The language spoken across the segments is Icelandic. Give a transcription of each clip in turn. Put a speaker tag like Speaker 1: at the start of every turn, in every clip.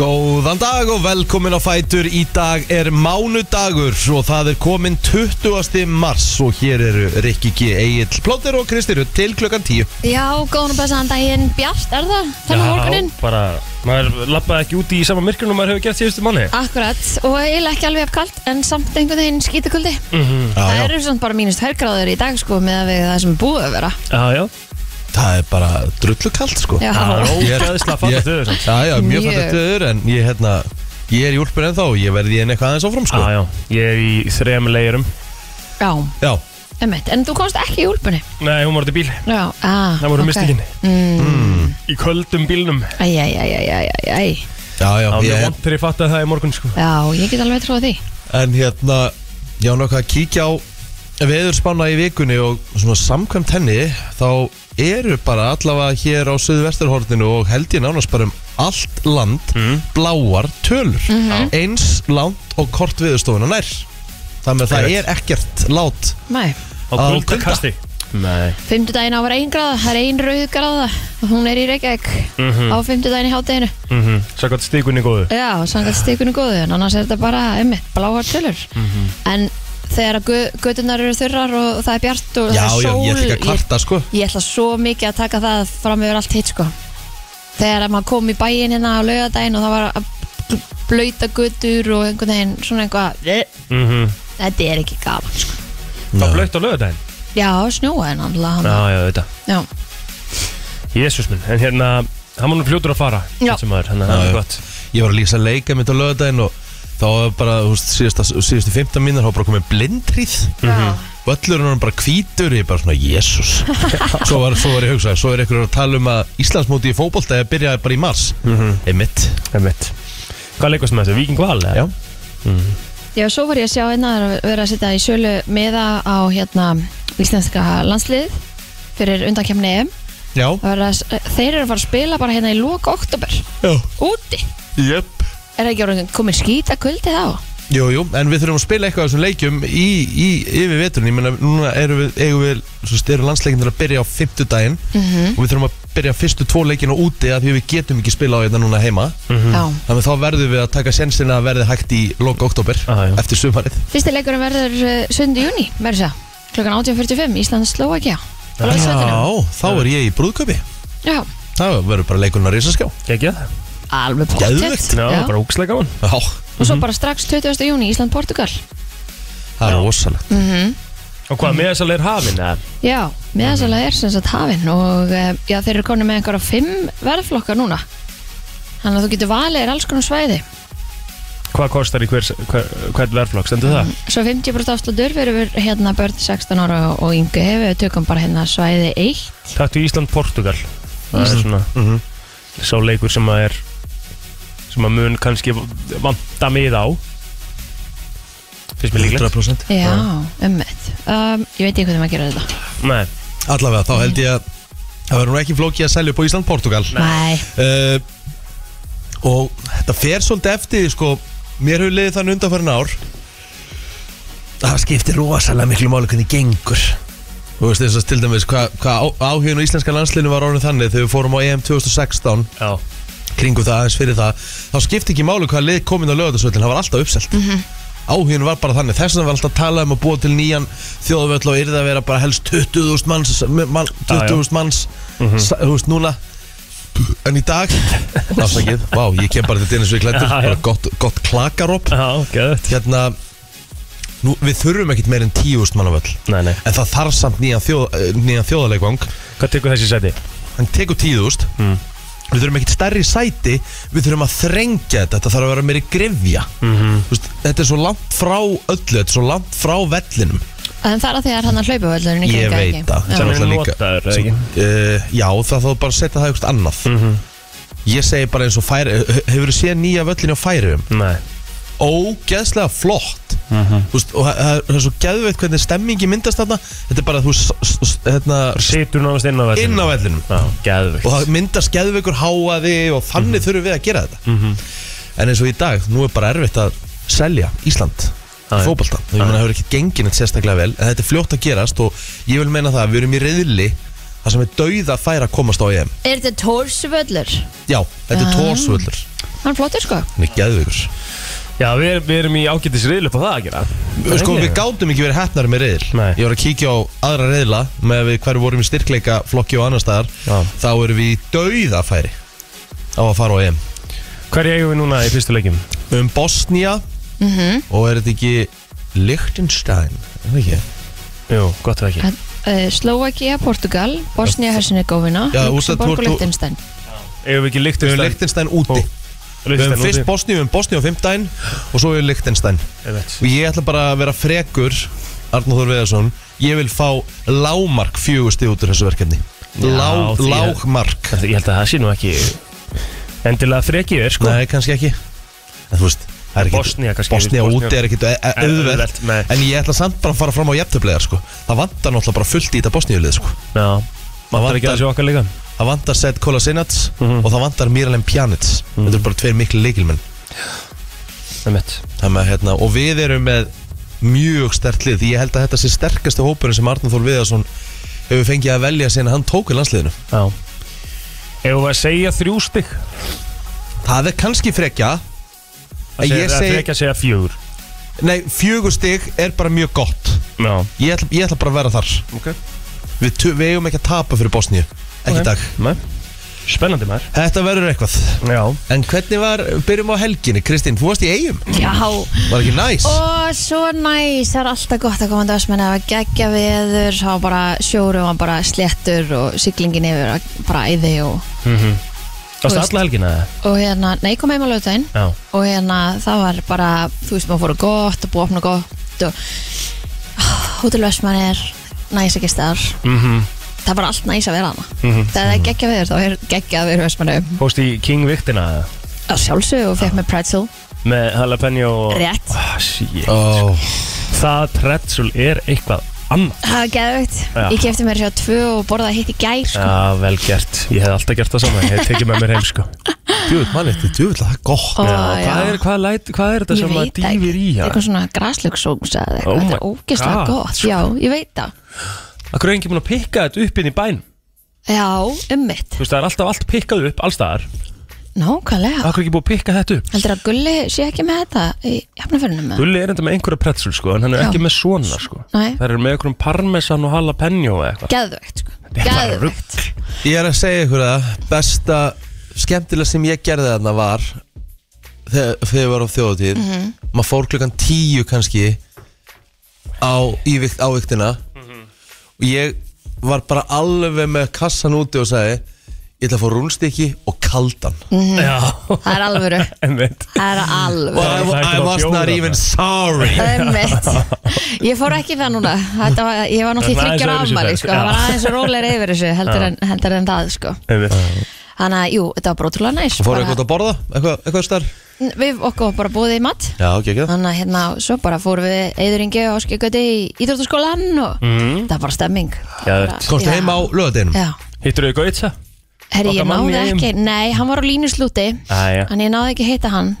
Speaker 1: Góðan dag og velkomin á Fætur Í dag er mánudagur og það er komin 20. mars og hér eru Rikki G. Egil Plóter og Kristi Rutt til klukkan 10
Speaker 2: Já, góðan og blessaðan daginn Bjart, er það? Þannig
Speaker 3: Já,
Speaker 2: morgunin?
Speaker 3: bara, maður lappaði ekki úti í sama myrkrinu maður hefur gert síðustu manni
Speaker 2: Akkurat, og eiginlega ekki alveg afkalt en samt einhvern veginn skítakuldi
Speaker 1: Já,
Speaker 2: Það
Speaker 1: já,
Speaker 2: eru samt bara mínust hærgráður í dag sko með að við það sem er búið að vera
Speaker 3: Já, já,
Speaker 1: það er bara drullu kallt sko
Speaker 2: Já,
Speaker 3: það er
Speaker 1: Ég er-
Speaker 3: ógæðislega fallast
Speaker 1: ég-
Speaker 3: auður
Speaker 1: Já, já, mjög
Speaker 2: Mjög.
Speaker 1: fættið öður en ég, hérna, ég er í úlpur ennþá og ég verði í henni eitthvað aðeins áfram
Speaker 3: Já,
Speaker 1: sko
Speaker 3: Ah, já, ég er í þrem leirum
Speaker 2: já
Speaker 1: Já,
Speaker 2: emmitt, en þú komst ekki í úlpunni
Speaker 3: Nei, hún var út í bíl,
Speaker 2: Já, ah,
Speaker 3: það voru
Speaker 2: ok. Mm.
Speaker 3: okay. mistikinn Í köldum bílnum
Speaker 2: Æ, æ, æ, æ, æ, æ, æ
Speaker 1: já, já,
Speaker 3: Það var mjög
Speaker 1: ég,
Speaker 3: vant þegar ég fattaði það í morgun sko
Speaker 2: Já, ég get alveg trúið því
Speaker 1: en hérna ég á nokkað að kíkja á veðurspanna í vikunni og svona samkvæmt henni þá eru bara allavega hér á Suðvesturhorninu og held ég nánast bara um allt land
Speaker 2: Mm.
Speaker 1: bláar tölur eins langt og kort veðurstofuna nær þannig að það
Speaker 3: Einmitt.
Speaker 1: er ekkert lát
Speaker 2: Nei,
Speaker 3: Á
Speaker 1: Á
Speaker 3: kuldakasti Nei
Speaker 2: fimmtudaginn á var ein gráða, það er ein rauð gráða Hún er í Reykjavík á fimmtudaginn í hátteginu
Speaker 3: mm Sækvæmt stíkunni góðu
Speaker 2: Já, samkvæmt stikunni góðu en annars er þetta bara, einmitt, bláar tölur
Speaker 1: Mhm.
Speaker 2: En þegar að gö- göturnar eru þurrar og það er bjart og
Speaker 1: já,
Speaker 2: það er
Speaker 1: já,
Speaker 2: sól
Speaker 1: ég ætla ekki að kvarta sko
Speaker 2: ég, ég ætla svo mikið að taka það fram yfir allt hitt sko Þegar að maður kom í bæinn hérna á laugardaginn og það var að bl- blauta götur og einhvern veginn svona eitthvað eh,
Speaker 3: mm
Speaker 2: Þetta er ekki gaman sko
Speaker 3: Það var blöitt á lögadaginn
Speaker 2: Já, snjóaði náttúrulega hann
Speaker 3: Já, já, þetta
Speaker 2: Já,
Speaker 3: Jésús minn, en hérna, hann var nú fljótur að fara
Speaker 2: Já.
Speaker 3: þessi maður, Þannig að
Speaker 1: Já,
Speaker 3: það
Speaker 1: já.
Speaker 3: er gott
Speaker 1: ég var að lýsa leika mitt á lögadaginn og þá var bara, þú veist, síðasta, síðustu 15 mínir þá var bara komið blindrýð
Speaker 2: já,
Speaker 1: Völlurinn var bara hvítur, ég bara svona, jésus svo, var- svo var ég hugsað, svo er ykkur að tala um að Íslandsmóti í fótbolta eða byrjaði bara í mars Einmitt
Speaker 3: Einmitt. Hvað leikast með þessu? Víking Val? eða?
Speaker 1: Já.
Speaker 2: já svo var ég að sjá einna að vera að setja í sölu meða á hérna íslenska landslið fyrir undankemni EM
Speaker 1: Já,
Speaker 2: Það verður að, þeir eru að fara að spila bara hérna í loka oktober
Speaker 1: já,
Speaker 2: Úti
Speaker 1: jöp
Speaker 2: Er það ekki orðin komin skýta kuldi þá?
Speaker 1: Jú, jú, en við þurfum að spila eitthvað af þessum leikjum í, í yfir veturinn, ég meina núna eru við, eigum við, svo veist, eru landsleikinir að byrja á fimmtudaginn og við þurfum að byrja fyrstu tvo leikina úti af því að við getum ekki spila á hérna núna heima
Speaker 3: Mhm.
Speaker 2: Já
Speaker 1: þannig að þá verðum við að taka sensin að verði hægt í loka oktober
Speaker 3: Já, já.
Speaker 1: eftir sumarið
Speaker 2: Fyrsti leikurinn verður uh, 7. júni, verður það Klokkan 18.45, Íslands Slovakia Á Laugardalsvellinum.
Speaker 1: Já, þá er ég í brúðköpi
Speaker 2: Já,
Speaker 1: Það verður bara leikurinn að risaskjá
Speaker 3: Gekk það?
Speaker 2: alveg
Speaker 1: Geðveikt.
Speaker 2: pottet
Speaker 3: Já, bara Mhm. úkslega gaman
Speaker 1: Já,
Speaker 2: Og svo bara strax 20. júni, Ísland-Portugal
Speaker 1: það er rosalegt
Speaker 3: Og hvað, með þess að leir hafin? eða?
Speaker 2: Já, meðasalega er sem sagt hafinn og eh, já, þeir eru konið með einhverja fimm verðflokkar núna Þannig að þú getur valið er alls konar svæði
Speaker 3: Hvað kostar í hver, hver, hvern verflokk, stendur það?
Speaker 2: Svo 50% afslutur fyrir hérna börn 16 ára og yngi við tökum bara hérna svæði 1
Speaker 3: Taktu Ísland-Portugal Það er svona
Speaker 1: Mhm.
Speaker 3: Sá leikur sem að er sem að mun kannski vanta mig á Fyrst mér líklegt
Speaker 1: 100%
Speaker 2: Já, ummitt um, Ég veit ekki hvernig maður gerir þetta
Speaker 3: Nei,
Speaker 1: Allavega, þá held ég að það verður nú ekki flókið að selja upp á Ísland-Portugal
Speaker 2: Nei,
Speaker 1: uh, Og þetta fer svolítið eftir því, sko, Mér hefur liðið þann undanfærin ár að Það skiptir rosalega miklu máli hvernig gengur Þú veist þess að til dæmis hvað hva áhugin á íslenska landslinu var orðin þannig þegar við fórum á EM 2016
Speaker 3: já
Speaker 1: kringum það aðeins fyrir það þá skipti ekki máli hvaða lið komin á lögatarsvöldin það var alltaf uppselt mm áhugin var bara þannig þess að var alltaf að tala um að búa til nýjan þjóðvöld og yrði að vera bara helst 20.000 manns man, 20.000 manns
Speaker 3: Mhm.
Speaker 1: sa- þú veist núna en í dag afsakið, vá, ég kem bara til Dennis Viklættur
Speaker 3: Já, já.
Speaker 1: bara gott, gott klakaropp
Speaker 3: Já, gæðið
Speaker 1: hérna nú, við þurfum ekkit meir en 10.000 mann á völl
Speaker 3: Nei, nei
Speaker 1: en það þarf samt nýjan, þjóð, eh, nýjan þjóðaleikvang
Speaker 3: Hvað tekur þessi sæti?
Speaker 1: hann tekur tíðust mm. við þurfum ekkert stærri sæti við þurfum að þrengja þetta, þetta þarf að vera meiri grefja -hmm. Vist, þetta er svo langt frá öllu, þetta er svo langt frá vellinum
Speaker 2: en það er að því að hann að hlaupa völlurinn í
Speaker 1: ég
Speaker 2: kring,
Speaker 1: veit
Speaker 2: ekki?
Speaker 1: það
Speaker 2: Já.
Speaker 1: Þetta er
Speaker 3: Sem er
Speaker 1: náttúrulega líka-
Speaker 3: notaður, eða
Speaker 1: sem- eh, já, það þá bara að setja það eitthvað annað -hmm. ég segi bara eins og færi eh, hefur þú séð nýja völlin á færiðum
Speaker 3: Nei
Speaker 1: ógeðslega flott Þú veist, og það- það er- það er svo geðveitt hvernig stemmingi myndast þarna þetta er bara þú s- s- s- hérna,
Speaker 3: Situr náðast inn á vellinu
Speaker 1: inn á vellinum
Speaker 3: Já, gæðið
Speaker 1: og það myndast geðveikur háaði og þannig
Speaker 3: Mhm.
Speaker 1: þurfum við að gera þetta en eins og í dag, nú er bara erfitt að selja Ísland
Speaker 3: Já, já.
Speaker 1: fókbalta, ég meina það hefur ekki gengin eitt sérstaklega vel, en þetta er fljótt að gerast og ég vil meina það að við erum í reyðli það sem er dauða færa að komast á EM
Speaker 2: Er þetta tórsvöllur?
Speaker 1: já, þetta er
Speaker 2: Ah.
Speaker 1: tórsvöldur
Speaker 2: hann er flottur sko
Speaker 1: Hann er geðvíkur
Speaker 3: Já, við, erum- við erum í ágætis riðl upp á það að gera
Speaker 1: Sko við gátum ekki verið hefnar með reyðil
Speaker 3: Nei.
Speaker 1: Ég var að kíkja á aðra reyðla með að við hverju vorum í styrkleika flokki og annar staðar
Speaker 3: Já.
Speaker 1: þá erum við í dauðafæri á að fara á EM
Speaker 3: Hverju eigum við núna í fyrstu leikjum?
Speaker 1: um Bosnia og er þetta ekki Liechtenstein er það ekki?
Speaker 3: Jú, gott ef ekki
Speaker 2: uh, Slovakia, Portugal, Bosnia, Herzegovina
Speaker 1: Já, úrslit-
Speaker 2: Luxemburg og
Speaker 1: úrslit-
Speaker 2: Liechtenstein
Speaker 3: Eigum við
Speaker 1: Við
Speaker 3: ekki
Speaker 1: höfum
Speaker 3: Lichtenstein?
Speaker 1: Liechtenstein úti Við höfum fyrst Bosníu, við höfum Bosníu á fimmtæn og svo er Liechtenstein
Speaker 3: Bosnia
Speaker 1: og ég ætla bara að vera frekur Arnóður Veðarsson ég vil fá lágmark fjögusti út úr þessu verkefni
Speaker 3: Já,
Speaker 1: Lá,
Speaker 3: því að-
Speaker 1: lágmark
Speaker 3: Ég held að það sé nú ekki endilega frekið er sko
Speaker 1: nei, kannski ekki en þú veist það er ekkit-
Speaker 3: Bosnía kannski,
Speaker 1: Bosnía
Speaker 3: Bosnía.
Speaker 1: úti er ekkit au- au- auðvelt
Speaker 3: Auðvelt, nei.
Speaker 1: en ég ætla samt bara að fara fram á jafntöflegar sko. það vantar náttúrulega bara fullt í þetta Bosníulið sko.
Speaker 3: Já,
Speaker 1: vantar-
Speaker 3: vantar ekki að þessu okkar líka
Speaker 1: það vantar Seth Kolasinac
Speaker 3: Mhm.
Speaker 1: og það vantar Miralem Pjanic þetta eru bara tveir miklu leikilmenn
Speaker 3: Það er mitt
Speaker 1: Þannig að, hérna, og við erum með mjög stert lið því ég held að þetta sé sterkasta hópurinn sem Arnur Þór Viðarsson hefur fengið að velja síðan hann tók í landsliðinu
Speaker 3: Já Ef við að segja þrjú stygg
Speaker 1: það er kannski frekja
Speaker 3: Það
Speaker 1: en ég
Speaker 3: segja seg...
Speaker 1: segi,
Speaker 3: frekja að segja fjögur
Speaker 1: nei, fjögur stig er bara mjög gott
Speaker 3: Já
Speaker 1: ég ætla, ég ætla bara að vera þar
Speaker 3: Ok
Speaker 1: við, tu- við eigum ekki að tapa fyrir Bosníu ekki í
Speaker 3: Ok.
Speaker 1: dag
Speaker 3: Nei Spennandi maður
Speaker 1: þetta verður eitthvað
Speaker 3: Já
Speaker 1: en hvernig var, byrjum á helginni Kristín, þú varst í eigum
Speaker 2: Já,
Speaker 1: var ekki næs
Speaker 2: og svo næs það er alltaf gott að koma til Vestmenni það var geggja veður, þá var bara sjórum var bara sléttur og siglingin yfir var bara æði og,
Speaker 3: Það er alla helgina eða?
Speaker 2: og hérna, nei, ég kom heim á lautæn
Speaker 3: Já
Speaker 2: og hérna, það var bara þú veist, maður fóru gott og búið að opna gott og hótel Vestmenni er næs ekki staðar
Speaker 3: Mhm.
Speaker 2: það er bara allt næs að vera hana það er geggja veður, þá er geggja að vera Vestmenni
Speaker 3: Fórst í King Viktina eða?
Speaker 2: á sjálfsög og fekk með pretzel
Speaker 3: Með jalapeno og
Speaker 2: Rétt.
Speaker 3: Ah, shit
Speaker 1: Ó,
Speaker 3: Það pretzel er eitthvað annað sko.
Speaker 2: það var geðvögt,
Speaker 3: Já.
Speaker 2: ég kefti mér hjá tvö og borðaði hitt í gær sko.
Speaker 3: Já, vel gert Ég hef alltaf gert það saman Ég hef tekið með mér heim sko
Speaker 1: djúvill, mann, þetta er djúvill það er gott
Speaker 2: Ó,
Speaker 3: Já,
Speaker 2: Ah, já.
Speaker 3: hvað, er, hvað, læt, hvað er þetta
Speaker 2: Ég
Speaker 3: sem að
Speaker 2: veit það
Speaker 3: dýfir í
Speaker 2: ekki.
Speaker 3: hérna? hann?
Speaker 2: eitthvað svona græslugsóms eða eitthvað,
Speaker 3: Oh
Speaker 2: þetta er
Speaker 3: my
Speaker 2: ógeðslega
Speaker 3: God, sko.
Speaker 2: gott já, ég veit það,
Speaker 3: Akkur er enginn búin að pikka þetta upp inn í bænum
Speaker 2: já, um ummitt
Speaker 3: Þú veist, það er alltaf allt pikkað upp allstaðar
Speaker 2: nákvæmlega,
Speaker 3: Akkur er ekki búin að pikka þetta upp
Speaker 2: heldur að Gulli sé ekki með þetta í jafnaförnum með
Speaker 3: Gulli er enda með einhverja pretzel sko En hann er
Speaker 2: Já.
Speaker 3: ekki með svona sko
Speaker 2: Nei.
Speaker 3: Það er með einhverjum parmesan og jalapeno eða eitthvað
Speaker 2: geðvögt, sko.
Speaker 3: er bara
Speaker 2: geðvögt
Speaker 1: Ég er að segja ykkur það Besta skemmtilega sem ég gerði þarna var Þegar, þegar ég var á þjóðatíð
Speaker 3: Mhm.
Speaker 1: Maður fór klukkan tíu kannski Á, í vikt, á viktina Og ég var bara alveg með kassan úti og sagði Ég ætla að fá rúnstykki og kaldan
Speaker 3: Mm. Já,
Speaker 2: það er alvöru,
Speaker 3: einmitt
Speaker 2: það er
Speaker 1: Og
Speaker 2: alvöru
Speaker 1: I,
Speaker 3: Það er ekki
Speaker 1: I
Speaker 3: bara
Speaker 1: was
Speaker 3: bjór
Speaker 1: not
Speaker 3: þarna.
Speaker 1: even sorry
Speaker 2: Einmitt. Ég fór ekki það núna Þetta var, Ég var
Speaker 3: Það
Speaker 2: náttúrulega
Speaker 3: var
Speaker 2: þryggjur
Speaker 3: aðeins öðruvísi
Speaker 2: afmæli
Speaker 3: ferð.
Speaker 2: sko. Það var aðeins rólegri yfir þessu heldur en, heldur en það sko.
Speaker 3: Einmitt
Speaker 2: Þannig að, jú, þetta var bara ótrúlega næs
Speaker 1: Fóru
Speaker 2: Bara-
Speaker 1: eitthvað að borða? Eitthvað, eitthvað starf?
Speaker 2: Við okkur var bara búið í mat
Speaker 1: Já, ekki ekki það
Speaker 2: Þannig að hérna, svo bara fórum við Eðuringi og Áskjögöti í Ídróttaskólan og
Speaker 3: Mhm.
Speaker 2: það var bara stemming
Speaker 3: Geðveikt.
Speaker 1: Komstu heim á lögadeinum?
Speaker 2: Já,
Speaker 3: Hittur þau gauta?
Speaker 2: herri,
Speaker 3: Okkar
Speaker 2: ég
Speaker 3: mann í
Speaker 2: náði
Speaker 3: Eyjum.
Speaker 2: ekki Nei, hann var á línuslúti
Speaker 3: Æja
Speaker 2: Þannig ég náði ekki að hitta hann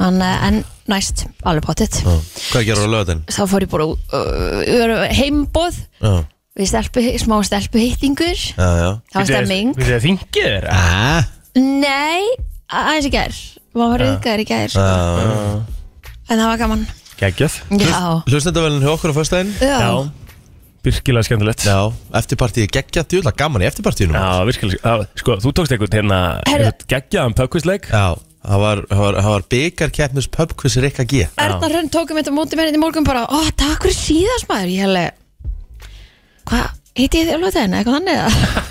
Speaker 2: hann, eh, En næst, alveg pottitt
Speaker 1: Hvað gerur á lögadein?
Speaker 2: Þá fór ég bara uh, heimboð
Speaker 1: Já,
Speaker 2: Við stelpu, smá stelpu hittingur
Speaker 1: já, já
Speaker 2: Það var stemming
Speaker 3: Við þið þingið þér?
Speaker 1: Ah,
Speaker 2: Nei, aðeins í gær Má var rauðgæður í gær
Speaker 1: já, já.
Speaker 2: En það var gaman
Speaker 3: Gægjöð
Speaker 2: Já,
Speaker 1: Hlustendavælinn hjá okkur á föstudaginn
Speaker 2: já.
Speaker 3: Virkilega skemmtilegt
Speaker 1: Já, eftirpartíð geggja djúla gaman í eftirpartíðinu
Speaker 3: Já, virkilega já, Sko, þú tókst einhvern hérna
Speaker 2: Herru.
Speaker 3: einhvern Geggjaðan pökkusleik
Speaker 1: Já, það var, það var, það var byggarkeppnis pubquiz Rikka G
Speaker 2: Erna Hrönn tókum þetta móti mér hérna í morgun bara, ó, takk fyrir síðast maður ég hefði, hvað hitti ég þig alveg þenni, eitthvað þannig eða?"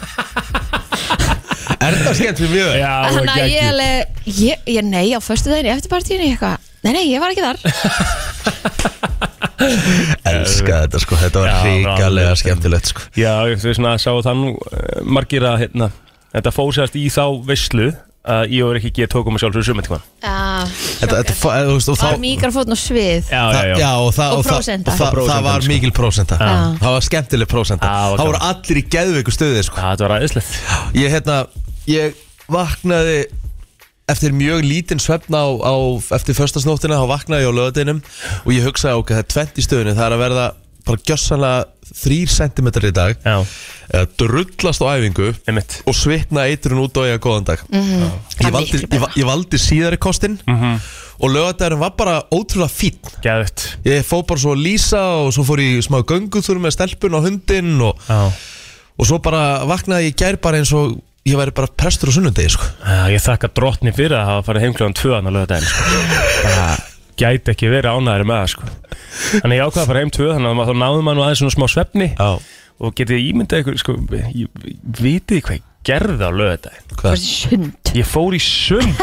Speaker 1: Er það skemmt fyrir mjög?
Speaker 3: Já,
Speaker 2: þannig að ég
Speaker 3: geggjuð
Speaker 2: hefði, ég, ég, nei, á föstu þenni eftirpartíinu, ég eitthvað, nei, nei, ég var ekki þar
Speaker 1: Elska þetta sko, þetta var
Speaker 3: Já,
Speaker 1: hrikalega
Speaker 3: alveg.
Speaker 1: skemmtilegt sko
Speaker 3: Já, þú veist svona Sá það nú eh, Margir að hérna Þetta fórsast í þá veislu Að ég og ekki ekki tókum að sjálfsögur sumið tíma
Speaker 2: já,
Speaker 1: Þetta, þetta, fa- þú veist, og þá
Speaker 2: var mikar fótn og svið
Speaker 3: Já,
Speaker 1: það-
Speaker 3: já, já
Speaker 1: og, það,
Speaker 2: Og
Speaker 1: og, það,
Speaker 2: prósenta.
Speaker 1: og það,
Speaker 3: Og prósenta,
Speaker 1: það var
Speaker 3: sko.
Speaker 1: mikil prósenta
Speaker 2: Já.
Speaker 1: Það var skemmtileg prósenta
Speaker 3: Já, var
Speaker 1: Það voru
Speaker 3: gaman.
Speaker 1: allir í geðveiku stöði sko
Speaker 3: Það var aðeinslegt
Speaker 1: Ég hérna, ég vaknaði eftir mjög lítinn svefn á, á eftir föstasnóttina, þá vaknaði ég á löðinum og ég hugsaði okkar það er 20 stöðinu það er að verða bara gjössanlega 3 cm í dag
Speaker 3: Já,
Speaker 1: eða drullast á æfingu
Speaker 3: einmitt
Speaker 1: og svitna eitrun út og eiga góðan dag mm -hmm. ég
Speaker 2: Mhm. Það er
Speaker 1: valdi,
Speaker 2: miklu
Speaker 1: ég,
Speaker 2: betra.
Speaker 1: va- ég valdi síðari kostin og lögadagurinn var bara ótrúlega fín
Speaker 3: Gæðut
Speaker 1: ég fó bara svo að lýsa og svo fór ég í smá gönguþur með stelpun og hundinn og, og svo bara vaknaði ég í gær bara eins og ég væri bara prestur á sunnundegi sko.
Speaker 3: Eh, Ég þakka drottni fyrir að hafa farið heimkljóðan tvöðan að löða daginn sko. Bara gæti ekki verið ánæður með það sko. Þannig ég ákvaði að fara heim tvöð Þannig að maður- þá náðum maður nú aðeins svona smá svefni
Speaker 1: Já,
Speaker 3: Og getið þið ímyndað ykkur sko, Ég vitið þið hvað ég gerði á löða daginn
Speaker 2: Bara sund
Speaker 3: Ég fór í sund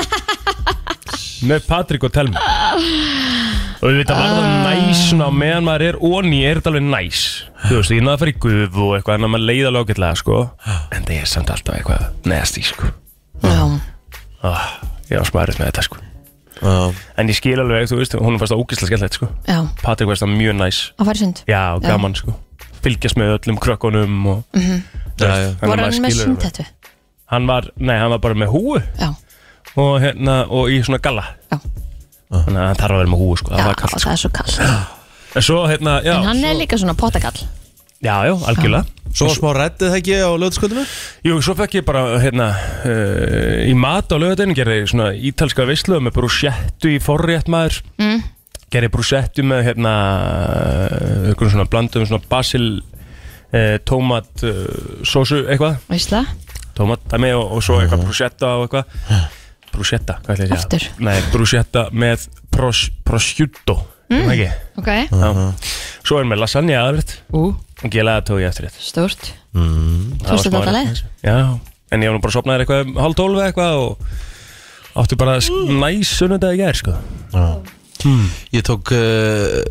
Speaker 3: Með Patrik og Telmi Og við veitum að það næs svona, á Meðan maður er onni er þetta alveg næs Þú veist, ég náði að fara í guð og eitthvað En að maður leiða lókitlega sko. En það er samt alltaf eitthvað neðast í sko.
Speaker 2: Já,
Speaker 3: Ah, ég var smærið með þetta sko
Speaker 1: já,
Speaker 3: En ég skil alveg, þú veist, hún fannst það ógislega skemmtilegt sko
Speaker 2: já,
Speaker 3: Patrik fannst það mjög næs
Speaker 2: að fara í sund
Speaker 3: Já, og gaman sko Fylgjast með öllum krökkunum og mm -hmm.
Speaker 1: já, já.
Speaker 2: Var hann með sundhettu?
Speaker 3: Hann var, nei, hann var bara með húu
Speaker 2: Já,
Speaker 3: og hérna, og í svona galla
Speaker 2: Já.
Speaker 3: Þannig að hann þarf að vera með húu sko, það
Speaker 2: já,
Speaker 3: var kallt sko
Speaker 2: það er svo kall
Speaker 3: En svo, hérna, já,
Speaker 2: En hann
Speaker 3: svo,
Speaker 2: er líka svona pottakall
Speaker 3: já, já, algjörlega
Speaker 1: Svo var smá reddið það ekki á lögðskvöldinu?
Speaker 3: Jú, svo fekk ég bara, hérna, uh, í mat á lögadeginu gerði ég svona ítalska veislu með brúsettu í forrétt maður
Speaker 2: Mm.
Speaker 3: Gerði brúsettu með, hérna, einhvern svona blandum, svona basil, uh, tómat, uh, sósu, eitthvað
Speaker 2: Veist það?
Speaker 3: Tómatdæmi og, og svo eitthvað brúsetta og eitthvað Brúsetta, hvað ætla ég að
Speaker 2: Aftur.
Speaker 3: segja? Nei, brúsetta með pros, prosciutto, mm. ekki?
Speaker 2: Ok
Speaker 3: Svo er með lasagna aðrætt
Speaker 2: Ú,
Speaker 3: og gelaði tói eftir þetta
Speaker 2: stórt
Speaker 3: Það
Speaker 2: Tókstu
Speaker 3: var
Speaker 2: þetta
Speaker 3: smá
Speaker 2: alla leið?
Speaker 3: reynd. Já, en ég var nú bara sopnaðir eitthvað um hálf tólf eða eitthvað og átti bara sk- næs sunnudagi gær sko
Speaker 1: Ég tók uh,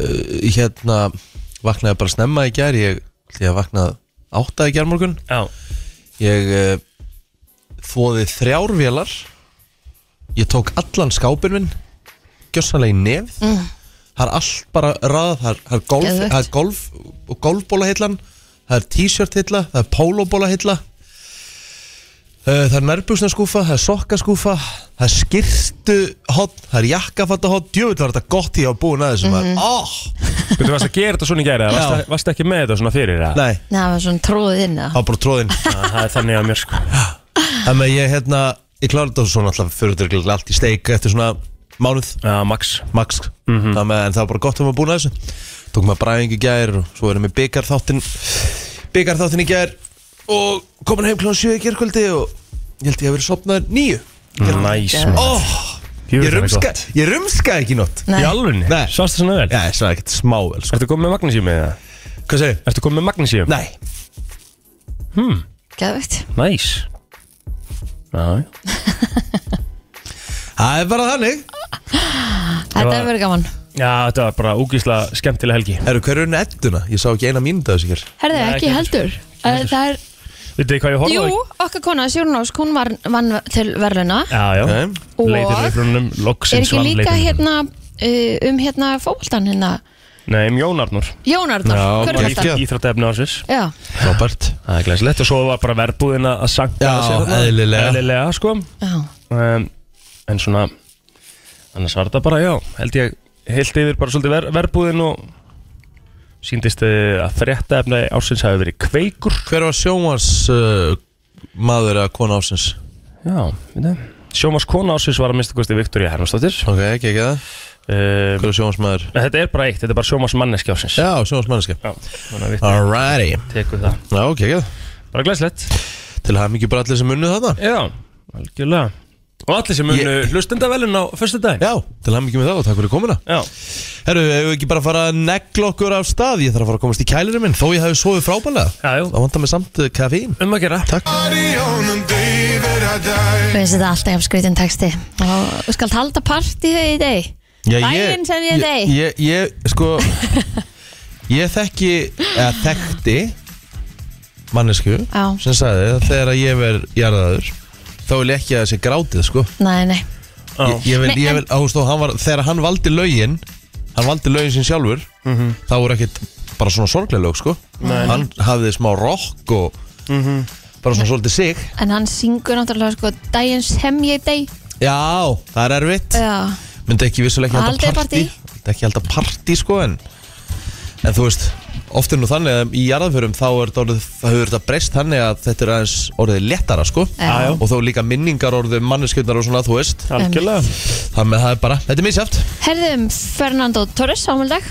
Speaker 1: hérna vaknaði bara snemma í gær ég, ég vaknaði átta í gær morgun
Speaker 3: Já,
Speaker 1: ég uh, þóði þrjár vélar ég tók allan skápin minn gjössanlega í nefð mm. það er allt bara rað það er, það er, golf,
Speaker 2: Geðveikt.
Speaker 1: það er golf, golfbóla hillan það er t-shirt hilla það er pólóbóla hilla Uh, það er nærbúsnaskúfa, það er sokkaskúfa, það er skirtuhotn, það er jakkafattahotn, djöfull var þetta gott í að búin að þessum mm -hmm.
Speaker 3: þú varst að gera þetta svona í gær eða varst, varst ekki með þetta svona fyrir eða?
Speaker 1: Nei,
Speaker 2: Nei, það var svona tróðið inn
Speaker 1: það
Speaker 2: eða?
Speaker 1: var bara tróðinn.
Speaker 3: Já, Það er þannig að mér sko
Speaker 1: Þannig að ég hérna, ég kláði þetta svona alltaf fyrir þetta örugglega allt í steik eftir svona mánuð,
Speaker 3: Já, Max
Speaker 1: max mm
Speaker 3: Mhm.
Speaker 1: -hmm. með, en það var bara gott um að búin að þessu tók maður bræðing í gær og svo erum við byggarþáttin byggarþáttin í gær og komin heim klón 7 í gærkvöldi og ég held ég að vera sopnaður nýju
Speaker 3: Næs maður.
Speaker 1: oh,
Speaker 3: Mhm. Jú,
Speaker 1: ég,
Speaker 3: það er
Speaker 1: rumska,
Speaker 3: gott.
Speaker 1: ég rumska ekki í nótt
Speaker 3: Í
Speaker 2: Nei.
Speaker 3: alvunni?
Speaker 1: Nei.
Speaker 3: Svast það svona vel?
Speaker 1: Já, það er ekkert smável sko.
Speaker 3: Ertu komið með magnísíum eða?
Speaker 1: Hvað segir?
Speaker 3: Ertu komið með magnísíum?
Speaker 1: Nei,
Speaker 2: Geðvegt
Speaker 3: Næs Já, já.
Speaker 1: það er bara þannig
Speaker 2: Þetta
Speaker 3: var-
Speaker 2: er verið gaman
Speaker 3: já, þetta var bara úgisla skemmtilega helgi
Speaker 1: Eru hverju enn edduna? Ég sá ekki eina mínútu af þessu hér
Speaker 2: Herðu,
Speaker 3: Nei,
Speaker 2: ekki
Speaker 3: ekki
Speaker 2: heldur Eh, Það er,
Speaker 3: Vitið þið hvað ég horfði á?
Speaker 2: jú, okkar kona Sjórnós, hún var, vann til verðluna
Speaker 3: Já, já
Speaker 1: Ok.
Speaker 2: Og-
Speaker 3: Leitir leifrunum,
Speaker 2: Er
Speaker 3: loksins
Speaker 2: ekki
Speaker 3: vann
Speaker 2: líka
Speaker 3: leitirunum.
Speaker 2: hérna eh, um hérna fókbaltan hérna
Speaker 3: Nei, um Jónarnur
Speaker 2: Jónarnar,
Speaker 1: Já,
Speaker 2: hver er
Speaker 1: geggjað.
Speaker 2: þetta?
Speaker 3: Íþróttefni ársins
Speaker 2: Já,
Speaker 1: Robert
Speaker 3: Það er glæsilegt og svo var bara verðbúðin að að sanka
Speaker 1: Já,
Speaker 3: sig þarna.
Speaker 1: eðlilega.
Speaker 3: Eðlilega, sko
Speaker 2: já,
Speaker 3: um, En svona Annars var þetta bara, já Held ég heilt yfir bara svolítið ver, verðbúðin og Sýndist eh, að frétta efni ársins hafi verið kveikur
Speaker 1: Hver var sjónvars uh, maður eða kona ásins?
Speaker 3: Já, við það Sjómas kona ársins var að mista kosti Viktoria Hermansdóttir
Speaker 1: Ok, ekki ekki það
Speaker 3: um,
Speaker 1: Hver var sjónvars maður?
Speaker 3: Þetta er bara eitt, þetta er bara sjómas manneski ársins
Speaker 1: Já, sjónvars manneska
Speaker 3: Já, þannig að við
Speaker 1: Alrighty
Speaker 3: tekum það
Speaker 1: Já, ok, ekki það
Speaker 3: Bara glæsilegt
Speaker 1: Til hafa mikið bara allir sem unnu þarna
Speaker 3: Já, algjörlega Og allir sem munu
Speaker 1: Ég-
Speaker 3: ég... hlustendavælun á fyrstu dag
Speaker 1: Já, til hafa mikið með það og takk fyrir komuna
Speaker 3: Já,
Speaker 1: Herru, hefur við ekki bara að fara að negla okkur af stað Ég þarf að fara að komast í kælirinn minn Þó ég hefði sofið frábælega
Speaker 3: já, já,
Speaker 1: Það vantar mig samt uh, kaffín
Speaker 3: um að gera
Speaker 1: Takk
Speaker 2: við finnst þetta alltaf jafn skritin texti og þú skalt halda partí þau í dag
Speaker 1: Já, ég-
Speaker 2: Daginn sem ég dey.
Speaker 1: Ég, ég, sko Ég þekki, eða þekkti Mannesku
Speaker 2: Já.
Speaker 1: Sem sagði að þegar ég verð jarðaður Þá vil ég ekki að það sé grátið, sko
Speaker 2: Nei, nei,
Speaker 3: Já,
Speaker 1: ég, ég vil,
Speaker 2: Nei,
Speaker 1: ég
Speaker 2: en-
Speaker 1: vil, á, stó, hann var, þegar hann valdi lögin hann valdi lögin sín sjálfur þá voru ekkit bara svona sorglega lög sko. hann hafði smá rock og bara svona svolítið sig
Speaker 2: en hann syngur náttúrulega sko daginn sem ég deg
Speaker 1: já, það er erfitt
Speaker 2: Já,
Speaker 1: myndi ekki vissulega ekki halda
Speaker 2: Haldið
Speaker 1: partí
Speaker 2: partí.
Speaker 1: myndi ekki halda partí sko en En þú veist, oft er nú þannig að í jarðanförum þá er þetta orðið, það hefur þetta breyst þannig að þetta er aðeins orðið léttara sko
Speaker 2: Já. Já, já.
Speaker 1: og þá líka minningar orðið manneskjöndar og svona, þú veist
Speaker 3: Algjörlega.
Speaker 1: Þannig að það er bara, þetta er misjæft
Speaker 2: Herðum Fernando Torres ámuldag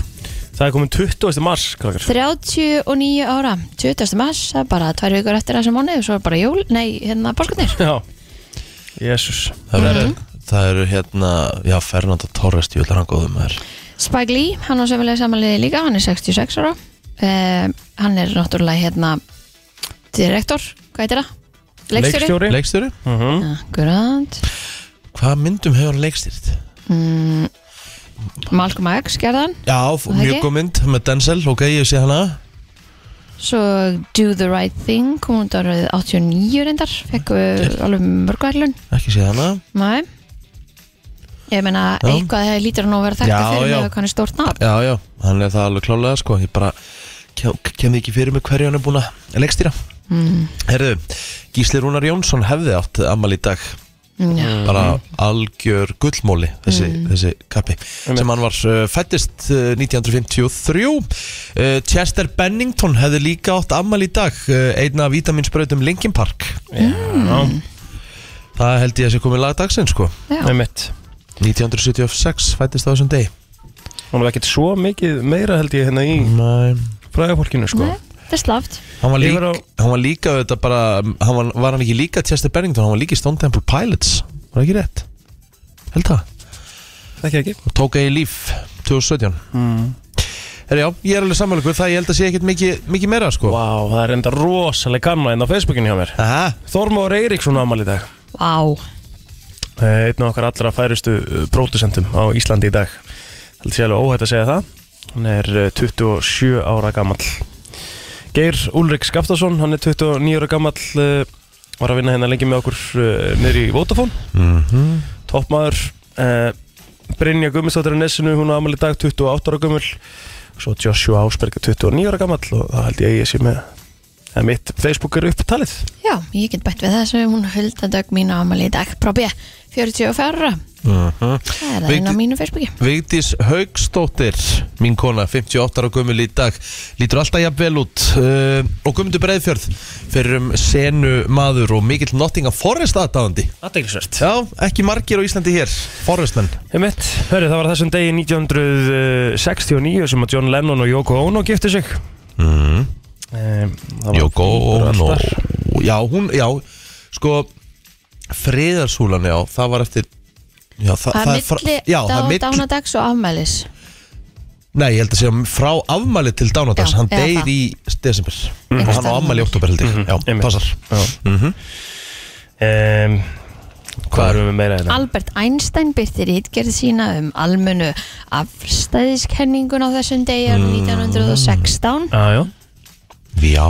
Speaker 3: Það er komin 20. mars, krakkar
Speaker 2: 39 ára 20. mars, það er bara tvær vikur eftir þessum mánu og svo er bara jól, nei, hérna bórskunir
Speaker 3: Já Jésús
Speaker 2: Mhm.
Speaker 1: Það, verður- það eru hérna, já, Fernando Torres, júlar hann góðum er
Speaker 2: Spike Lee, hann á sömulega samanliði líka hann er 66 ára uh, hann er náttúrulega hérna direktor, hvað heitir það? Leikstjóri?
Speaker 1: Leikstjóri?
Speaker 3: Mhm.
Speaker 2: Grant
Speaker 1: Hvaða myndum hefur hann leikstýrt?
Speaker 2: mm, Malcolm X gerðan
Speaker 1: Já,
Speaker 2: það
Speaker 1: mjög
Speaker 2: ekki?
Speaker 1: góð mynd með Denzel, ok, ég sé hana
Speaker 2: svo Do the Right Thing kom út árið 89 reyndar fekk uh, alveg mörgverðlun
Speaker 1: Ekki sé hana
Speaker 2: Nei Ég meina,
Speaker 1: Já.
Speaker 2: eitthvað þegar lítur hann að vera
Speaker 1: Já,
Speaker 2: þekktu fyrir
Speaker 1: já.
Speaker 2: mig og hann er stórt nafn
Speaker 1: Já, já, hann er það alveg klálega sko Ég bara kem, kem því ekki fyrir mig hverju hann er búin að leikstýra
Speaker 2: mm.
Speaker 1: Herðu, Gísli Rúnar Jónsson hefði átt ammali í dag Mm.
Speaker 2: Já,
Speaker 1: bara algjör gullmóli þessi, þessi kappi sem hann var uh, fættist uh, 1953 uh, Chester Bennington hefði líka átt ammali í dag uh, einna af vítaminsbrautum Linkin Park
Speaker 3: mm.
Speaker 1: það held ég að sé komið lagdagsinn sko
Speaker 2: já.
Speaker 3: Með mitt
Speaker 1: 1976 fættist það á þessum degi
Speaker 3: Hún var ekkert svo mikið meira held ég hérna í
Speaker 1: Nei.
Speaker 3: fræðaporkinu sko
Speaker 2: Nei, það er slaft
Speaker 1: hann var,
Speaker 3: Ég
Speaker 1: lík,
Speaker 3: var á-
Speaker 1: hann var líka þetta bara, hann var, var hann ekki líka Chester Bennington, hann var líka í Stone Temple Pilots var það ekki rétt held það
Speaker 3: Ekki ekki
Speaker 1: og tók eigi líf 2017 Mm. Herra já, ég er alveg sammála ykkur, það ég held að sé ekkert mikið, mikið meira sko
Speaker 3: Vá, það er enda rosalega kanna inn á Facebookinu hjá mér
Speaker 1: Aha,
Speaker 3: Þormóður Eiríksson ámali í dag
Speaker 2: Vá,
Speaker 3: Eh, Einn af okkar allra færustu eh, pródusentum á Íslandi í dag Held sér alveg óhætt að segja það Hann er eh, 27 ára gamall Geir Úlrik Skaftason, hann er 29 ára gamall eh, Var að vinna hérna lengi með okkur eh, niður í Vodafone
Speaker 1: Mhm,
Speaker 3: toppmaður eh, Brynja Gummistóttir á Nessinu, hún á amal í dag 28 ára gummul svo Joshua Ásberg er 29 ára gammal og það held ég að ég sé með að mitt Facebook er upptalið
Speaker 2: já, ég get bætt við þessu hún hulda dög mín á ámali í dag Probi, 44 Það er það inn á
Speaker 1: Vigdi-
Speaker 2: mínu Facebooki
Speaker 1: Mhm. Vigdís Haugsdóttir, mín kona 58 ára gömul í dag lítur alltaf jafn vel út uh, og gömundu breiðfjörð fyrir um senu maður og mikill nottinga forrest aðdáðandi
Speaker 3: Aðdeglisvert
Speaker 1: Já, ekki margir á Íslandi hér, forrestmenn
Speaker 3: Einmitt, hörru Eh, það var á þessum degi 1969 sem að John Lennon og Yoko Ono giftu sig
Speaker 1: mm.
Speaker 3: Eh, það var-
Speaker 1: Jóko
Speaker 3: það var
Speaker 1: og
Speaker 3: allt þar.
Speaker 1: Já, hún, já, sko friðarsúlan, já, það var eftir Já, það,
Speaker 2: Það er
Speaker 1: frá-
Speaker 2: milli
Speaker 1: já, það er
Speaker 2: dá-
Speaker 1: milli
Speaker 2: dánadags og afmælis
Speaker 1: Nei, ég held að segja frá afmæli til dánadags
Speaker 2: Já,
Speaker 1: Hann
Speaker 2: eða
Speaker 1: deyr
Speaker 2: það.
Speaker 1: í desember og hann
Speaker 2: Einhvers
Speaker 1: á
Speaker 2: staðar
Speaker 1: afmæli í
Speaker 2: þar.
Speaker 1: oktober held ég Já,
Speaker 3: einmitt.
Speaker 1: passar Mhm.
Speaker 3: Já. Em, Hvað erum við meira hérna? þetta?
Speaker 2: Albert Einstein byrtir ítgerð sína um almennu afstæðiskenningun á þessum degi
Speaker 1: Mm.
Speaker 2: árið 1916
Speaker 3: Jájá
Speaker 1: Já,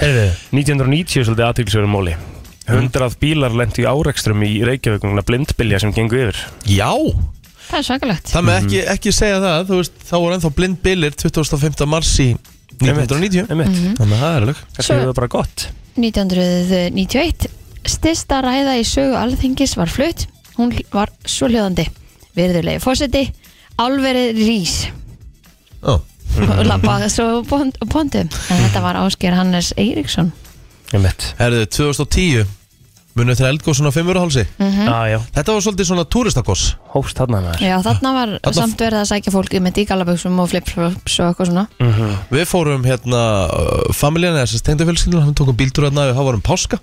Speaker 3: Heyrðu, 1990 er svolítið aðtilsverðum móli 100 bílar lentu í árekstrum í Reykjavík vegna blindbylja sem gengur yfir
Speaker 1: já Mhm.
Speaker 2: Það er svakalegt
Speaker 1: Það með ekki, ekki segja það, þú veist, þá voru ennþá blind bilir 25. mars í 1990
Speaker 3: Einmitt,
Speaker 2: Mhm.
Speaker 3: einmitt.
Speaker 1: Þannig að það er alveg
Speaker 3: Kannski er það bara gott
Speaker 2: 1991 Stista ræða í sögu alþingis var flutt Hún hl- var svohljóðandi Virðulegi fósiti Álverið rís
Speaker 1: Ó,
Speaker 2: og labbaði svo bond- bondum en þetta var Ásker Hannes Eiríksson
Speaker 3: Einmitt
Speaker 1: Herðu, 2010 Munið til eldgóðsson á 5. hálsi
Speaker 2: Mm.
Speaker 3: Ah, Já, já,
Speaker 1: Þetta var svolítið svona túristakoss
Speaker 3: hóst þarna maður
Speaker 2: Mhm. Já, þarna var
Speaker 1: Þarna-
Speaker 2: samt verið að sækja fólki með dígalaböksum og flipflops og eitthvað svona
Speaker 1: Við fórum hérna uh, Familjana, þessi stengdafjölskyldin Hann tókum bíltúr hérna og það varum páska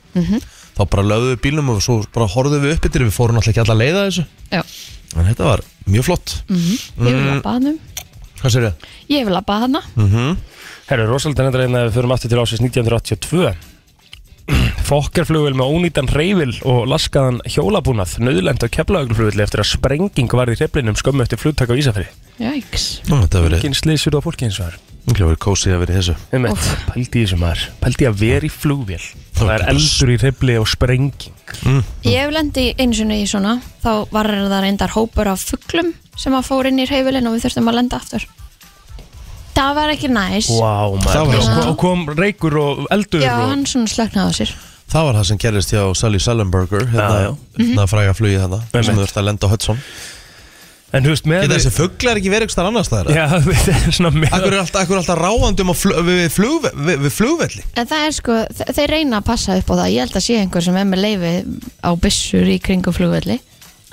Speaker 1: Þá bara lögðum við bílnum og svo bara horfðum við upp yttir Við fórum alltaf ekki alla leiða þessu
Speaker 2: Já, Mhm.
Speaker 1: En þetta var mjög flott
Speaker 2: Mm. ég vil labba hann
Speaker 1: Hvað sér ég?
Speaker 2: Ég vil labba hann
Speaker 3: Herru, rosalega nefndar einn að við förum aftur til ásins 1982 Fokkerflugvél með ónýtan reyfil og laskaðan hjólabúnað nöðlend á keflaugurflugvél eftir að sprenging var í hreflinum skömmu eftir flugtak á Ísafri
Speaker 2: Jæks
Speaker 1: Nú, þetta verið,
Speaker 3: Engin slýsir á fólki eins og þar
Speaker 1: ekki verið kósið að verið þessu
Speaker 3: Einmitt,
Speaker 2: Úff.
Speaker 3: pældi í þessu maður Pældi í að vera í flugvél Það er
Speaker 1: bara-
Speaker 3: eldur í hrefli og sprenging
Speaker 1: Hm.
Speaker 2: Ég hef lendi einu sinni í svona þá var það reyndar hópur af fugglum sem að fór inn í reyfilin og við þurftum að lenda aftur Það var ekki næs
Speaker 3: Vá,
Speaker 1: Það var
Speaker 3: maður og
Speaker 1: það.
Speaker 3: kom, og kom reykur og eldur
Speaker 2: Já,
Speaker 3: og...
Speaker 2: hann svona slöknaði á sér
Speaker 1: Það var það sem gerðist hjá Sally Sullenberger
Speaker 3: Já,
Speaker 1: Hérna,
Speaker 3: já.
Speaker 1: hérna fræga flugið hérna
Speaker 3: Einmitt.
Speaker 1: Sem þú ert að lenda á Hudson
Speaker 3: En þú veist, með
Speaker 1: Geta þessi fugglar ekki verið eitthvað annars staðar?
Speaker 3: Já, þetta er svona með
Speaker 1: Akkur er alltaf, akkur er alltaf ráðandi um að flug, við, við, flug, við, við flugvelli
Speaker 2: En það er sko, þe- þeir reyna að passa upp á það Ég held að sé einhver sem er með leifi á byssur í kringum flugvelli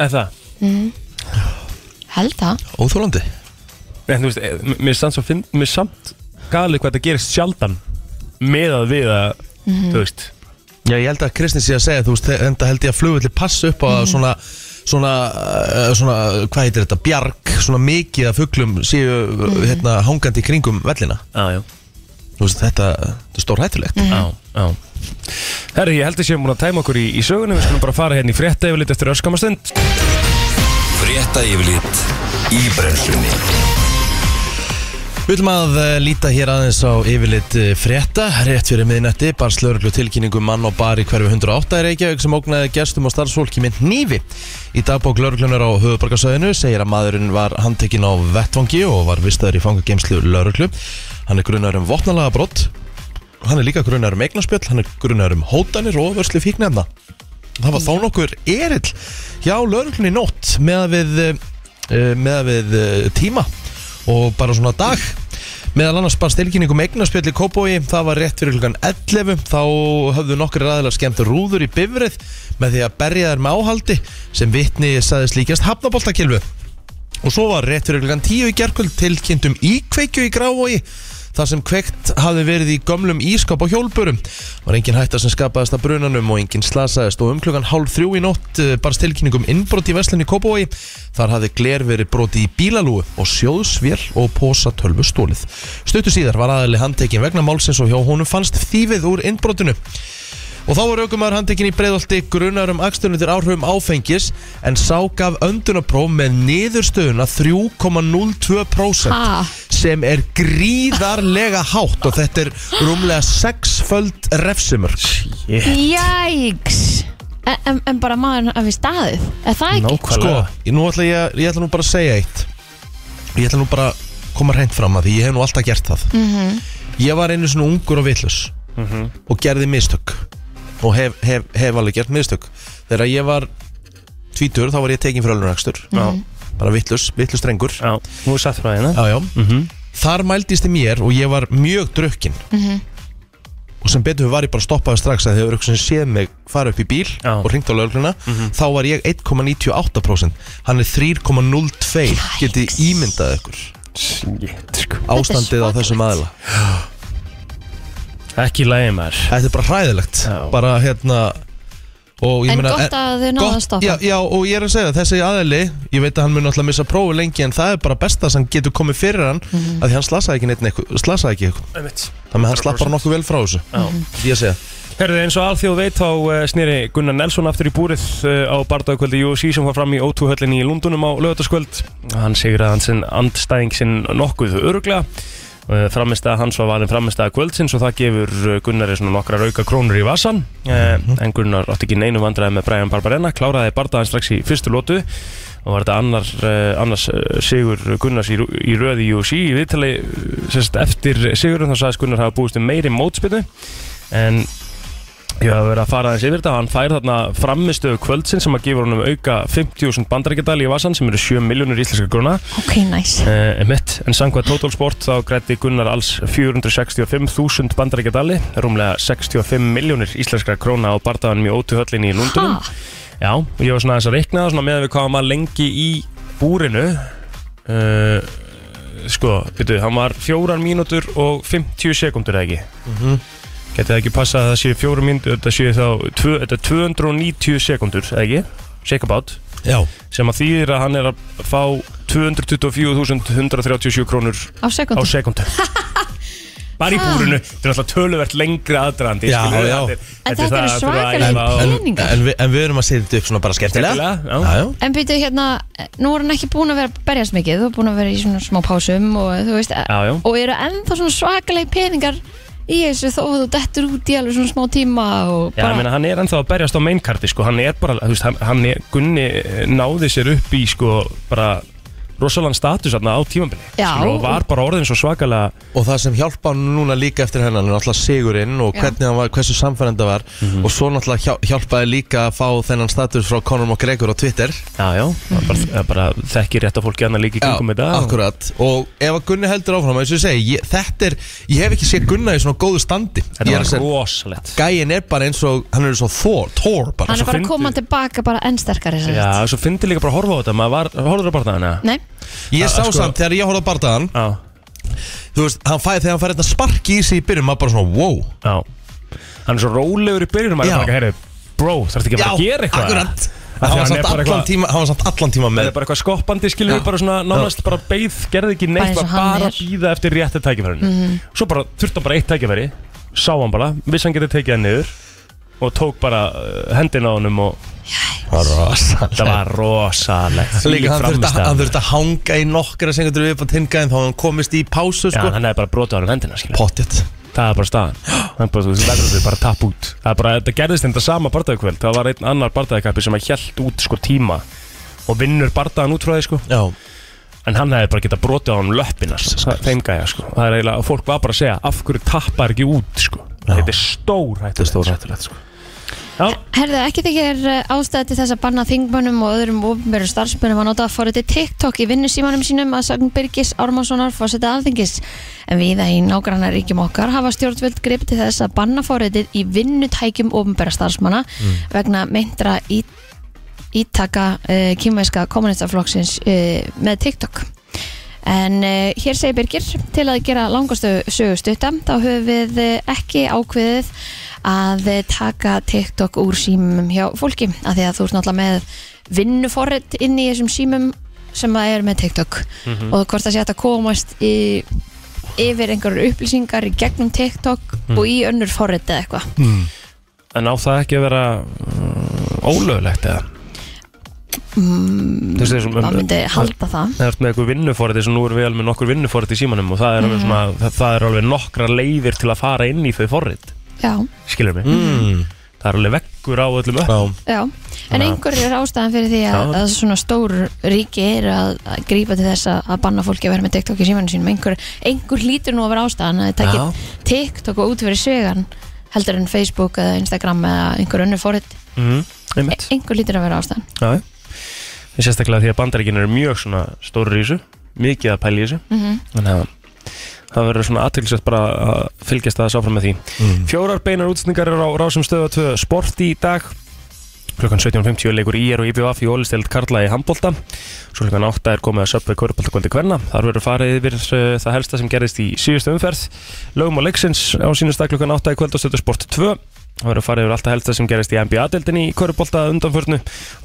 Speaker 3: En það
Speaker 2: Held það
Speaker 1: Óþólandi
Speaker 3: En þú veist, eh, m- mér er samt svo finn Mér er samt galið hvað þetta gerist sjaldan Meðað við að,
Speaker 2: Mhm.
Speaker 3: þú veist
Speaker 1: Já, ég held að Kristni sé að segja, þú veist, enda held ég að flugvelli passa upp á mm. svona, svona, uh, svona, hvað heitir þetta, bjarg, svona mikið af fugglum séu hérna hangandi í kringum vellina
Speaker 3: Já, já
Speaker 1: Þú veist, þetta, þetta er stór hættulegt
Speaker 2: Mhm.
Speaker 3: Já, já Herri, ég held að séum búin að tæma okkur í, í sögunum Við skulum bara fara hérna í frétta yfirleitt eftir öskamastund
Speaker 4: Frétta yfirlit í brennslunni
Speaker 1: Við viljum að eh, líta hér aðeins á yfirlit eh, frétta, rétt fyrir miðnætti, barst lauruglu tilkynningu um mann og bar í hverfi 108 í Reykjavík sem ógnaði gestum og starfsfólki mynd nýfi. Í dagbók lauruglunar á höfubarkasöðinu segir að maðurinn var handtekinn á vettvangi og var vistaður í fangagemslu lauruglu. Hann er grunar um vopnalaga brott, hann er líka grunar um eignarspjöll, hann er grunar um hótanir og vörslu fíknefna. Það var þá nokkur erill hjá lauruglunni í nótt með að við, eh, með að við eh, tíma og bara svona dag meðal annars bara stilkynningu með eignarspjöll í Kópói það var rétt fyrir klukkan 11 þá höfðu nokkri ræðilega skemmt rúður í bifrið með því að berja þær með áhaldi sem vitni saðist líkast hafnaboltakilfu og svo var rétt fyrir klukkan 10 í gerkvöld tilkynnt um íkveikju í Grávói þar sem kveikt hafði verið í gömlum ískap á hjólburum. Var engin hætta sem skapaðist af brunanum og engin slasaðist og um klukkan hálf þrjú í nótt eh, barst tilkynning um innbrot í veslinni Kópói. Þar hafði gler verið broti í bílalúu og sjóðsvél og posatölvu stólið. Stuttu síðar var aðali handtekin vegna málsins og hjá honum fannst þýfið úr innbrotinu. Og þá var aukumar handtekinn í breiðolti grunar um aksturinn til áhrifum áfengis en sá gaf öndunapróf með niðurstöðuna 3,02%
Speaker 2: Ha?
Speaker 1: sem er gríðarlega hátt og þetta er rúmlega sexföld refsumörk.
Speaker 2: Jæks En, en, en bara maður af í staðið Er það ekki?
Speaker 1: Sko,
Speaker 3: Nákvæmlega
Speaker 1: ég, nú ætla ég, ég ætla nú bara að segja eitt. Ég ætla nú bara að koma hreint fram að því ég hef nú alltaf gert það. Ég var einu svona ungur og villus og gerði mistök og hef, hef, hef alveg gert mistök. Þegar ég var tvítur þá var ég tekin fyrir öllunarakstur.
Speaker 2: Mhm.
Speaker 1: bara vittlust, vittlust rengur
Speaker 3: Já, já Nú er satt frá hérna
Speaker 1: já, já. þar mældist þið mér og ég var mjög drukkin
Speaker 2: Mhm.
Speaker 1: og sem betur var ég bara stoppaði strax að þegar ykkur sem séð mig fara upp í bíl
Speaker 3: Já. Mhm.
Speaker 1: og ringt á lögluna þá var ég 1,98% hann er 3,02 getið ímyndað ykkur
Speaker 3: Shit, sko
Speaker 1: ástandið á þessum aðila
Speaker 3: Ekki lægi maður
Speaker 1: þetta er bara hræðilegt
Speaker 3: Já.
Speaker 1: bara hérna og ég
Speaker 2: En
Speaker 1: meina- e,
Speaker 2: gott að þau náðu
Speaker 1: gott-
Speaker 2: að stoppa.
Speaker 1: já, já, og ég er að segja það, þessi aðili ég veit að hann mun alltaf missa prófi lengi en það er bara besta sem getur komið fyrir hann mm
Speaker 2: Mhm.
Speaker 1: að því hann slasaði ekki neitt neitt slasaði ekki eitthvað
Speaker 3: Einmitt.
Speaker 1: þannig að hann slapp bara nokkuð vel frá þessu
Speaker 2: Mhm.
Speaker 1: Því að segja
Speaker 3: Herðu eins og alþjóð veit þá uh, snýri Gunnar Nelson aftur í búrið uh, á bardagkvöldi UFC sem var fram í O2 höllinni í Lundunum á lögataskvöld Hann segir að hann sinn andstæðing sinn nokkuð öruglega uh, framistæða hans var valin framistæða kvöldsins og það gefur uh, Gunnari svona nokkra rauka krónur í vasan uh, en Gunnar átti ekki neinu vandræði með Brian Barbarena kláraði bardagann strax í fyrstu lótu og var þetta annar, uh, annars uh, Sigur Gunnars í, rú- í röði í UFC í viðtali uh, sem sagt, eftir Sigurinn þá sagðist Gunnar hafa búist um meiri mótspinnu en ég hafa verið að fara aðeins yfir þetta hann fær þarna framistöðu kvöldsin sem að gefur honum auka 50.000 bandarækjadali í vasan sem eru 7 miljónur íslenska gruna
Speaker 2: Ok, næs
Speaker 3: uh, mitt en sangvað Total Sport þá grætti Gunnar alls 465.000 bandarækjadali rúmlega 65 miljónir íslenskra króna á bardaðanum í Ótu höllinni í Lundunum
Speaker 2: Ha?
Speaker 1: um-
Speaker 3: Já, og ég var svona aðeins að reikna það svona með að við hvað hann var lengi í búrinu uh, Sko, byrju, hann var fjórar mínútur og 50 sekúndur eða ekki mm Getið það ekki passað að það séu fjórar mínútur, þetta séu þá tvö, þetta er 290 sekúndur eða ekki, shake about
Speaker 1: Já,
Speaker 3: sem að þýðir að hann er að fá 224.137 krónur
Speaker 2: Á
Speaker 3: á
Speaker 2: sekundum
Speaker 3: sekúndu Bara í búrinu, þetta er alltaf töluvert lengra aðdraðandi
Speaker 1: Já,
Speaker 3: skilurðu,
Speaker 1: já.
Speaker 3: þetta er-
Speaker 2: En
Speaker 3: er
Speaker 2: þetta eru
Speaker 3: það að þurfa að
Speaker 2: svakalegir
Speaker 3: æfa á-
Speaker 1: en,
Speaker 2: Peningar.
Speaker 1: en, við, en við erum að setja þetta upp svona bara skemmtilega
Speaker 3: Skemmtilega, já.
Speaker 1: já, já.
Speaker 2: En byrju hérna, nú er hann ekki búin að vera að berjast mikið Þú er búin að vera í svona smá pásum og þú veist
Speaker 3: Já, já.
Speaker 2: Og eru ennþá svona svakalegi peningar í þessu þó að þú dettur út í alveg svona smá tíma og
Speaker 3: Já, ég meina,
Speaker 2: bara
Speaker 3: hann er ennþá að berjast á mainkarti, sko, hann er bara, þú veist, hann, hann er, Gunni eh, náði sér upp í, sko, bara, rosalann status þarna á tímabili
Speaker 2: Já.
Speaker 3: skilur, og var bara orðin svo svakalega
Speaker 1: Og það sem hjálpa hann núna líka eftir hennan er náttúrulega sigurinn og
Speaker 2: Já.
Speaker 1: hvernig hann var, hversu samfærenda var
Speaker 3: Mhm.
Speaker 1: og svo náttúrulega hjá- hjálpaði líka að fá þennan status frá Conor McGregor á Twitter
Speaker 3: já, já, mm. bara, bara þekki rétt að fólki annar líka í kringum þetta og-
Speaker 1: akkurat Og ef að Gunni heldur áfram, eins og ég segi, ég, þetta er, ég hef ekki séð Gunna í svona góðu standi
Speaker 3: þetta
Speaker 1: Ég er
Speaker 3: var
Speaker 1: að segja,
Speaker 3: rosalegt
Speaker 1: Gæin er bara eins og, hann er eins og Thor, Thor bara
Speaker 2: Hann er
Speaker 3: svo
Speaker 2: bara að
Speaker 3: fyndið.
Speaker 2: koma tilbaka bara enn sterkari sem sagt.
Speaker 3: já, svo fyndi líka bara að horfa á þetta maður var, horfður að bara það
Speaker 2: Nei,
Speaker 1: Ég sá
Speaker 3: sko-
Speaker 1: samt þegar ég horfði á bardaðan
Speaker 3: já,
Speaker 1: Þú veist, hann fæði þegar hann fæði þetta sparki í sig í byrjun Maður bara svona, wow
Speaker 3: já hann er svo rólegur í byrjunum maður
Speaker 1: Já.
Speaker 3: er bara, heyrðu, bró, þarf ekki bara að gera eitthvað
Speaker 1: akkurat
Speaker 3: Af
Speaker 1: Hann var
Speaker 3: því hann er
Speaker 1: samt
Speaker 3: bara
Speaker 1: allan
Speaker 3: eitthvað-
Speaker 1: tíma, hann var samt allan tíma
Speaker 3: Það
Speaker 1: með
Speaker 3: er bara eitthvað skoppandi, skilur við, bara svona nánast bara beigð, gerði ekki
Speaker 2: Bara
Speaker 3: neitt,
Speaker 2: eins og
Speaker 3: bara,
Speaker 2: hann
Speaker 3: bara
Speaker 2: er. Mhm.
Speaker 3: býða eftir rétti tækifærinu. Svo bara þurfti hann bara eitt tækifæri, sá hann bara, vissi hann getið tekið hann niður og tók bara uh, hendina á honum og
Speaker 1: Það var
Speaker 3: það
Speaker 1: rosalega
Speaker 3: var rosalegt.
Speaker 1: Líka hann þurfti, að,
Speaker 3: Frammistaða.
Speaker 1: hann þurfti að hanga í nokkra sengundur upp á tingaðin þá hann komist í pásu
Speaker 3: Já,
Speaker 1: sko
Speaker 3: hann hefði bara brotið á honum hendina, skilur við.
Speaker 1: Pottjett
Speaker 3: Það er bara staðan. Hann bara, þú veist, verður þau bara tapp út. Það er bara, þetta gerðist þetta sama bardaðakvöld. Það var einn annar bardaðakappi sem að hjælt út sko tíma og vinnur bardaðan út frá því sko.
Speaker 1: Já,
Speaker 3: En hann hefði bara getað brotið á hann löppina Þeim gæja sko Það er eiginlega, og fólk var bara að segja Af hverju tappar ekki út sko
Speaker 1: Já.
Speaker 3: Þetta er stór hættulegt
Speaker 1: Þetta er
Speaker 3: hættulegt sko Já,
Speaker 2: herðu, ekki þykir eh, ástæða til þess að banna þingmönnum og öðrum ofnbjörn starfsmönnum að nota að fóra til TikTok í vinnusímanum sínum að sagn Birgis Ármannssonar fórseta alþingis. En viða í nágranna ríkjum okkar hafa stjórnvöld grip til þess að banna fóriðið í vinnutækjum ofnbjörn starfsmanna vegna meintra í, ítaka uh, kýmæska kommunistaflokksins uh, með TikTok. En uh, hér segir Birgir, til að gera langastu sögu stuttam, þá höfum við eh, ekki ákveðið að eh, taka TikTok úr símum hjá fólki, af því að þú ert náttúrulega með vinnuforrit inn í þessum símum sem það er með TikTok
Speaker 3: Mhm.
Speaker 2: og hvort það sé hægt að komast í, yfir einhverjar upplýsingar í gegnum TikTok
Speaker 3: Mhm.
Speaker 2: og í önnur forrit eða eitthvað.
Speaker 3: en á það ekki að vera uh, Ólögulegt eða
Speaker 2: Mm,
Speaker 3: Þú veist, þessum-
Speaker 2: maður myndi halda það.
Speaker 3: Það er með eitthvað vinnufórið Svo nú erum við alveg með nokkur vinnufórið í símanum Og það er, alveg svona, það, það er alveg nokkra leiðir til að fara inn í þau forrið
Speaker 2: Já.
Speaker 3: Skilur mig
Speaker 1: mm.
Speaker 3: Það er alveg veggur á öllum upp
Speaker 1: Já.
Speaker 2: Já, en
Speaker 3: Já.
Speaker 2: einhver er ástæðan fyrir því að,
Speaker 3: Já.
Speaker 2: að svona stór ríki er að, að grípa til þess að, að banna fólki að vera með TikTok í símanu sínum einhver, einhver hlýtur nú að vera ástæðan að það
Speaker 3: Já.
Speaker 2: ekki TikTok og út fyrir svegan heldur en Facebook eða Instagram eða einhver önnur fórið,
Speaker 3: mm.
Speaker 2: e
Speaker 3: Einmitt
Speaker 2: einhver hlýtur að vera ástæðan
Speaker 3: Já, já. sérstaklega því að bandaríkin eru mjög svona stóri í þessu, mikið að pæla í þessu
Speaker 2: Mhm.
Speaker 3: þannig að það verður svona aðtilsett bara að fylgjast aðeins áfram með því.
Speaker 1: Mm.
Speaker 3: Fjórar beinar útsendingar eru á rásum stöða 2 sport í dag klukkan 17.50 leikur IR og IBF í Ólisteld Karla í Hambolta svo klukkan 8 er komið að söpvei Körbóltakvöldi Kvenna þar verður farið yfir uh, það helsta sem gerðist í síðustu umferð lögum og leiksins á sínustak klukkan 8 í kvöld og stöðu sport 2 Það verður farið yfir alltaf helsta sem gerist í NBA-deldinni í Körbólta undanförnu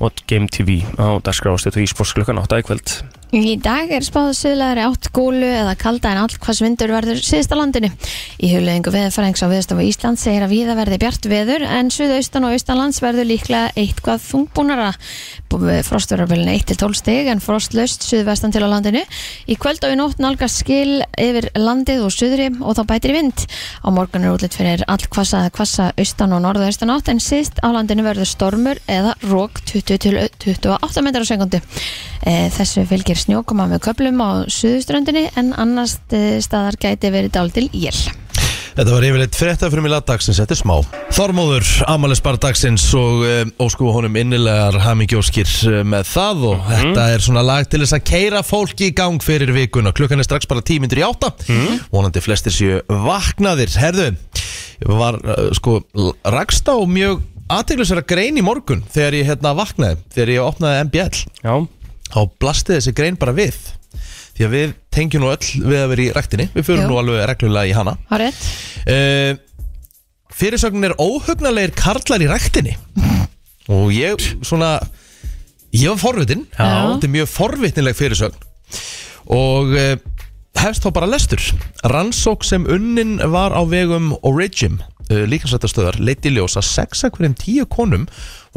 Speaker 3: og Game TV á dagskrá og stöðu ísports klukkan 8 í kvöld.
Speaker 2: Í dag er spáðu suðlaðri átt gólu eða kalda en all hvað svindur verður síðst á landinu. Í hulöðingu veðfærengs á viðstofu Ísland segir að viða verði bjart veður en suðaustan og austanlands verður líklega eitthvað þungbúnara. Frostverðarbylun 1-12 stig en frostlaust suðvestan til á landinu. Í kvöld og í nótt nálgast skil yfir landið og suðri og þá bætir í vind. Á morgun er útlitt fyrir all hvassa eða hvassa austan og norðaustan átt en síðst á landinu verður stormur eða rók 20-28 metrar á sekundu. E, þessu fylgir snjókoma með köplum á suðuströndinni en annars eh, staðar gæti verið dál til él.
Speaker 1: Þetta var yfirleitt frétta fyrir mig lagdagsins, þetta er smá Þormóður, amalisbar dagsins og um, ósku honum innilegar hamingjóskir eh, með það og þetta er svona lag til þess að keira fólki í gang fyrir vikuna klukkan er strax bara tímindur í átta vonandi flestir séu vaknaðir Herðu, var uh, sko rakst á mjög aðteglisverða grein í morgun þegar ég hérna vaknaði þegar ég opnaði MBL
Speaker 3: Já,
Speaker 1: þá blasti þessi grein bara við því að við tengjum nú öll við að vera í ræktinni við förum
Speaker 2: Jú.
Speaker 1: nú alveg reglulega í hana
Speaker 2: Hárið?
Speaker 1: uh, fyrirsögnin er óhugnalegir karlar í ræktinni og ég svona ég var forvitin
Speaker 2: Já.
Speaker 1: þetta er mjög forvitnileg fyrirsögn og uh, hefst þá bara lestur rannsók sem unnin var á vegum Origin uh, líkansvættastöðar leiti ljósa sex af hverjum tíu konum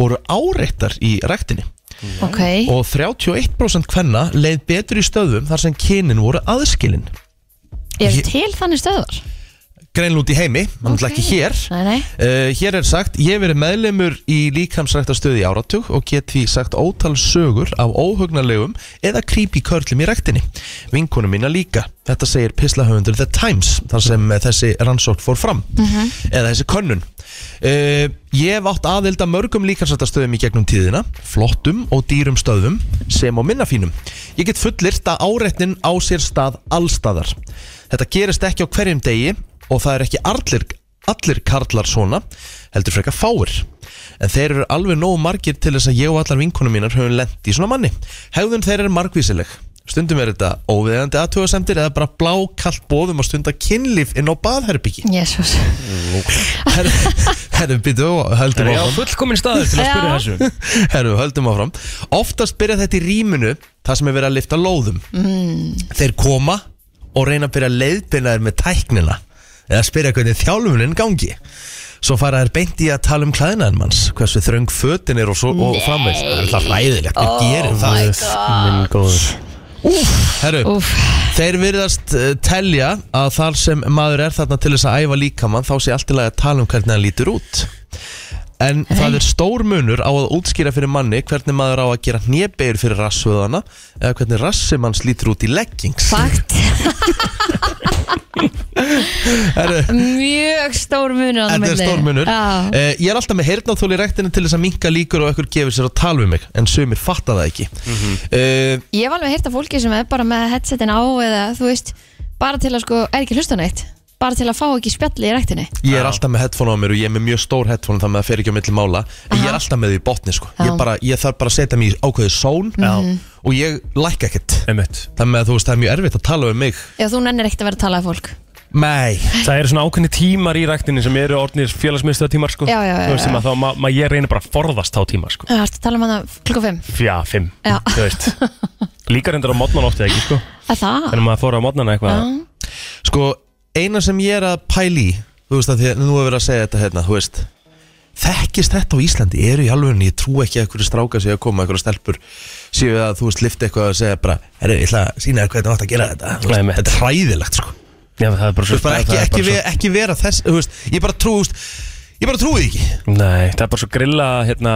Speaker 1: voru áreittar í ræktinni
Speaker 2: Ok.
Speaker 1: og 31% hvenna leið betur í stöðum þar sem kynin voru aðskilin
Speaker 2: Er
Speaker 1: ég-
Speaker 2: til þannig stöðar?
Speaker 1: greinlega út í heimi, hann okay. ekki hér
Speaker 2: Nei, nei.
Speaker 1: uh, Hér er sagt, ég hef verið meðlemur í líkamsræktastöði í áratug og get því sagt ótal sögur af óhugnalegum eða creepy körlum í ræktinni Vinkunum mína líka Þetta segir pislahöfundur The Times þar sem eh, þessi rannsókn fór fram eða þessi könnun uh, Ég hef átt aðelda mörgum líkansættastöðum í gegnum tíðina flottum og dýrum stöðum sem og minna fínum Ég get fullirt að áreitnin á sér stað allstaðar Þetta gerist ekki á hverjum degi og það er ekki allir, allir karlar svona heldur frekar fáir En þeir eru alveg nógu margir til þess að ég og allar vinkunum mínar höfum lent í svona manni Hegðun þeir eru margvísileg Stundum er þetta óviðandi aðtögasemdir eða bara blákallt bóðum að stunda kynlíf inn á baðherbyggi
Speaker 2: Jésús
Speaker 1: Herru, býtu og höldum
Speaker 3: Það er á
Speaker 1: áfram
Speaker 3: fullkomin staður til að
Speaker 2: Já.
Speaker 3: spyrja þessu
Speaker 1: Herru, höldum áfram Oftast byrja þetta í rýminu Það sem er verið að lifta lóðum Þeir koma og reyna að byrja að leiðbyrna þér með tæknina Eða spyrja hvernig þjálfunin gangi Svo fara þær beint í að tala um klæðinaðin manns Hversu þröng fötin er og, svo, og framvegs Það er alltaf ræðilegt, við gerum
Speaker 3: Oh
Speaker 1: það
Speaker 3: Minn góður
Speaker 1: Úf, herru
Speaker 2: Úf,
Speaker 1: Þeir virðast eh, telja að þar sem maður er þarna til þess að æfa líkamann þá sé allt í lagi að tala um hvernig hann lítur út En það er stór munur á að útskýra fyrir manni hvernig maður á að gera hnébeir fyrir rassvöðana eða hvernig rassum hans lítur út í leggings
Speaker 2: fakt
Speaker 1: Herru,
Speaker 2: Mjög stór munur á
Speaker 1: Þetta er
Speaker 2: milli.
Speaker 1: stór munur
Speaker 2: Já.
Speaker 1: uh, Ég er alltaf með heyrnáþól í rektinu til þess að minka líkur og ekkur gefur sér að tala um mig en sumir fatta það ekki mm
Speaker 2: Ég hef alveg heyrt af fólki sem er bara með headsetin á eða þú veist, bara til að sko er ekki hlusta neitt, bara til að fá ekki spjalli í ræktinni.
Speaker 1: Ég er alltaf með headphone á mér og ég er með mjög stór headphone þannig að það fer ekki á milli mála en ég er
Speaker 2: Aha.
Speaker 1: alltaf með því í botni sko. ég,
Speaker 2: Já.
Speaker 1: bara, ég þarf bara að setja mig í ákveðið són
Speaker 2: Mhm.
Speaker 3: Já.
Speaker 1: og ég lækka ekkert
Speaker 3: Einmitt.
Speaker 1: þannig að þú veist það er mjög erfitt að tala um mig
Speaker 2: Já, þú nennir ekkert að vera að tala af fólk.
Speaker 1: Nei,
Speaker 3: Það eru svona ákveðni tímar í ræktinni sem eru orðnir félagsmiðstöða tímar sko
Speaker 2: Já, já, já,
Speaker 3: Þú veist sem
Speaker 2: já.
Speaker 3: að þá ma ma ég reynir bara að forðast þá tíma sko
Speaker 2: Já, ertu að tala um hana klukka 5.
Speaker 3: Já, fimm
Speaker 2: Já.
Speaker 3: Þú veist Líka reyndar á modnan oftið ekki sko
Speaker 2: Er það?
Speaker 3: Þannig að maður fór á modnana eitthvað
Speaker 1: sko eina sem ég er að pæli í þú veist að því að nú hefur verið að segja þetta hérna þú veist Þekkist þetta á Íslandi, eru í alvegni, ég trú ekki að einhverju stráka séu að koma, einhverju stelpur séu að þú veist lifta eitthvað að segja bara Herru, ég ætla að sína þér hvernig þú átt að gera þetta Þú
Speaker 3: Nei,
Speaker 1: veist,
Speaker 3: mitt.
Speaker 1: Þetta er hræðilegt sko
Speaker 3: Já, það er bara
Speaker 1: Þú
Speaker 3: svo
Speaker 1: veist bara ekki,
Speaker 3: það er
Speaker 1: ekki,
Speaker 3: svo-
Speaker 1: ve ekki vera þess þú veist, Ég bara trú þú veist, Ég bara trúi því ekki
Speaker 3: Nei, það er bara svo grilla hérna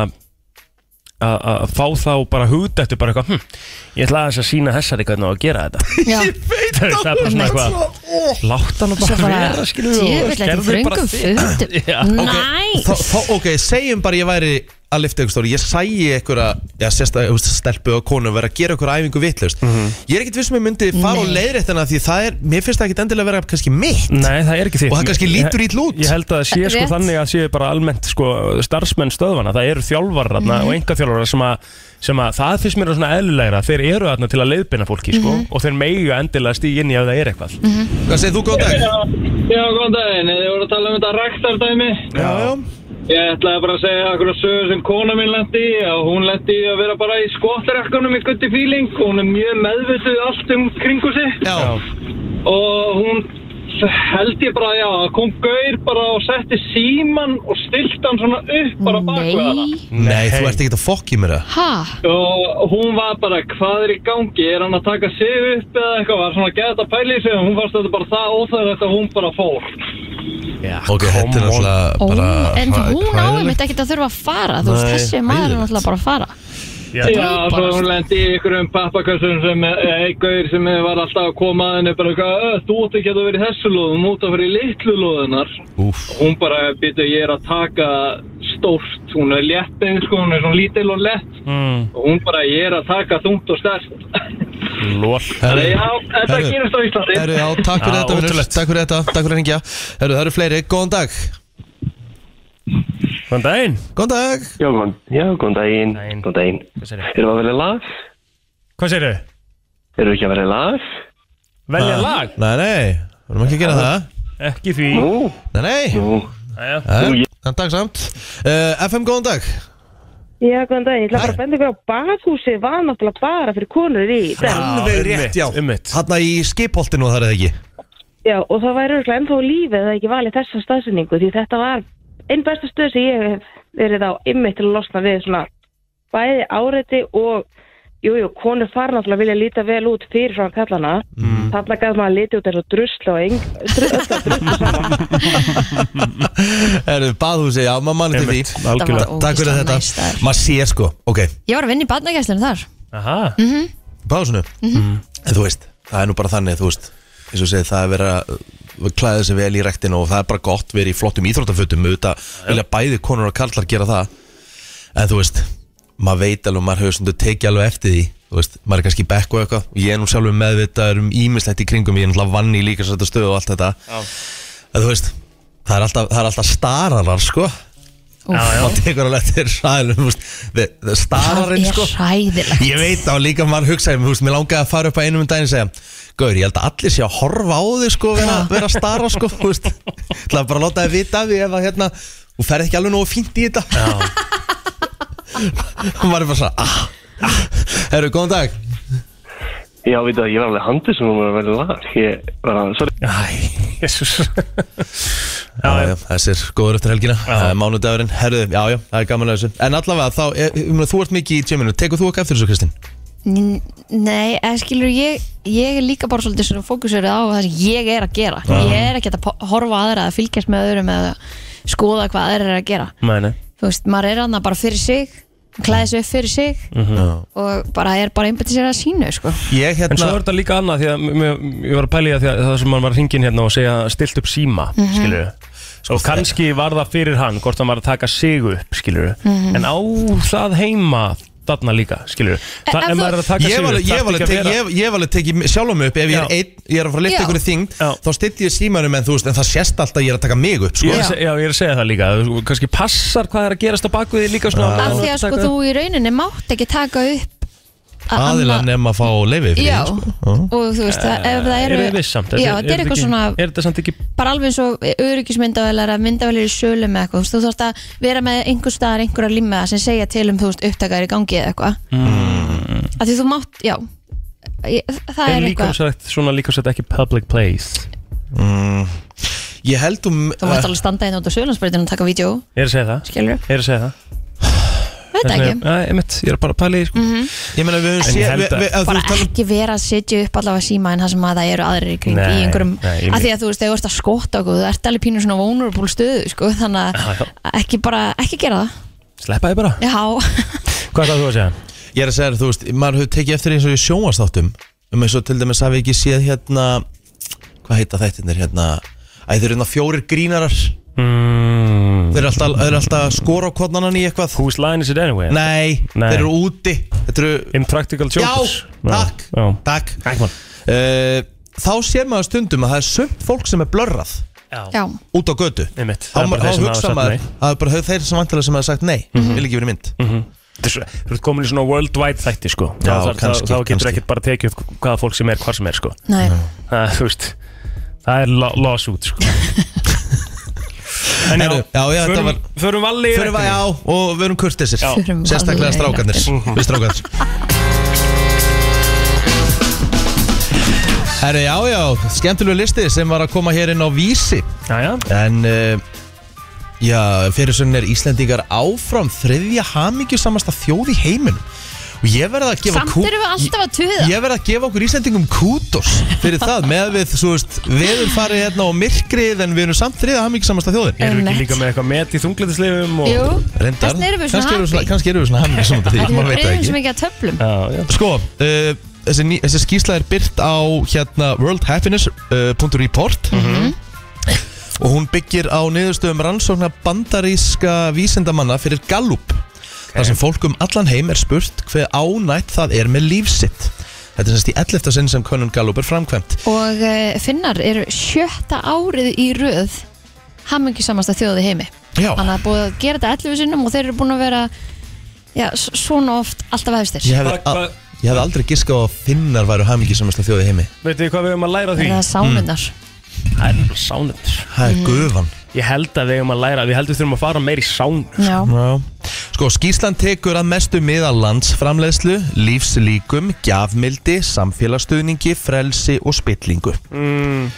Speaker 3: að að fá þá bara hugdættu bara eitthvað hm, ég ætla aðeins að sína þessari hvernig á að gera þetta
Speaker 2: Já,
Speaker 1: Veit
Speaker 3: Þú veist, það er bara svona eitthvað látt hann
Speaker 2: svo
Speaker 3: bara
Speaker 2: bara,
Speaker 3: vera skilur við,
Speaker 2: ég
Speaker 3: og
Speaker 2: vil eitthvað
Speaker 3: gerðu bara
Speaker 2: fröngum
Speaker 3: þitt.
Speaker 2: fundum.
Speaker 3: Já.
Speaker 1: þá,
Speaker 2: Næs!
Speaker 1: þá, Ok, segjum bara ég væri að lifta ykkur stóri Ég sæi ykkur að já, sérsta, þú veist, stelpu og konu vera að gera ykkur æfingu vitlaust Ég er ekkit viss um ég myndi fara og
Speaker 2: Nei.
Speaker 1: leiðrétt hana Því það er, mér finnst það ekkit endilega vera kannski mitt
Speaker 3: Nei, það er ekki þitt
Speaker 1: Og það kannski
Speaker 3: Ég-
Speaker 1: lítur illa út.
Speaker 3: Ég held að það sé sko
Speaker 2: Rétt.
Speaker 3: þannig að séu bara almennt sko starfsmenn stöðvana Það eru þjálfarar þarna
Speaker 2: Mhm.
Speaker 3: og enga þjálfarar sem að, sem að það finnst mér svona eðlilegra Þeir eru þarna til að leiðbina fólki sko
Speaker 2: Mhm.
Speaker 3: og þeir meiga endilega stíð inn í að það er eitthvað
Speaker 1: Hvað segir þú góð dag?
Speaker 5: Já, já, góðan daginn. Þið voru að tala um þetta ræktardæmi.
Speaker 1: Já, já
Speaker 5: Ég ætlaði bara að segja okkur að sögur sem kona mín lendi í. að Hún lendi í að vera bara í skottrekkanum í gutti fíling. Hún er mjög meðvituð allt um kringu sig.
Speaker 1: Já,
Speaker 5: Og hún held ég bara, já, kom gaur bara og setti síman og stilt hann svona upp bara bakveg hana.
Speaker 2: Nei.
Speaker 1: Nei, þú ert ekkit að fokki mér það
Speaker 2: Ha?
Speaker 5: Og hún var bara, hvað er í gangi? Er hann að taka sig upp eða eitthvað? Var svona að geta að pæla í sig og hún fannst þetta bara það óþægilegt að hún bara fór.
Speaker 3: Já,
Speaker 1: Ok, þetta er
Speaker 3: come on.
Speaker 1: náttúrulega
Speaker 2: Ó,
Speaker 1: bara
Speaker 2: en
Speaker 1: hræ-
Speaker 2: hún á
Speaker 1: hræðilegt.
Speaker 2: einmitt ekkert að þurfa að fara, þú veist,
Speaker 1: Nei,
Speaker 2: þessi maður er
Speaker 1: hræðilegt.
Speaker 2: náttúrulega bara að fara.
Speaker 3: Já,
Speaker 2: bara-
Speaker 5: Já, svo hún lendi í einhverjum pappakössum sem eitthvað sem eh, var alltaf að koma að henni bara eitthvað, "Ö, þú átt ekki að vera í þessu lóðum, út að vera í litlu lóðunar.
Speaker 1: Úff.
Speaker 5: Hún bara býtu, ég er að taka stórt, hún er létt eins sko, hún er svona lítil og lett
Speaker 3: mm,
Speaker 5: og hún bara, ég er að taka þungt og stærst.
Speaker 3: Lól
Speaker 5: Þannig að já, þetta
Speaker 1: Herru.
Speaker 5: gerist á Íslandi.
Speaker 1: Herru, já, takk fyrir
Speaker 3: Já,
Speaker 1: þetta, vinur,
Speaker 3: ótrúlegt.
Speaker 1: takk fyrir þetta, takk fyrir hengja Herru, það eru fleiri, góðan dag
Speaker 3: Góðan daginn
Speaker 1: Góðan dag
Speaker 6: Já, góðan, já, góðan daginn,
Speaker 3: Daginn.
Speaker 6: góðan daginn.
Speaker 3: Hvað segirðu?
Speaker 6: Erum við að velja lag?
Speaker 3: Hvað segirðu?
Speaker 6: Erum við ekki að velja lag?
Speaker 3: Velja lag?
Speaker 1: Nei, nei, við erum ekki að gera það
Speaker 3: Ekki því
Speaker 6: Nú,
Speaker 1: Nei, nei,
Speaker 6: nú,
Speaker 3: Jæja.
Speaker 1: þann dag samt uh, FM, góðan dag
Speaker 7: Já, góðan daginn, ég ætla bara að benda ykkur á bakhúsið var náttúrulega bara fyrir konur í dag.
Speaker 1: Alveg rétt, já.
Speaker 3: Ummitt
Speaker 1: Hanna í skipoltinu þar eða ekki
Speaker 7: Já, og það væri örugglega ennþá lífið að ekki valið þessa staðsynningu því þetta var einn besta stöð sem ég hef verið á ymmið til að losna við svona bæði áreiti og jú, jú, konur þar náttúrulega vilja líta vel út fyrir frá kallana mm. þarna gaf maður að liti út eins og drusla og eng, dru, öll að drusla saman
Speaker 1: Erðu baðhúsi, já, maður manni til því
Speaker 3: Einmitt,
Speaker 1: Takk
Speaker 2: Þetta var
Speaker 3: algjörlega.
Speaker 1: fyrir
Speaker 2: ógeðslega
Speaker 1: þetta
Speaker 2: næs staður.
Speaker 1: Maður sér sko, ok,
Speaker 2: Ég var að vinna í badnagæslinu þar
Speaker 3: Aha,
Speaker 2: Mhm.
Speaker 1: báðsunu Mm. En þú veist, það er nú bara þannig, þú veist eins og segið, það er verið að uh, klæða sig vel í rektinu og það er bara gott verið í flottum íþróttafötum auðvitað vilja bæði konur og kallar gera það en þú veist, maður veit alveg maður hefur svona tekið alveg eftir því þú veist, maður er kannski í bekk og eitthvað ég er nú sjálfur meðvitaður um ímislegt í kringum ég er náttúrulega vann í líka sætta stöðu og allt þetta en þú veist, það er alltaf, það er alltaf stararar sko maður tekur alveg eftir ræðilum þú veist, the- the stararinn
Speaker 2: er
Speaker 1: sko
Speaker 2: hræðilegt
Speaker 1: Ég veit á líka maður hugsaði Mér, mér langaði að fara upp að einum um daginn og segja Gaur, ég held að allir sé að horfa á þig sko vera, vera að stara sko þú veist. Það er bara að láta þið vita af því ef að hérna Þú ferð ekki alveg nógu fínt í þetta Hún var bara svona ah, ah. Herru, góðan dag
Speaker 6: Já, veit það, ég var alveg handið sem hún var að vera lag Ég var að, sorry
Speaker 3: æ, jæsus Já,
Speaker 1: já,
Speaker 3: já,
Speaker 1: já, Þessir góður eftir helgina uh, Mánudagurinn, herru, já, já, það er gaman að þessu En allavega, þá, ég, ég, meina, þú ert mikið í tjöminu Tekur þú okkar eftir þessu, Kristinn?
Speaker 2: N- Nei, eða skilur ég ég er líka bara svolítið svona fókusverið á það sem ég er að gera ég er ekki að po- horfa á aðra að fylgjast með öðrum eða skoða hvað aðra er að gera
Speaker 3: mæni
Speaker 2: þú veist, maður er annað bara fyrir sig klæði sig upp fyrir sig og bara er bara einbætið sér að sínu sko.
Speaker 1: Ég
Speaker 3: En svo
Speaker 1: hérna
Speaker 3: er þetta líka annað því að m- m- ég var að pæla í það því að það sem maður var hringin hérna og segja stilt upp síma,
Speaker 2: Mhm.
Speaker 3: mm
Speaker 1: sko,
Speaker 3: og kannski var það fyrir hann hvort hann var að taka sig upp, skilur
Speaker 2: Mhm.
Speaker 3: en á það heima þarna líka, skilur
Speaker 2: En- en
Speaker 3: Þa, en
Speaker 2: þú-
Speaker 3: maður er að taka sig
Speaker 1: Ég
Speaker 3: upp
Speaker 1: var alveg- ég
Speaker 3: þarf
Speaker 1: var alveg
Speaker 3: ekki
Speaker 1: tek-
Speaker 3: að vera-
Speaker 1: ég- ég var alveg tekið sjálf mig upp Ef ég er,
Speaker 3: Já.
Speaker 1: ein, ég er að fara að lifta
Speaker 2: Já.
Speaker 1: einhverju þyngd
Speaker 3: Já.
Speaker 1: Þá stytti ég símanum en þú veist En það sést alltaf að ég er að taka mig upp sko.
Speaker 3: Ég er að se- Já, ég er að segja það líka Þú- Kannski passar hvað er að gerast á bakviði líka svona
Speaker 2: af því
Speaker 3: Taka-
Speaker 2: að sko, þú í rauninni mátt ekki taka upp að
Speaker 1: Aðila
Speaker 2: annað-
Speaker 1: nefn að fá leifi fyrir sko.
Speaker 2: Já,
Speaker 1: því,
Speaker 2: og þú veist, það, ef það eru
Speaker 3: Eru þið vissamt?
Speaker 2: Já, þetta er eitthvað
Speaker 3: ekki-
Speaker 2: svona
Speaker 3: Er þetta samt ekki
Speaker 2: bara alveg eins og öryggismyndavælar að myndavælar í sölu með eitthvað þú veist, þú þarfst að vera með einhver staðar einhverja limmiða sem segja til um þú veist upptakar í gangi eða eitthvað mm. að því þú mátt, já ég, það
Speaker 3: Er
Speaker 2: er eitthvað,
Speaker 3: líkamsrætt svona líkamsrætt ekki public place
Speaker 1: Mm. Ég held um
Speaker 2: þú mátt alveg standa einn út á sölunansbreytinu og taka vídeo,
Speaker 3: Ég er að segja það
Speaker 2: skilur
Speaker 3: Ég er að segja það
Speaker 2: veit
Speaker 3: Þess
Speaker 2: ekki, Mhm.
Speaker 3: vegna- Æ, einmitt, Ég er bara að pæla í því, sko
Speaker 1: Ég meina við höfum
Speaker 3: En ég
Speaker 1: séð
Speaker 3: held
Speaker 1: við-
Speaker 3: að-
Speaker 1: við- ef þú
Speaker 2: bara
Speaker 1: ert talað um-
Speaker 2: ekki vera að setja upp allavega síma en það sem að það eru aðrir í kring í
Speaker 3: Nei,
Speaker 2: einhverjum,
Speaker 3: nei, ég
Speaker 2: að því að þú veist, þegar þú ert að skotta okkur, þú ert alveg pínur svona vulnerable stöðu, sko, þannig
Speaker 3: Já, já.
Speaker 2: að ekki bara, ekki gera það,
Speaker 3: Sleppa þið bara
Speaker 2: já
Speaker 3: Hvað er það þú að segja?
Speaker 1: Ég er að segja þér, þú veist Maður höfum tekið eftir því eins og í sjónvastáttum Um eins og til dæmis hafi ekki séð hérna Hvað heita þættinir hérna Æ, þeir eru hérna fjórir grínarar
Speaker 3: Mm,
Speaker 1: Þeir eru alltaf, þeir eru alltaf skora á kodnanan í eitthvað
Speaker 3: whose line is it anyway?
Speaker 1: Nei,
Speaker 3: Nei.
Speaker 1: þeir eru úti Þetta eru
Speaker 3: Impractical jokers
Speaker 1: Já, takk,
Speaker 3: Já,
Speaker 1: takk.
Speaker 3: Ekki mál.
Speaker 1: Eh, Þá sér maður stundum að það er sumt fólk sem er blörrað
Speaker 2: já,
Speaker 1: út á götu
Speaker 3: Einmitt.
Speaker 1: Þá
Speaker 3: Það er bara
Speaker 1: þá
Speaker 3: þeir sem hafa
Speaker 1: hugsa
Speaker 3: sagt
Speaker 1: maður
Speaker 3: nei. Mhm.
Speaker 1: að það er bara þeir sem vantilega sem hafa sagt nei vil ekki verið mynd
Speaker 3: Þetta er svo- Þú ert komin í svona worldwide þætti sko
Speaker 1: Já,
Speaker 3: Þá- þá-
Speaker 1: kannski,
Speaker 3: Þá þá getur
Speaker 1: kannski.
Speaker 3: ekkert bara tekið upp hvaða fólk sem er, hvar sem er sko
Speaker 2: nei
Speaker 3: Það, þú veist Það er lo- lawsuit sko En já,
Speaker 1: Heyrðu, já, já, þetta
Speaker 3: förum,
Speaker 1: var-
Speaker 3: förum valli í
Speaker 1: Fyrir við á og við erum kurtisir
Speaker 3: Já.
Speaker 2: Förum
Speaker 1: Sérstaklega
Speaker 2: alveg í
Speaker 1: strákarnir Við strákarnir Herri, já, já, skemmtilegu listi sem var að koma hér inn á vísi
Speaker 3: Já, já,
Speaker 1: En, uh, já, fyrir sunn er Íslendingar áfram þriðja hamingjusamasta þjóð í heiminum Og ég verði að gefa
Speaker 2: Samt
Speaker 1: kú-
Speaker 2: erum við alltaf að tuða.
Speaker 1: Ég verði að gefa okkur Íslendingum kútos fyrir það Með að við, svo veist, veður farið hérna og myrkrið En við erum samt þriðja hamingjusamasta þjóðin
Speaker 3: erum við
Speaker 2: Einmitt.
Speaker 3: ekki líka með eitthvað met í þunglætislefum og...
Speaker 2: Jú,
Speaker 1: Reyndar,
Speaker 2: þess vegna erum við
Speaker 1: kannski
Speaker 2: svona
Speaker 1: erum við svona,
Speaker 2: happy.
Speaker 1: kannski erum við svona hamingjusamasta
Speaker 2: Þetta
Speaker 1: þjóð,
Speaker 2: er
Speaker 1: maður veit það
Speaker 2: breyðum
Speaker 1: ekki
Speaker 2: sem ekki að töflum
Speaker 3: Já, já
Speaker 1: Sko, uh, þessi, ný, þessi skýrsla er byrt á hérna worldhappiness.report og hún byggir á niðurstöðum rannsóknar bandaríska vísindamanna fyrir Gallup þar sem fólk um allan heim er spurt hver ánætt það er með lífsitt Þetta er semst í 11. sinn sem Conan Gallup er framkvæmt
Speaker 2: Og eh, finnar eru sjötta árið í röð hamingisamasta þjóði heimi
Speaker 1: Já,
Speaker 2: Þannig að búið að gera þetta 11 sinnum og þeir eru búin að vera já, s- svona oft alltaf efstir
Speaker 1: ég
Speaker 2: yeah.
Speaker 1: hefði,
Speaker 3: Hvað- hvað-
Speaker 1: a- ég hefði aldrei giskað á að finnar væru hamingi samasta þjóði heimi
Speaker 3: Veitu þið hvað við erum að læra af því?
Speaker 2: Það er sánunar
Speaker 3: Það er bara sánund
Speaker 1: Það er gufan
Speaker 3: Ég held að við erum að læra Við heldum við þurfum að fara meir í sán
Speaker 2: Já,
Speaker 1: Já. Sko, skýrslan tekur að mestu miða landsframleiðslu, lífslíkum, gjafmildi, samfélagsstuðningi, frelsi og spillingu. Mm.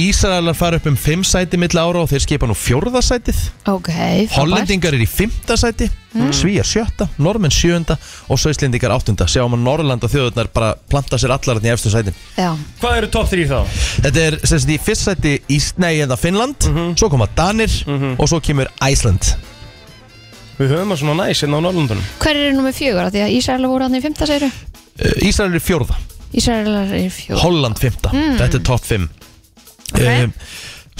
Speaker 1: Ísraelar fara upp um 5 sæti milli ára og þeir skipa nú fjórða sætið
Speaker 2: Ok, frábært
Speaker 1: Hollendingar er í 5. sæti mm. Svíjar 7. Normenn 7. og Svíslendingar 8. Sjáum um að Norrlanda þjóðurnar bara planta sér allar hérna í efstu sætin
Speaker 2: Já,
Speaker 3: Hvað eru topp 3 þá?
Speaker 1: Þetta er sem sagt í fyrst sæti Ísnei eða Finnland Svo koma Danir og svo kemur Æsland
Speaker 3: Við höfum að svona næs hérna á Norrlandunum
Speaker 2: hver eru nummer fjögur? Af Því að Ísraelar voru hann í fymta, segir
Speaker 1: uh, Ísrael er fjórða,
Speaker 2: Ísraelar er fjögur
Speaker 1: Holland fymta Þetta er topp 5 eh,
Speaker 2: Ok.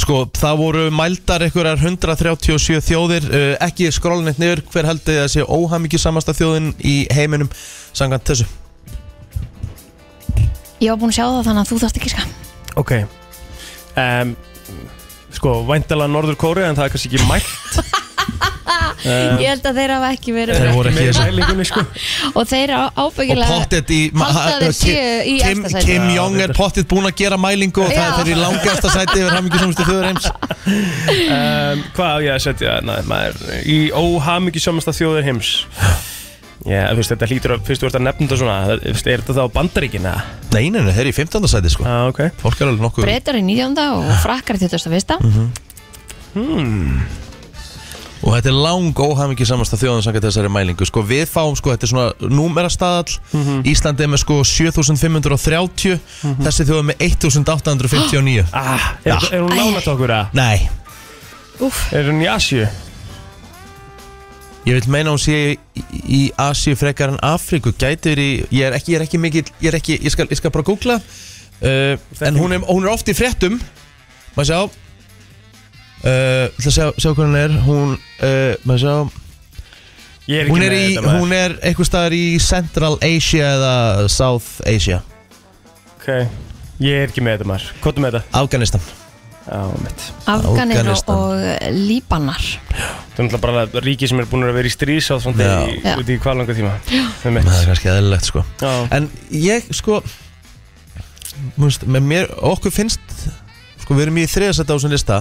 Speaker 1: Sko, það voru mældar einhverjar 137 þjóðir uh, Ekki skrólinett niður Hver heldur þið að sé óhamingi samasta þjóðin í heiminum Samkvæmt þessu
Speaker 2: Ég var búin að sjá það þannig að þú þarft ekki skam
Speaker 3: Ok um, Sko, væntalega Norður Kóri En það er kannski ekki mælt
Speaker 1: eh,
Speaker 2: Ég held að þeir hafa ekki verið
Speaker 1: Þeir voru ekki
Speaker 3: með
Speaker 1: þessu
Speaker 3: mælingunni sko
Speaker 2: Og þeir á-
Speaker 1: og
Speaker 2: ábyggilega
Speaker 1: pottet í ma-
Speaker 2: halda
Speaker 1: ha-
Speaker 2: þeir
Speaker 1: Ki-
Speaker 2: séu í
Speaker 1: Kim,
Speaker 2: efsta sæti.
Speaker 1: Kim Jong er pottet búinn að gera mælingu og það
Speaker 2: Já.
Speaker 1: er þeir í langasta sæti yfir hamingjusumustu þjóður heims
Speaker 3: um, Hvað á ég að setja? Næ, maður Í óhamingi samasta þjóðir heims Já, þú veist, þetta hlýtur að Fyrst þú ert að nefna þetta svona það- þú veist, Er þetta þá bandaríkin eða?
Speaker 1: Nei, nei, nei, þeir eru í 15. sæti sko
Speaker 3: Já, ok
Speaker 1: Fólk er alveg nokkuð
Speaker 2: Breytar í 19. og
Speaker 1: Eh.
Speaker 2: frakkar í 21.
Speaker 1: Mhm. Og þetta er lang óhamingi samasta þjóðan samkvæmt þessari mælingu Sko við fáum sko, þetta er svona númerastaðall Íslandi er með sko 7530 Þessi þjóð er með 1859
Speaker 3: ah, er, er hún nálægt okkur að?
Speaker 1: Nei,
Speaker 2: Úf,
Speaker 3: Er hún í Asju?
Speaker 1: ég vil meina hún sé í, í Asíu frekar en Afríku Gætur í, ég er ekki, ég er ekki mikill Ég er ekki, ég skal, ég skal bara googla uh, En hún er, hún er oft í fréttum Maður sjá uh, Það sjá, sjá hvað hún er Hún, uh, maður sjá
Speaker 3: Ég er ekki
Speaker 1: Hún er,
Speaker 3: með
Speaker 1: í,
Speaker 3: þetta maður.
Speaker 1: hún er eitthvað staðar í Central Asia eða South Asia
Speaker 3: Ok, ég er ekki með þetta maður Kvotum með þetta
Speaker 1: Afganistan
Speaker 3: Já, mitt
Speaker 2: Afganir og,
Speaker 1: Afganistan.
Speaker 2: og Líbanar
Speaker 3: Það er náttúrulega bara ríki sem er búin að vera í stríðsáð Svona
Speaker 1: Já.
Speaker 3: í-
Speaker 2: Já.
Speaker 3: út í hvað langa tíma Það er mitt
Speaker 1: Það er kannski eðlilegt sko
Speaker 3: Já.
Speaker 1: En ég sko múst, með mér, okkur finnst sko við erum í þriðasætt á þessum lista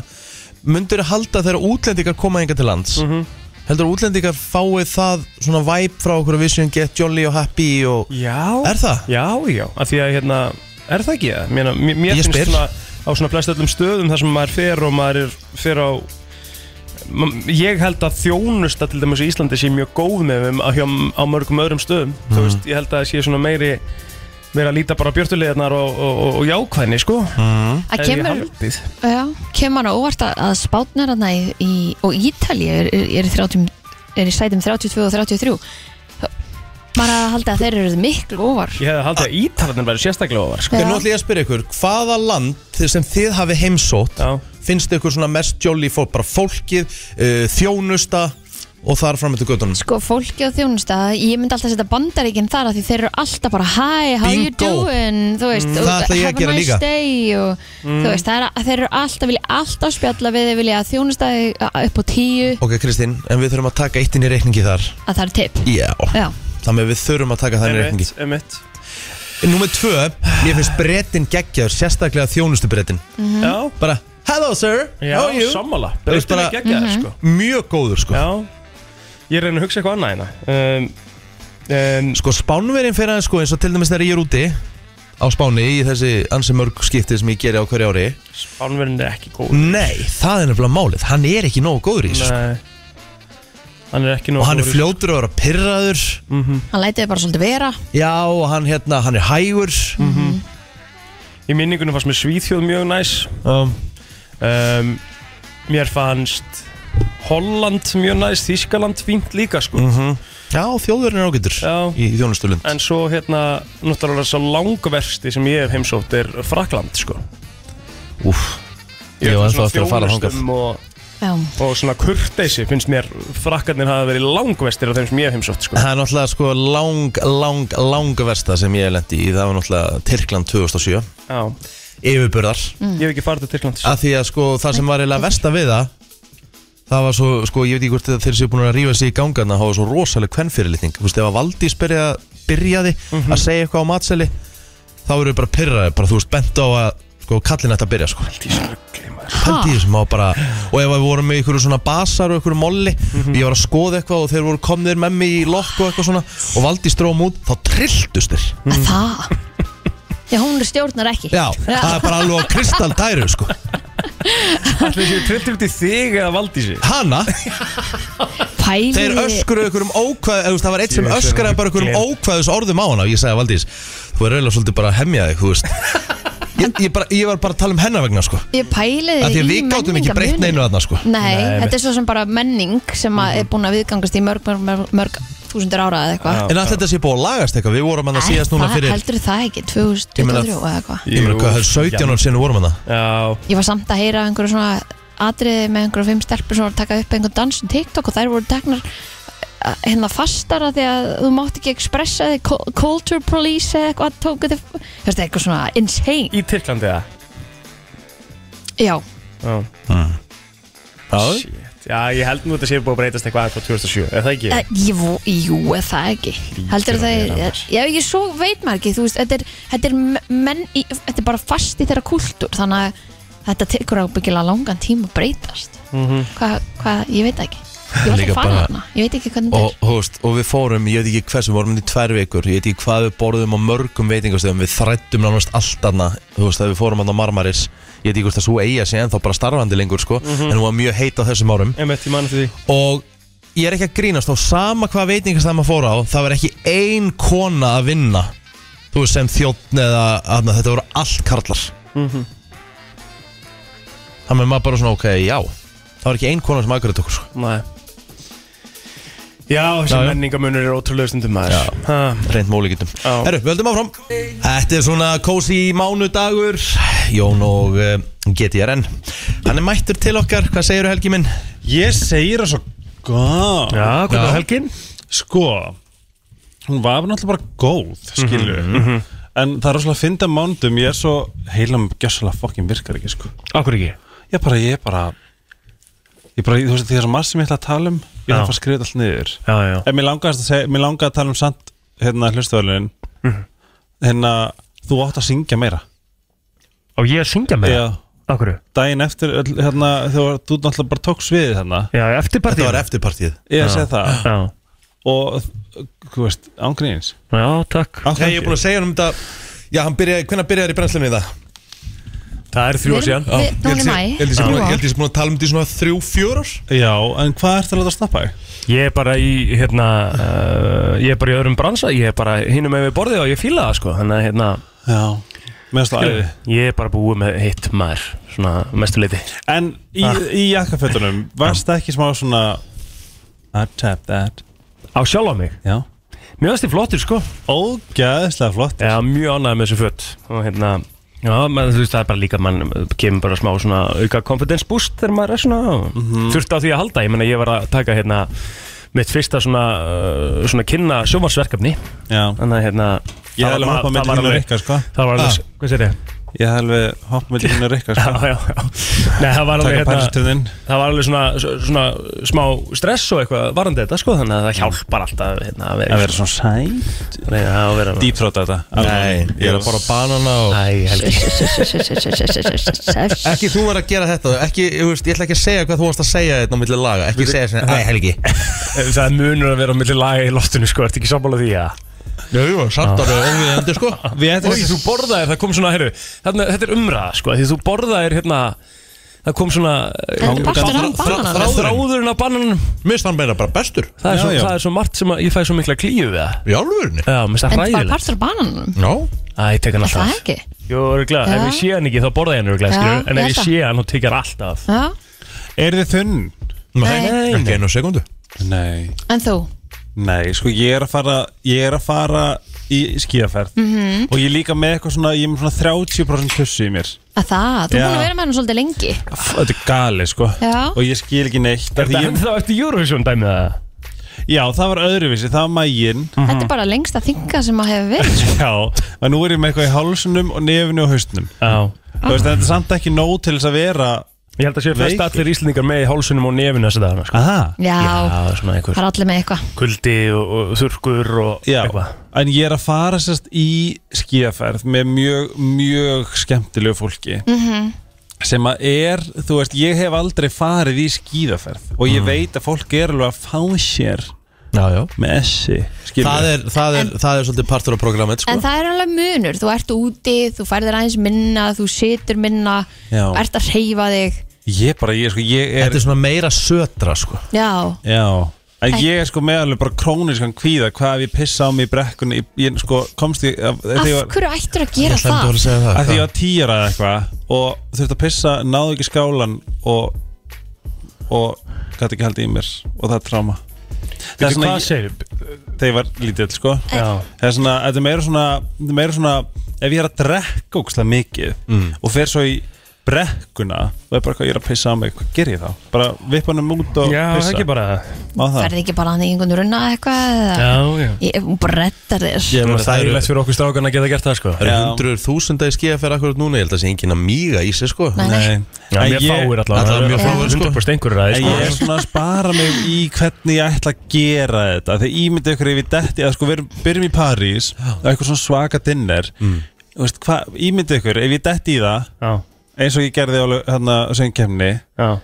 Speaker 1: mundur halda þegar útlendingar koma enga til lands
Speaker 3: Mhm.
Speaker 1: heldur að útlendingar fái það svona væp frá okkur að við séum get jolly og happy og
Speaker 3: Já
Speaker 1: er það?
Speaker 3: Já, já, af því að hérna Er það ekki það? Mér, mér,
Speaker 1: Ég
Speaker 3: mér finnst
Speaker 1: spyr.
Speaker 3: svona á svona flest öllum stöðum þar sem maður fer og maður er fer á ma- Ég held að þjónusta til dæmis í Íslandi sé mjög góð með þeim á, hjá, á mörgum öðrum stöðum
Speaker 1: Mhm.
Speaker 3: Þú veist, ég held að það sé svona meiri meira að líta bara á björtulegarnar og, og, og, og jákvæðni sko
Speaker 1: Mhm.
Speaker 2: Að kemur,
Speaker 3: haldið
Speaker 2: já, kemur hann á óvart að- að spátnar hann í, í, og Ítalíu er, er, er, í 30 er í sætum 32 og 33 Maður að halda að þeir eru miklu óvar
Speaker 3: Ég hefði haldið að ítalarnir væri sérstaklega ofar sko.
Speaker 1: En nú ætlum ég að spyrja ykkur, hvaða land sem þið hafi heimsótt
Speaker 3: Já.
Speaker 1: finnst ykkur svona mest jolly fólk, bara fólkið, uh, þjónusta og þar fram eftir göttunum
Speaker 2: Sko, fólki á þjónusta, ég myndi alltaf setja bandaríkinn þar af því þeir eru alltaf bara Hi, how you
Speaker 1: Bingo.
Speaker 2: doing? Þú veist,
Speaker 1: Mm,
Speaker 2: og
Speaker 1: það ætla ég að
Speaker 2: have a
Speaker 1: gera
Speaker 2: nice
Speaker 1: líka. Mm.
Speaker 2: day og, Þú veist, það er, að- þeir eru alltaf, vilja alltaf spjalla við þeir vilja að þjónusta þig upp á tíu
Speaker 1: Ok Kristín, en við þurfum að taka eitt inn í reikningi þar
Speaker 2: að það er tipp
Speaker 1: Já,
Speaker 2: Já,
Speaker 1: þannig að við þurfum að taka það inn í reikningi
Speaker 3: Emitt, emitt
Speaker 1: Númer tvö, ég finnst brettin geggjaður, sérstaklega þjónustu brettin
Speaker 3: Já,
Speaker 1: Bara, hello sir,
Speaker 3: Mhm. já,
Speaker 1: how are you?
Speaker 3: sammála
Speaker 1: Þú veist
Speaker 3: Breytinu
Speaker 1: bara- Mhm.
Speaker 3: geggja það sko
Speaker 1: Mjög góður sko
Speaker 3: Já, ég reyna að hugsa eitthvað annað hérna um, um,
Speaker 1: Sko spánverinn fyrir aðeins sko eins og til dæmis þegar ég er úti á Spáni í þessi ansi mörg skipti sem ég geri á hverju ári
Speaker 3: Spánverðin er ekki góð
Speaker 1: Nei, það er nefnilega málið, hann er ekki nógu góður í þessu sko.
Speaker 3: Nei Hann er ekki nóg
Speaker 1: Og hann er
Speaker 3: góður í-
Speaker 1: fljótur að vera pyrraður
Speaker 2: hann lætiði bara svolítið vera
Speaker 1: Já, og hann hérna, hann er hægur
Speaker 3: Mhm. Í minningunum fannst mér Svíþjóð mjög næs
Speaker 1: um,
Speaker 3: um, Mér fannst Holland mjög næs Þískaland fínt líka sko
Speaker 1: Mhm. Já, þjóðurinn er ágætur
Speaker 3: Já.
Speaker 1: í þjónustulund
Speaker 3: En svo hérna Náttúrulega svo langversti sem ég hef heimsótt Er Frakland sko
Speaker 1: Úff, ég var ennþá eftir að fara þangað
Speaker 3: þjónustum og,
Speaker 2: Já,
Speaker 3: og svona kurteisi finnst mér Frakkarnir hafa verið langverstir Af þeim sem ég hef heimsótt sko
Speaker 1: Það er náttúrulega sko lang, lang, lang versta sem ég lendi í Það var náttúrulega Tyrkland 2007
Speaker 3: Já
Speaker 1: Yfirburðar
Speaker 3: Ég hef ekki farið til Tyrklands
Speaker 1: Af því að sko það sem var eiginlega versta við það Það var svo, sko, ég veit ekki hvort þeir séu búin að rífa sig í gangan Það var svo rosaleg kvennfyrirlitning Þú veist, ef að Valdís byrja, byrjaði að segja eitthvað á matseli Þá eru bara pyrraði, bara þú veist, bent á að Sko, kallin ætti að byrja, sko Haldi þessum á bara Og ef við vorum með einhverju svona basar og einhverju molli Ég var að skoða eitthvað og þeir voru komnir með
Speaker 2: Mhm.
Speaker 1: mig í lokk og eitthvað svona Og Valdís dróðum út, þá trilltust þeir
Speaker 2: að það Já, hún stjórnar ekki
Speaker 1: Mm. Já, það er bara alveg á kristaldæru sko
Speaker 3: Ætli þessi trillir út í þig eða Valdísi
Speaker 1: Hanna,
Speaker 2: Pæli
Speaker 1: þeir öskru ykkur um ókvæð eða, þú veist, Það var eitt sem
Speaker 3: Ég sé
Speaker 1: öskraði
Speaker 3: það
Speaker 1: bara ykkur um
Speaker 3: gel.
Speaker 1: ókvæðus orðum á hana Og ég sagði Valdís, þú er eiginlega svolítið bara að hemja þig Þú veist Ég, ég, bara, ég var bara að tala um hennar vegna sko
Speaker 2: Ég pæli
Speaker 3: Eh,
Speaker 1: Af því
Speaker 2: þið
Speaker 1: að við gátum ekki breytt neinu þarna sko
Speaker 2: Nei,
Speaker 3: Nei,
Speaker 2: þetta er svo sem bara menning sem að
Speaker 1: Mhm.
Speaker 2: er búin að viðgangast í mörg, mörg, mörg, mörg þúsundur ára eða eitthvað
Speaker 1: En að þetta sé búið að lagast eitthvað, við vorum hann að síðast núna
Speaker 2: það
Speaker 1: fyrir
Speaker 2: heldur það ekki,
Speaker 1: Ég meina-
Speaker 2: 2023 eða eitthvað
Speaker 1: Ég meina hvað, það er 17 ár sinni vorum hann
Speaker 3: Já,
Speaker 2: Ég var samt að heyra einhverju svona atriði með einhverju fimm stelpur sem voru að taka upp einhvern dans um TikTok og þær voru teknar eh, hérna fastar að því að þú mátt ekki expressa þig, cu- culture police eða eitthvað tóku þig, þetta er eitthvað svona insane,
Speaker 3: í Tyrklandi eða
Speaker 2: já,
Speaker 3: Já
Speaker 1: það
Speaker 3: Shit. Já, ég held nú að þetta sé búið að breytast eitthvað frá 2007, er það ekki?
Speaker 2: Eh, ég, vo- jú, er það ekki
Speaker 3: Hlýtur
Speaker 2: heldur
Speaker 3: að
Speaker 2: það,
Speaker 3: vera annars.
Speaker 2: já, ég svo veit maður ekki þú veist, þetta er, þetta er menn í, þetta er bara fast í þeirra kultúr þannig að þetta tekur ábyggilega langan tíma að breytast hvað, hvað, ég veit það ekki ég var
Speaker 1: Mhm. Líka
Speaker 2: ekki fann
Speaker 1: bara-
Speaker 2: hana, ég veit ekki hvernig þetta
Speaker 1: og, þú veist, og við fórum, ég veit ekki hversu, við vorum í tvær vikur Ég veit ekki hvað við borðum á mörgum veitingastöðum Við þrættum nánast allt annað Þú veist, þegar við fórum hann á Marmaris Ég veit ekki hvort að svo eiga sig ennþá bara starfandi lengur sko,
Speaker 3: Mhm.
Speaker 1: En hún var mjög heit á þessum árum
Speaker 3: Emmett, ég manna til því
Speaker 1: Og ég er ekki að grínast á sama hvað veitingastæð maður fór á Það var ekki ein kona að vinna Þú veist, sem þjóttn eða annað, Þetta voru allt karlar
Speaker 3: Mhm.
Speaker 1: Þannig að maður bara svona, ok, já Það var ekki ein kona sem aðgrætt okkur sko.
Speaker 3: Nei Já, þessi
Speaker 1: Já, já.
Speaker 3: menningamunur er ótrúlega stundum maður
Speaker 1: Já.
Speaker 3: Ha.
Speaker 1: reynd mólíkittum
Speaker 3: Já.
Speaker 1: Herru, við höldum áfram Þetta er svona kósi mánudagur Jón og uh, GTRN Hann er mættur til okkar, hvað segirðu Helgi minn?
Speaker 8: Ég segir það svo góð
Speaker 3: Já,
Speaker 1: Já.
Speaker 3: hvernig var helgin?
Speaker 8: Sko Hún var náttúrulega bara góð Skilju
Speaker 3: Mhm,
Speaker 8: En það er rosalega að fynda mándum Ég er svo heilam gjössalega fokkin virkar ekki sko
Speaker 3: Akkur ekki
Speaker 8: Ég bara, ég bara Ég bara, þú veist, því það er svo margt sem ég ætla að tala um Ég
Speaker 3: Já.
Speaker 8: þarf að skrifa þetta allt niður
Speaker 3: Já, já
Speaker 8: En mér langaði að, segja, mér langaði að tala um samt Hérna hlustöðlunin
Speaker 3: Mhm.
Speaker 8: Hérna, þú átt að syngja meira
Speaker 3: Og ég að syngja með það? Akkur
Speaker 8: Daginn eftir, öll- hérna, þú, þú náttúrulega bara tók sviðið hérna
Speaker 3: Já, eftir partíð
Speaker 1: Þetta var eftirpartíð
Speaker 8: Ég segi það
Speaker 3: Já,
Speaker 8: Og, þú veist, ángríns
Speaker 3: já, takk
Speaker 1: Hei, ég er búin að segja hann um þetta Já, hann byrjaði, hvenær byrjaði í brennslunni í það?
Speaker 3: Það er
Speaker 2: Við erum- við- Núna í mæ,
Speaker 1: Ég held ég sé búin- ég held ég sé búin að tala um þetta í svona þrjú, fjör ár
Speaker 8: Já, en hvað ertu að láta snappa þig?
Speaker 3: Ég er bara í, hérna uh, Ég er bara í öðrum bransa Ég er bara hinum með við borðið og ég fíla það, sko Þannig að, hérna
Speaker 8: Já, meðast það æði
Speaker 3: Ég er bara búið með hitt maður Svona mestuleiti
Speaker 8: En í,
Speaker 3: Ah.
Speaker 8: í jakkafötunum, varst það ekki smá svona I tap that
Speaker 3: Á sjálfa mig
Speaker 8: Já
Speaker 3: Mjög aðstir flottir, sko
Speaker 8: Ógæðislega flott
Speaker 3: Já, mjög ánægð með þessu fött og hérna, já, menn, þú veist, það er bara líka að mann kemur bara smá svona auka confidence boost þegar maður er svona þurfti á því að halda, ég menna ég var að taka hérna mitt fyrsta svona uh, svona kynna sjómarsverkefni
Speaker 8: Já,
Speaker 3: þannig að hérna
Speaker 8: ég
Speaker 3: það
Speaker 8: hefði alveg
Speaker 3: var-
Speaker 8: hoppað
Speaker 3: það
Speaker 8: með
Speaker 3: var
Speaker 8: línu
Speaker 3: alveg-
Speaker 8: rikka, sko
Speaker 3: Það var alveg,
Speaker 1: Ah.
Speaker 3: hvað sér ég?
Speaker 8: Ég hefði alveg hoppað með línu rikka,
Speaker 3: Já,
Speaker 8: sko
Speaker 3: já, já Nei, það var alveg,
Speaker 8: Takka
Speaker 3: hérna,
Speaker 8: pælistuninn
Speaker 3: það var alveg svona, svona smá stress og eitthvað varandi þetta sko, þannig að það hjálpar alltaf hérna, að vera,
Speaker 8: Að vera svona sæ
Speaker 3: reyna að vera
Speaker 8: Dýpþróta þetta
Speaker 1: Nei, ég er að borða banana og
Speaker 3: Æ, helgi
Speaker 2: mæ
Speaker 1: Ekki þú var að gera þetta ekki, ég, veist, ég ætla ekki að segja hvað þú varst að segja þetta á milli laga Ekki segja svona, æ Helgi
Speaker 3: Það er munur að vera á milli laga í loftinu sko, ertu ekki sammála því að
Speaker 1: Jú, jú, samt alveg óviðandi sko
Speaker 8: Við ættum
Speaker 3: Þú borðaðir, það kom svona, heyrðu, þarna, þetta er umræða sko, því þú borðaðir hérna Það kom svona
Speaker 2: Þetta er partur af banananum.
Speaker 3: Þrá- þráðurinn af bananum
Speaker 1: Mér stann meira bara bestur
Speaker 3: það, er
Speaker 8: Já,
Speaker 3: svo-
Speaker 8: já.
Speaker 3: það er svo margt sem að ég fæ svo mikla klíu við það
Speaker 1: Í alvegurinni
Speaker 3: Já, mér finnst það
Speaker 2: En það er
Speaker 3: hræðilegt
Speaker 2: partur af bananum,
Speaker 1: Já,
Speaker 3: Æ, ég tek hann
Speaker 2: er það
Speaker 3: alltaf
Speaker 2: ekki?
Speaker 3: Jú, örgulega, ef
Speaker 2: Já.
Speaker 3: ég sé hann ekki þá borða ég hann
Speaker 2: Já,
Speaker 3: örgulega, skilur En
Speaker 2: ég
Speaker 3: ef ég
Speaker 2: held
Speaker 3: sé hann, þá tek ég hann alltaf
Speaker 2: Já,
Speaker 8: Er þið þunn?
Speaker 1: nei, ekki einu sekundu
Speaker 8: Nei
Speaker 2: en þú?
Speaker 8: Nei, sko ég er að fara Ég er að fara í skíaferð -hmm. Og ég er líka með eitthvað svona Ég er með svona 30% kussu í mér
Speaker 2: Að það, þú er búin
Speaker 8: Já.
Speaker 2: að vera með hann svolítið lengi
Speaker 8: F- Þetta er gali sko
Speaker 2: Já.
Speaker 8: Og ég skil ekki neitt af
Speaker 3: Er
Speaker 8: því
Speaker 3: þetta
Speaker 8: ég,
Speaker 3: ennþá eftir Eurovision dæmið það?
Speaker 8: Já, það var öðruvísi, það var maginn
Speaker 2: Þetta er bara lengsta þinga sem að hefur verið
Speaker 8: Já, en nú er ég með eitthvað í hálsunum og nefinu og hausnum
Speaker 3: Já
Speaker 8: Þú veist, þetta er samt ekki nóg til þess að vera
Speaker 3: Ég held að sé flest
Speaker 8: Veikir.
Speaker 3: allir Íslendingar með í hálsunum og nefinu þessi dagana sko.
Speaker 8: Aha
Speaker 2: Já,
Speaker 3: Já, svona einhver
Speaker 2: það er allir með eitthvað
Speaker 3: kuldi og, og þurrkur og
Speaker 8: Já,
Speaker 3: eitthvað
Speaker 8: en ég er að fara sérst í skíaferð með mjög, mjög skemmtilegu fólki -hmm.
Speaker 2: Mhm.
Speaker 8: sem að er, þú veist, ég hef aldrei farið í skíðaferð og ég veit að fólk er alveg að fá sér
Speaker 1: Já, já
Speaker 8: Messi
Speaker 1: Það er, það, er, það er svolítið partur af programmet sko.
Speaker 2: En það er alveg munur, þú ert úti, þú færðir aðeins minna, þú situr minna,
Speaker 8: Já.
Speaker 2: ert að hreyfa þig.
Speaker 8: Ég bara, ég sko, ég er
Speaker 1: Þetta er svona meira södra sko.
Speaker 2: Já,
Speaker 8: Já En ég er sko meðalveg bara króniskan kvíða hvað ef ég pissa á mig í brekkunni ég- ég sko komst í af,
Speaker 2: af
Speaker 8: þegar ég var,
Speaker 2: hverju ættir að gera
Speaker 1: hlæmdi að
Speaker 2: það?
Speaker 1: segja
Speaker 8: að því ég
Speaker 1: hvað?
Speaker 8: var tíra eða eitthvað og þurfti að pissa, náðu ekki skálan og og gæti ekki haldið í mér og það er tráma Það er
Speaker 3: Veitu
Speaker 8: svona,
Speaker 3: hvað
Speaker 8: ég-
Speaker 3: segir
Speaker 8: þegar ég var lítill sko
Speaker 2: Eh.
Speaker 3: Já
Speaker 8: Það er svona, þetta er meira svona, þetta er meira svona ef ég er að drekka ógslag mikið
Speaker 3: Mm.
Speaker 8: og fer svo í brekkuna og er bara hvað ég er að pissa á mig, hvað ger ég þá? Bara vippa hann um út og
Speaker 3: Já, það
Speaker 8: pissa
Speaker 3: er ekki bara það
Speaker 8: á það
Speaker 2: Færði ekki bara hann í einhvern runna eitthvað eða?
Speaker 3: Já, já
Speaker 2: Ég hún bara reddar þér.
Speaker 3: Ég
Speaker 1: meina,
Speaker 3: meina
Speaker 1: það eru-
Speaker 3: þægilegt fyrir okkur strákan að geta gert það sko
Speaker 1: Það eru
Speaker 8: Já.
Speaker 1: hundruður þúsunda í skíðaferð akkurat núna Ég held að það sé engin að míga í sig sko.
Speaker 2: Nei, nei.
Speaker 3: Já,
Speaker 8: En
Speaker 3: mér
Speaker 8: ég-
Speaker 3: fáir allavega
Speaker 1: allavega mjög
Speaker 3: Það eru
Speaker 1: fáir, sko.
Speaker 3: 100% einhverjur að
Speaker 8: En
Speaker 3: það
Speaker 8: ég er svona að spara mig í hvernig ég ætla að gera þetta Þegar ímyndi ykkur ef ég detti að sko við erum, byrjum í París og eitthvað svona svaka dinner mm. veist, hva, Ímyndi ykkur ef ég detti í það
Speaker 3: Já,
Speaker 8: eins og ég gerði á hérna söngkemni
Speaker 3: já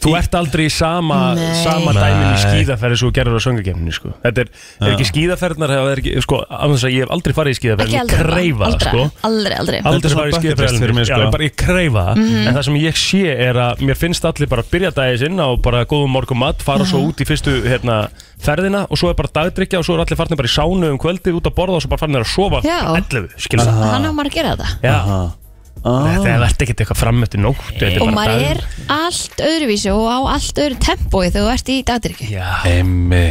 Speaker 3: Þú ert aldrei í sama,
Speaker 2: Nei.
Speaker 3: sama dæmin í
Speaker 1: Nei.
Speaker 3: skíðaferði svo gerður á söngakefninu sko. Þetta er, er ekki skíðaferðnar það er ekki, sko, af þess að ég hef aldrei farið í skíðaferð
Speaker 2: Ekki
Speaker 3: Ég
Speaker 2: aldrei.
Speaker 3: kreifa það
Speaker 2: aldrei,
Speaker 3: sko
Speaker 2: aldrei, aldrei.
Speaker 8: Þetta
Speaker 3: Aldrei
Speaker 8: er svona
Speaker 3: farið í
Speaker 8: bucket list
Speaker 3: skíðaferðin
Speaker 8: fyrir mig,
Speaker 3: Já,
Speaker 8: sko.
Speaker 3: ég bara ég kreifa það
Speaker 2: Mhm.
Speaker 3: En það sem ég sé er að mér finnst allir bara að byrja dagið sinn á bara góðum morgum mat fara svo út í fyrstu hérna, ferðina og svo er bara dagdrykja og svo er allir farnir bara í sánu um kvöldið út að borða og svo bara farnir að sofa
Speaker 2: Já.
Speaker 3: 11, skilur
Speaker 2: Hann á maður að gera þetta.
Speaker 3: Já Þetta er verðt ekkert eitthvað fram eftir nótt þetta er
Speaker 2: Og
Speaker 3: bara
Speaker 2: maður
Speaker 3: dagur.
Speaker 2: er allt öðruvísi og á allt öðru tempói þegar þú ert í dagdrykju.
Speaker 3: Já,
Speaker 8: Emmi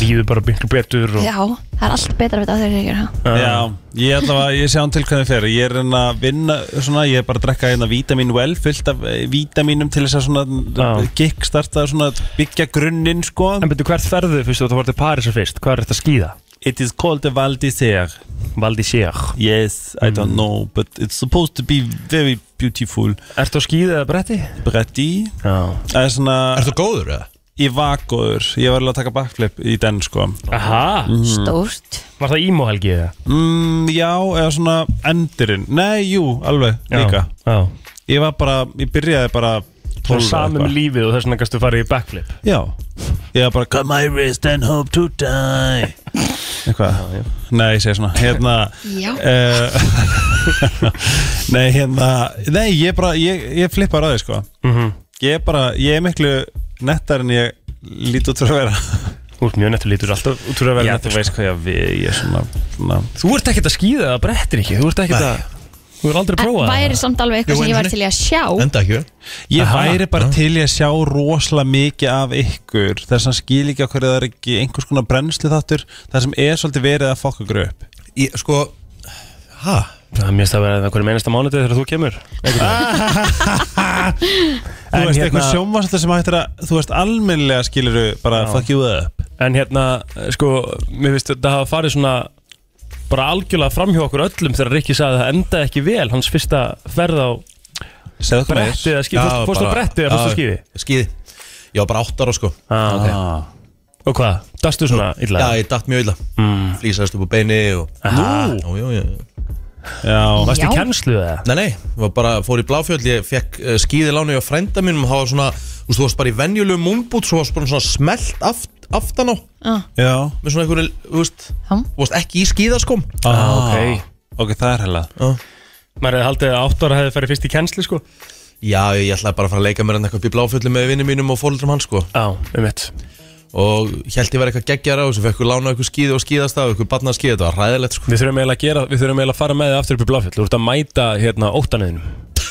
Speaker 3: líður bara miklu betur og
Speaker 2: Já, það er allt betra við dagdrykju.
Speaker 8: Já, ég ætla að ég sé án til hvernig fyrir Ég er enn að vinna, svona, ég er bara að drekka hérna vítamin vel, fullt af eh, vítaminum til þess að svona
Speaker 3: Já.
Speaker 8: kickstarta, svona byggja grunninn sko
Speaker 3: En betur hvert ferðu fyrst og þú vartu Parísar fyrst Hvað er þetta að skýða?
Speaker 8: It is called a Val d'Isère
Speaker 3: Valdi sér
Speaker 8: Yes, I don't know, but it's supposed to be very beautiful
Speaker 3: Ertu að skýða eða bretti?
Speaker 8: Bretti
Speaker 3: Já
Speaker 8: Það er svona,
Speaker 1: Er þú góður eða?
Speaker 8: ég vakuður Ég var alveg að taka backflip í den sko
Speaker 3: Aha,
Speaker 2: Stórt.
Speaker 3: var það ímóhelgi eða?
Speaker 8: mm, Já, eða svona endurinn Nei, jú, alveg, líka
Speaker 3: Já
Speaker 8: Ég var bara, ég byrjaði bara
Speaker 3: Það
Speaker 8: 12
Speaker 3: er
Speaker 8: eða
Speaker 3: samum
Speaker 8: eitthvað.
Speaker 3: lífið og þess vegna kannstu farið í backflip
Speaker 8: Já, ég var bara Cut my wrist and hope to die Eitthvað, nei, ég segi svona Hérna
Speaker 2: Já.
Speaker 8: eh, Nei, hérna Nei, ég bara, ég, ég flippar að þig sko
Speaker 3: Mhm.
Speaker 8: Ég er bara, ég er miklu nettar en ég lít út fyrir að vera
Speaker 3: Þú ert mjög nettur lítur alltaf út fyrir að vera nettur
Speaker 8: veist hvað ég við, ég er svona, svona
Speaker 3: Þú ert ekkert að skýða eða brettir ekki Þú ert ekkert
Speaker 1: Nei.
Speaker 3: að Þú ert aldrei
Speaker 2: En
Speaker 3: prófað
Speaker 2: væri samt alveg
Speaker 1: Jú,
Speaker 2: eitthvað sem ég
Speaker 1: en
Speaker 2: væri til í að sjá.
Speaker 1: Enda ekki vel.
Speaker 8: Ég
Speaker 3: Aha.
Speaker 8: væri bara til ég að sjá rosalega mikið af ykkur þess að skil ekki okkur það er ekki einhvers konar brennslu þáttur það sem er svolítið verið að fokka okkur upp
Speaker 1: Ég, sko Hæ?
Speaker 3: Það mérst að vera hverju meinasta mánuðið þegar þú kemur
Speaker 8: Þú
Speaker 3: En
Speaker 8: veist,
Speaker 3: hérna-
Speaker 8: eitthvað sjónvarsallur sem hættir að þú veist, almennilega skiluru bara fuck you up
Speaker 3: En hérna, sko, mér finnst þetta hafa farið svona bara algjörlega framhjá okkur öllum þegar Rikki sagði að það endaði ekki vel hans fyrsta ferð á
Speaker 8: Segðu okkur meir
Speaker 3: brettið eða skíði, fórst- fórst á
Speaker 1: bara-
Speaker 3: brettið eða fórst á skíði
Speaker 1: Já, Skíði Ég var bara áttar á sko
Speaker 3: ah, okay.
Speaker 8: ah.
Speaker 3: Og hvað, dastu svona illa?
Speaker 1: Já, ég datt mjög illa mm. Flýsaðist upp á beini og
Speaker 3: Hmm. Nú,
Speaker 1: Já, já, já
Speaker 8: Já,
Speaker 3: varst í
Speaker 2: Já.
Speaker 3: kennslu eða?
Speaker 1: Nei, nei, ég var bara, fór í bláfjöld Ég fekk uh, skíði lánu hjá frænda mínum Það var svona, þú veist, þú varst bara í venjulegum umbútt Svo varst bara svona smelt aft, aftan á
Speaker 8: já
Speaker 1: Með svona einhverju, þú veist
Speaker 2: Já.
Speaker 1: Þú varst ekki í sko. skíðaskom
Speaker 8: ah.
Speaker 3: ok.
Speaker 8: Ok, það er hella
Speaker 3: Maður hefði haldið að átt ára hefði farið fyrst í kennslu, sko
Speaker 1: Já, ég, ég ætlaði bara að fara að leika mér enn eitthvað upp í bláfjöldu með vinnum mínum og fólundrum hans sko
Speaker 3: Já, um mitt
Speaker 1: og held ég verið eitthvað geggjar á þessu, fekk ég lána eitthvað skíði og skíðastaf, eitthvað barna skíði, þetta var ræðilegt sko
Speaker 3: Við þurfum eiginlega að gera, við þurfum eiginlega að fara með þið aftur upp í bláfjöld Þú ert að mæta hérna óttaneðinum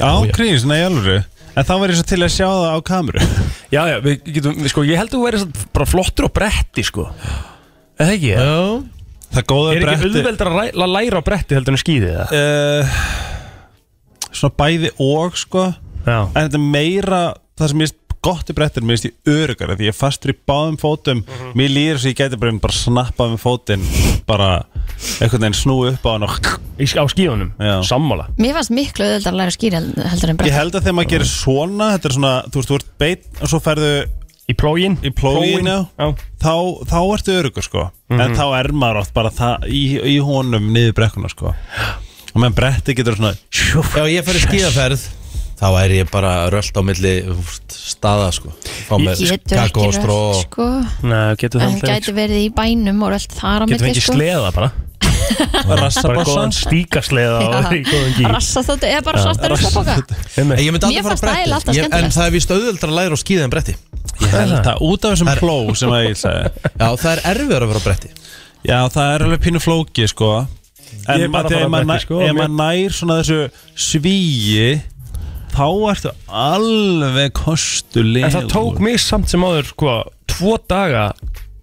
Speaker 8: Já, gríns, nei, alveg En þá var ég svo til að sjá það á kameru
Speaker 3: Já, já, við getum, við, sko, ég held að þú verið bara flottur á bretti, sko Eða ekki, eða?
Speaker 1: Já
Speaker 8: Það góða
Speaker 3: Er ekki
Speaker 8: bretti
Speaker 3: auðveldar að ræ- að læra á bretti heldur en skýði það?
Speaker 8: uh, Svona bæði og, sko
Speaker 3: Já,
Speaker 8: En þetta er meira, það sem ég finnst gott í brettir, mér finnst ég örugara því ég er fastur í báðum fótum, mér líður svo ég gæti bara, bara snappað með fótinn bara einhvern veginn snú upp á hann og
Speaker 3: í, á skíðunum,
Speaker 8: Já.
Speaker 3: sammála
Speaker 2: Mér fannst miklu auðvitað að læra skýri heldur en
Speaker 8: Ég
Speaker 2: bara.
Speaker 8: held að þegar maður gerir svona Þetta er svona, þú veist, þú ert beitt Og svo ferðu
Speaker 3: Í plógin
Speaker 8: í plógin
Speaker 3: Já,
Speaker 8: þá, þá ertu örugur, sko En þá er maður oft bara það í, í honum Niður brekkuna, sko Og meðan bretti getur svona
Speaker 1: Já, ég fer í skíðaferð þá er ég bara rölt á milli úst, staða sko Fá mér kakó
Speaker 2: Getur ekki
Speaker 1: og stró
Speaker 2: rölt sko
Speaker 3: Nei, getur það
Speaker 2: En gæti verið í bænum og rölt þar á
Speaker 3: Getur
Speaker 2: milli
Speaker 3: fengið
Speaker 2: sko
Speaker 3: sleða bara Bara
Speaker 8: Rassabassa
Speaker 3: góðan stíkasleða og í góðan gík
Speaker 2: Rassastóttu eða bara svartar uppáboka
Speaker 1: Ég
Speaker 3: Einmitt.
Speaker 1: myndi aldrei
Speaker 2: Mér
Speaker 1: fara
Speaker 2: fannst
Speaker 1: að
Speaker 2: það eiginlega alltaf
Speaker 1: bretti ég, En
Speaker 2: skemmtilegast.
Speaker 1: það er vist auðveldra að læra á skíði en bretti
Speaker 8: Ég held það út af þessum pló sem að ég sagði
Speaker 1: Já, það er erfiður að vera á bretti
Speaker 8: Já, það er alveg pínu flóki sko En
Speaker 3: Ég er bara að
Speaker 8: Matti,
Speaker 3: fara
Speaker 8: ef
Speaker 3: að
Speaker 8: maður
Speaker 3: bretti, sko,
Speaker 8: sko,
Speaker 3: mér-
Speaker 8: mað nær svona þessu svíi þá ertu alveg kostulegur
Speaker 3: En það tók mig samt sem áður sko, Tvo daga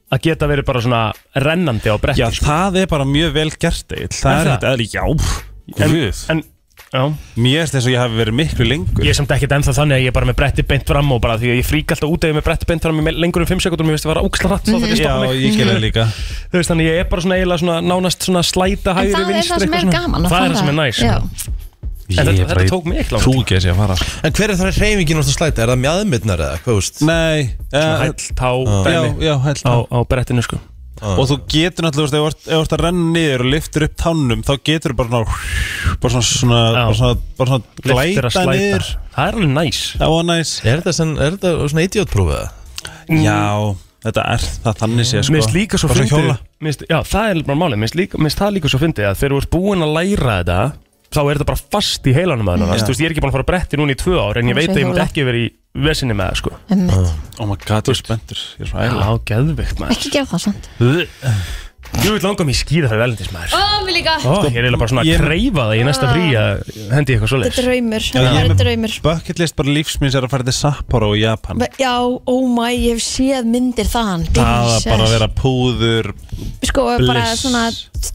Speaker 3: að geta verið bara svona Rennandi á bretti
Speaker 8: Já,
Speaker 3: sko.
Speaker 8: það er bara mjög vel gert Egill. Það
Speaker 3: Er
Speaker 8: er
Speaker 3: það?
Speaker 8: þetta eðli, já
Speaker 3: En,
Speaker 8: Guð,
Speaker 3: en já,
Speaker 8: mér er þess að ég hafi verið miklu lengur
Speaker 3: ég er samt ekkert ennþá þannig að ég er bara með bretti beint fram og bara því að ég frík alltaf út ef ég er með bretti beint fram í me- lengur en 5 sekundum, ég veist að vara óksla hratt þá þarf ég
Speaker 2: Mm.
Speaker 3: að
Speaker 8: Já,
Speaker 3: stoppa mig.
Speaker 8: ég gerði það líka
Speaker 3: Þú veist, þannig ég er bara svona eiginlega svona nánast svona slæta
Speaker 2: En
Speaker 3: hægri
Speaker 2: það er
Speaker 3: vinstri,
Speaker 2: það sem
Speaker 3: eitthvað
Speaker 2: er
Speaker 3: svona.
Speaker 2: gaman að
Speaker 3: Það er
Speaker 2: fara-
Speaker 3: það sem er næs
Speaker 2: Já.
Speaker 3: En þetta, þetta tók mig ekki langt
Speaker 8: Trú ekki að sé að fara
Speaker 1: En hver er það reyfingin úr það slæta? Er það mjadmyrnar eða? Hvað veist?
Speaker 8: Nei,
Speaker 3: Svona
Speaker 8: eh,
Speaker 3: hæll tá
Speaker 8: já,
Speaker 3: dæmi
Speaker 8: já, hæll
Speaker 3: á, á brettinu sko
Speaker 8: og þú getur náttúrulega, þú veist, ef þú ert- ef þú ert að renna niður og liftur upp tánum, þá getur þú bara svona, bara svona, svona,
Speaker 3: Já.
Speaker 8: bara svona, bara svona
Speaker 3: Lyftir að
Speaker 8: glæta
Speaker 3: slæta.
Speaker 8: niður
Speaker 3: Það er alveg næs
Speaker 8: Já, og næs
Speaker 1: Er þetta sem- er þetta svona idiotprúf eða?
Speaker 8: Já, þetta er það þannig sé, sko
Speaker 3: Mm. Mér finnst líka svo
Speaker 8: Bara svona
Speaker 3: fyndið
Speaker 8: hjóla.
Speaker 3: mér finnst- Já, það er bara málið Mér finnst líka- mér finnst það líka svo fyndið að þegar þú ert búinn að læra þetta þá er þetta bara fast í heilanum að hann Þú veist, ég er ekki búinn að fara að bretti núna í tvö ár en
Speaker 2: Það
Speaker 3: ég
Speaker 2: er
Speaker 3: veit
Speaker 2: svo
Speaker 3: að ég myndi
Speaker 2: hjóla.
Speaker 3: ekki verið í vesinni með það sko
Speaker 2: Einmitt.
Speaker 8: Oh my god, ég er spenntur, ég er svo æla
Speaker 3: Já, geðvikt maður
Speaker 2: Ekki gera það samt
Speaker 3: Þú vil langa mig skýða það velendis maður
Speaker 2: Ó, mér líka
Speaker 3: Ó, ég er eiginlega bara svona að
Speaker 8: ég-
Speaker 3: kreifa það í næsta frí að hendi í eitthvað
Speaker 2: Þetta er
Speaker 3: svoleiðis
Speaker 2: draumur, það
Speaker 8: ég
Speaker 2: er
Speaker 8: er með-
Speaker 2: draumur
Speaker 8: Bucket list bara lífsmins er að fara til Sapporo í Japan
Speaker 2: Já, oh my, ég hef séð myndir þaðan
Speaker 8: Það að bara
Speaker 2: Jesus.
Speaker 8: vera púður
Speaker 2: Sko, bara
Speaker 8: bliss.
Speaker 2: svona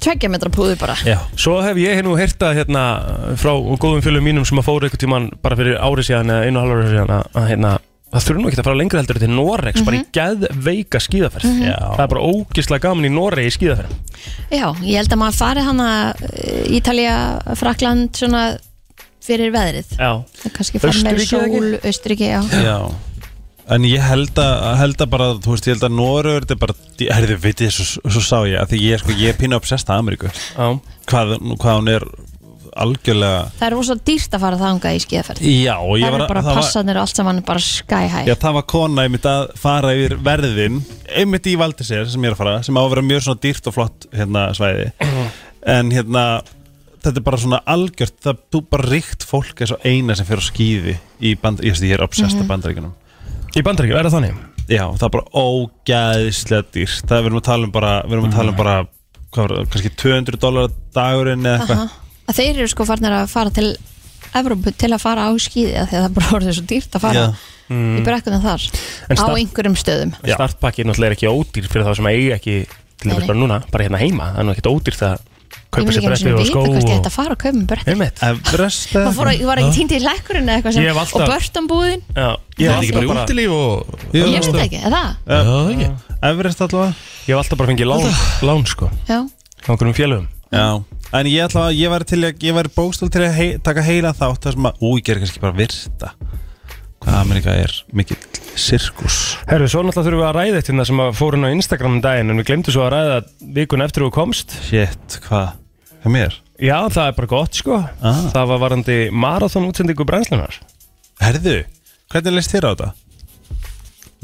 Speaker 2: tveggja metra púður bara
Speaker 8: Já
Speaker 3: Svo hef ég nú hérta hérna frá góðum fjölum mínum sem að fóru einhvern tíman bara fyrir ári síðan eða einu og halvur ári síðan að, að hérna, það þurfum nú ekki að fara lengra heldur til Noregs, bara
Speaker 2: Mhm.
Speaker 3: í geðveika skíðaferð
Speaker 8: Já.
Speaker 3: Það er bara ógislega gaman í Noregi í skíðaferð
Speaker 2: Já, ég held að maður fari hana Ítalja, Frakland, svona fyrir veðrið
Speaker 3: Já,
Speaker 2: Og kannski fara með
Speaker 3: Austurríki eða ekki?
Speaker 2: sól, Austuríki, já
Speaker 8: Já En ég held að, held að bara, þú veist, ég held að Norröður, þetta er bara, herðu, veit ég, svo, svo sá ég, að því ég, er sko, ég er pínu obsessed að Ameríku,
Speaker 3: já,
Speaker 8: hvað, hvað hún er algjörlega,
Speaker 2: Það er rosa dýrt að fara þangað í skiðaferð
Speaker 8: já, og ég
Speaker 2: Það
Speaker 8: var,
Speaker 2: eru bara
Speaker 8: það var,
Speaker 2: passanir og allt saman bara sky high
Speaker 8: já, það var kona einmitt að fara yfir verðin, einmitt í valdi sér sem ég er að fara, sem á að vera mjög svona dýrt og flott, hérna, svæði, en hérna, þetta er bara svona algjört, það, þú bara ríkt fólk er svo eina sem fer á skýði í band, ég veist, ég er obsessed að bandaríkunum.
Speaker 3: í bandaríkjum, er það þannig?
Speaker 8: Já, það er bara ógæðislega dýrt Það er- við erum að tala um bara, við erum að tala um bara hvað var, það, kannski 200 dólar dagurinn eða eitthvað
Speaker 2: Aha. að þeir eru sko farnir að fara til Evrópu til að fara á skíði af því að það bara orðið svo dýrt að fara
Speaker 8: Já.
Speaker 2: í brekkunum þar
Speaker 3: Mm. En
Speaker 2: á
Speaker 3: stað-
Speaker 2: einhverjum stöðum
Speaker 3: Já. Startpakki er náttúrulega ekki ódýr fyrir þá sem að eiga ekki til
Speaker 2: Nei,
Speaker 3: þess
Speaker 2: nei.
Speaker 3: bara núna, bara hérna heima Það er nú ekkert ódýrt að
Speaker 2: ég
Speaker 3: kaupa
Speaker 2: mun
Speaker 3: sér
Speaker 2: ekki eins
Speaker 3: bretti
Speaker 2: og
Speaker 3: og
Speaker 2: vita
Speaker 3: skó
Speaker 2: hvort ég ætti
Speaker 3: og...
Speaker 2: að fara að kaupa bretti
Speaker 3: Einmitt.
Speaker 8: Everest
Speaker 2: maður fór að, ég var ekki týnd í lekkurinn eða eitthvað
Speaker 3: Ég hef
Speaker 2: sem
Speaker 3: alltaf-
Speaker 2: og börnbúðin,
Speaker 3: Já,
Speaker 1: Ég
Speaker 3: ég
Speaker 1: er
Speaker 3: hef
Speaker 1: ekki bara í
Speaker 3: alltaf bara-
Speaker 1: útilíf og
Speaker 8: Jú,
Speaker 2: ég veit það ekki, eða það?
Speaker 1: Já, það ekki
Speaker 8: Everest allavega
Speaker 3: ég hef alltaf bara fengið lán, lán sko,
Speaker 2: já,
Speaker 3: á einhverjum félögum
Speaker 8: Já, en ég allavega, ég væri til að, ég væri bókstól til að hei, taka heila þátt það sem að, ú, ég ger kannski bara virta hvað Amerika er mikill sirkus
Speaker 3: Herru, svo náttúrulega þurfum við að ræða eitt hérna sem að fór hún á Instagram um daginn en við glemdu svo að ræða vikun eftir þú komst
Speaker 8: Shit, hvað, hvað mér?
Speaker 3: Já, það er bara gott sko
Speaker 8: Ah.
Speaker 3: Það var varandi marathon útsendingu brennslunar
Speaker 8: Herðu, hvernig leist þér á þetta?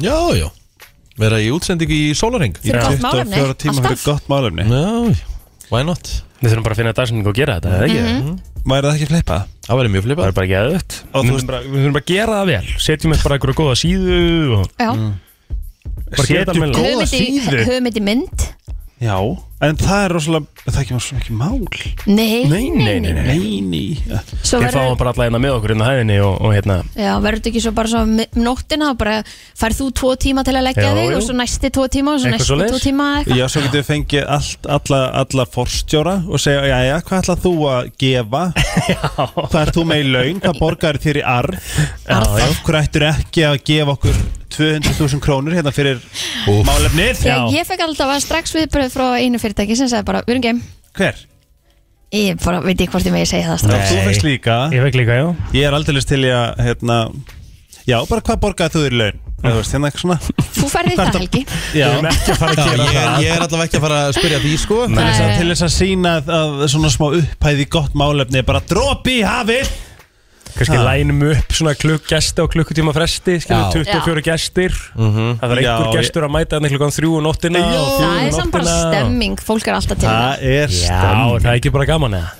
Speaker 1: Já, já Verða í útsendingu í sólaring Já,
Speaker 2: fyrir gott málefni
Speaker 8: 24 tíma fyrir
Speaker 2: alltaf,
Speaker 8: gott málefni
Speaker 1: já, why not?
Speaker 3: Við þurfum bara að finna dagsetningu og gera þetta, eða ekki?
Speaker 2: Mhm.
Speaker 8: Væri það ekki fleipað?
Speaker 1: Það verður mjög
Speaker 3: Það
Speaker 1: flipað
Speaker 3: er bara ekki aðutt
Speaker 8: Og
Speaker 3: Við
Speaker 8: þú veist-
Speaker 3: þurfum bara- við þurfum bara að gera það vel Setjum upp bara einhverja góða síðu og
Speaker 2: já,
Speaker 8: Mm.
Speaker 3: bara gera þetta almennilega.
Speaker 2: höfum þetta í- höfum þetta í mynd
Speaker 8: Já, en það er rosalega, það kemur svo mikið mál
Speaker 2: nei,
Speaker 3: Nei, nei, nei, nei
Speaker 8: Neini
Speaker 2: svo
Speaker 3: Við fáum
Speaker 2: verður
Speaker 3: bara alla hérna með okkur inn á hæðinni og, og hérna
Speaker 2: Já, verður þetta ekki svo bara svo mi- um nóttina þá bara færð þú tvo tíma til að leggja
Speaker 3: Já,
Speaker 2: þig
Speaker 3: jú.
Speaker 2: og svo næsti tvo tíma og svo
Speaker 3: Eitthvað
Speaker 2: næsti
Speaker 3: svoleiðis.
Speaker 2: tvo tíma eitthvað.
Speaker 8: Já, svo getur við fengið allt, alla, alla forstjóra og segja, já, já, hvað ætlað þú að gefa? Hvað er þú með í laun? Hvað borgar þér í arf?
Speaker 2: Arð.
Speaker 8: Af hverju ættur ekki að gefa okkur 200.000 krónur hérna fyrir málefnið?
Speaker 2: Já. Ég fekk alltaf að strax viðbröð frá einu fyrirtæki sem sagði bara, við erum geim
Speaker 8: Hver?
Speaker 2: Ég bara, veit ekki hvort ég megi segja það strax
Speaker 8: Þú veist líka,
Speaker 3: Ah. Ég veik líka, já
Speaker 8: ég er aldrei list til í að, hérna, já, bara hvað borgar þú þér í laun? Það veist, hérna eitthvað svona
Speaker 2: Þú færði það helgi
Speaker 8: Já,
Speaker 1: Já, ég, ég er allavega ekki að fara að spyrja því, sko
Speaker 8: til þess að,
Speaker 2: Nei.
Speaker 8: til þess að sína að, að svona smá upphæði gott málefni er bara dropi í hafið
Speaker 3: kannski lænum upp svona klukk gesti á klukkutíma fresti
Speaker 1: Já.
Speaker 3: skilur 24 gestir það þarf einhver
Speaker 8: Já, ég-
Speaker 3: gestur að mæta þannig klukkan 3 og nóttina og fjögur
Speaker 2: Það er
Speaker 3: um
Speaker 2: samt bara
Speaker 3: nóttina.
Speaker 2: stemming, fólk er alltaf til það
Speaker 8: Það er
Speaker 3: Já,
Speaker 8: stemming
Speaker 3: er það er ekki bara gaman eða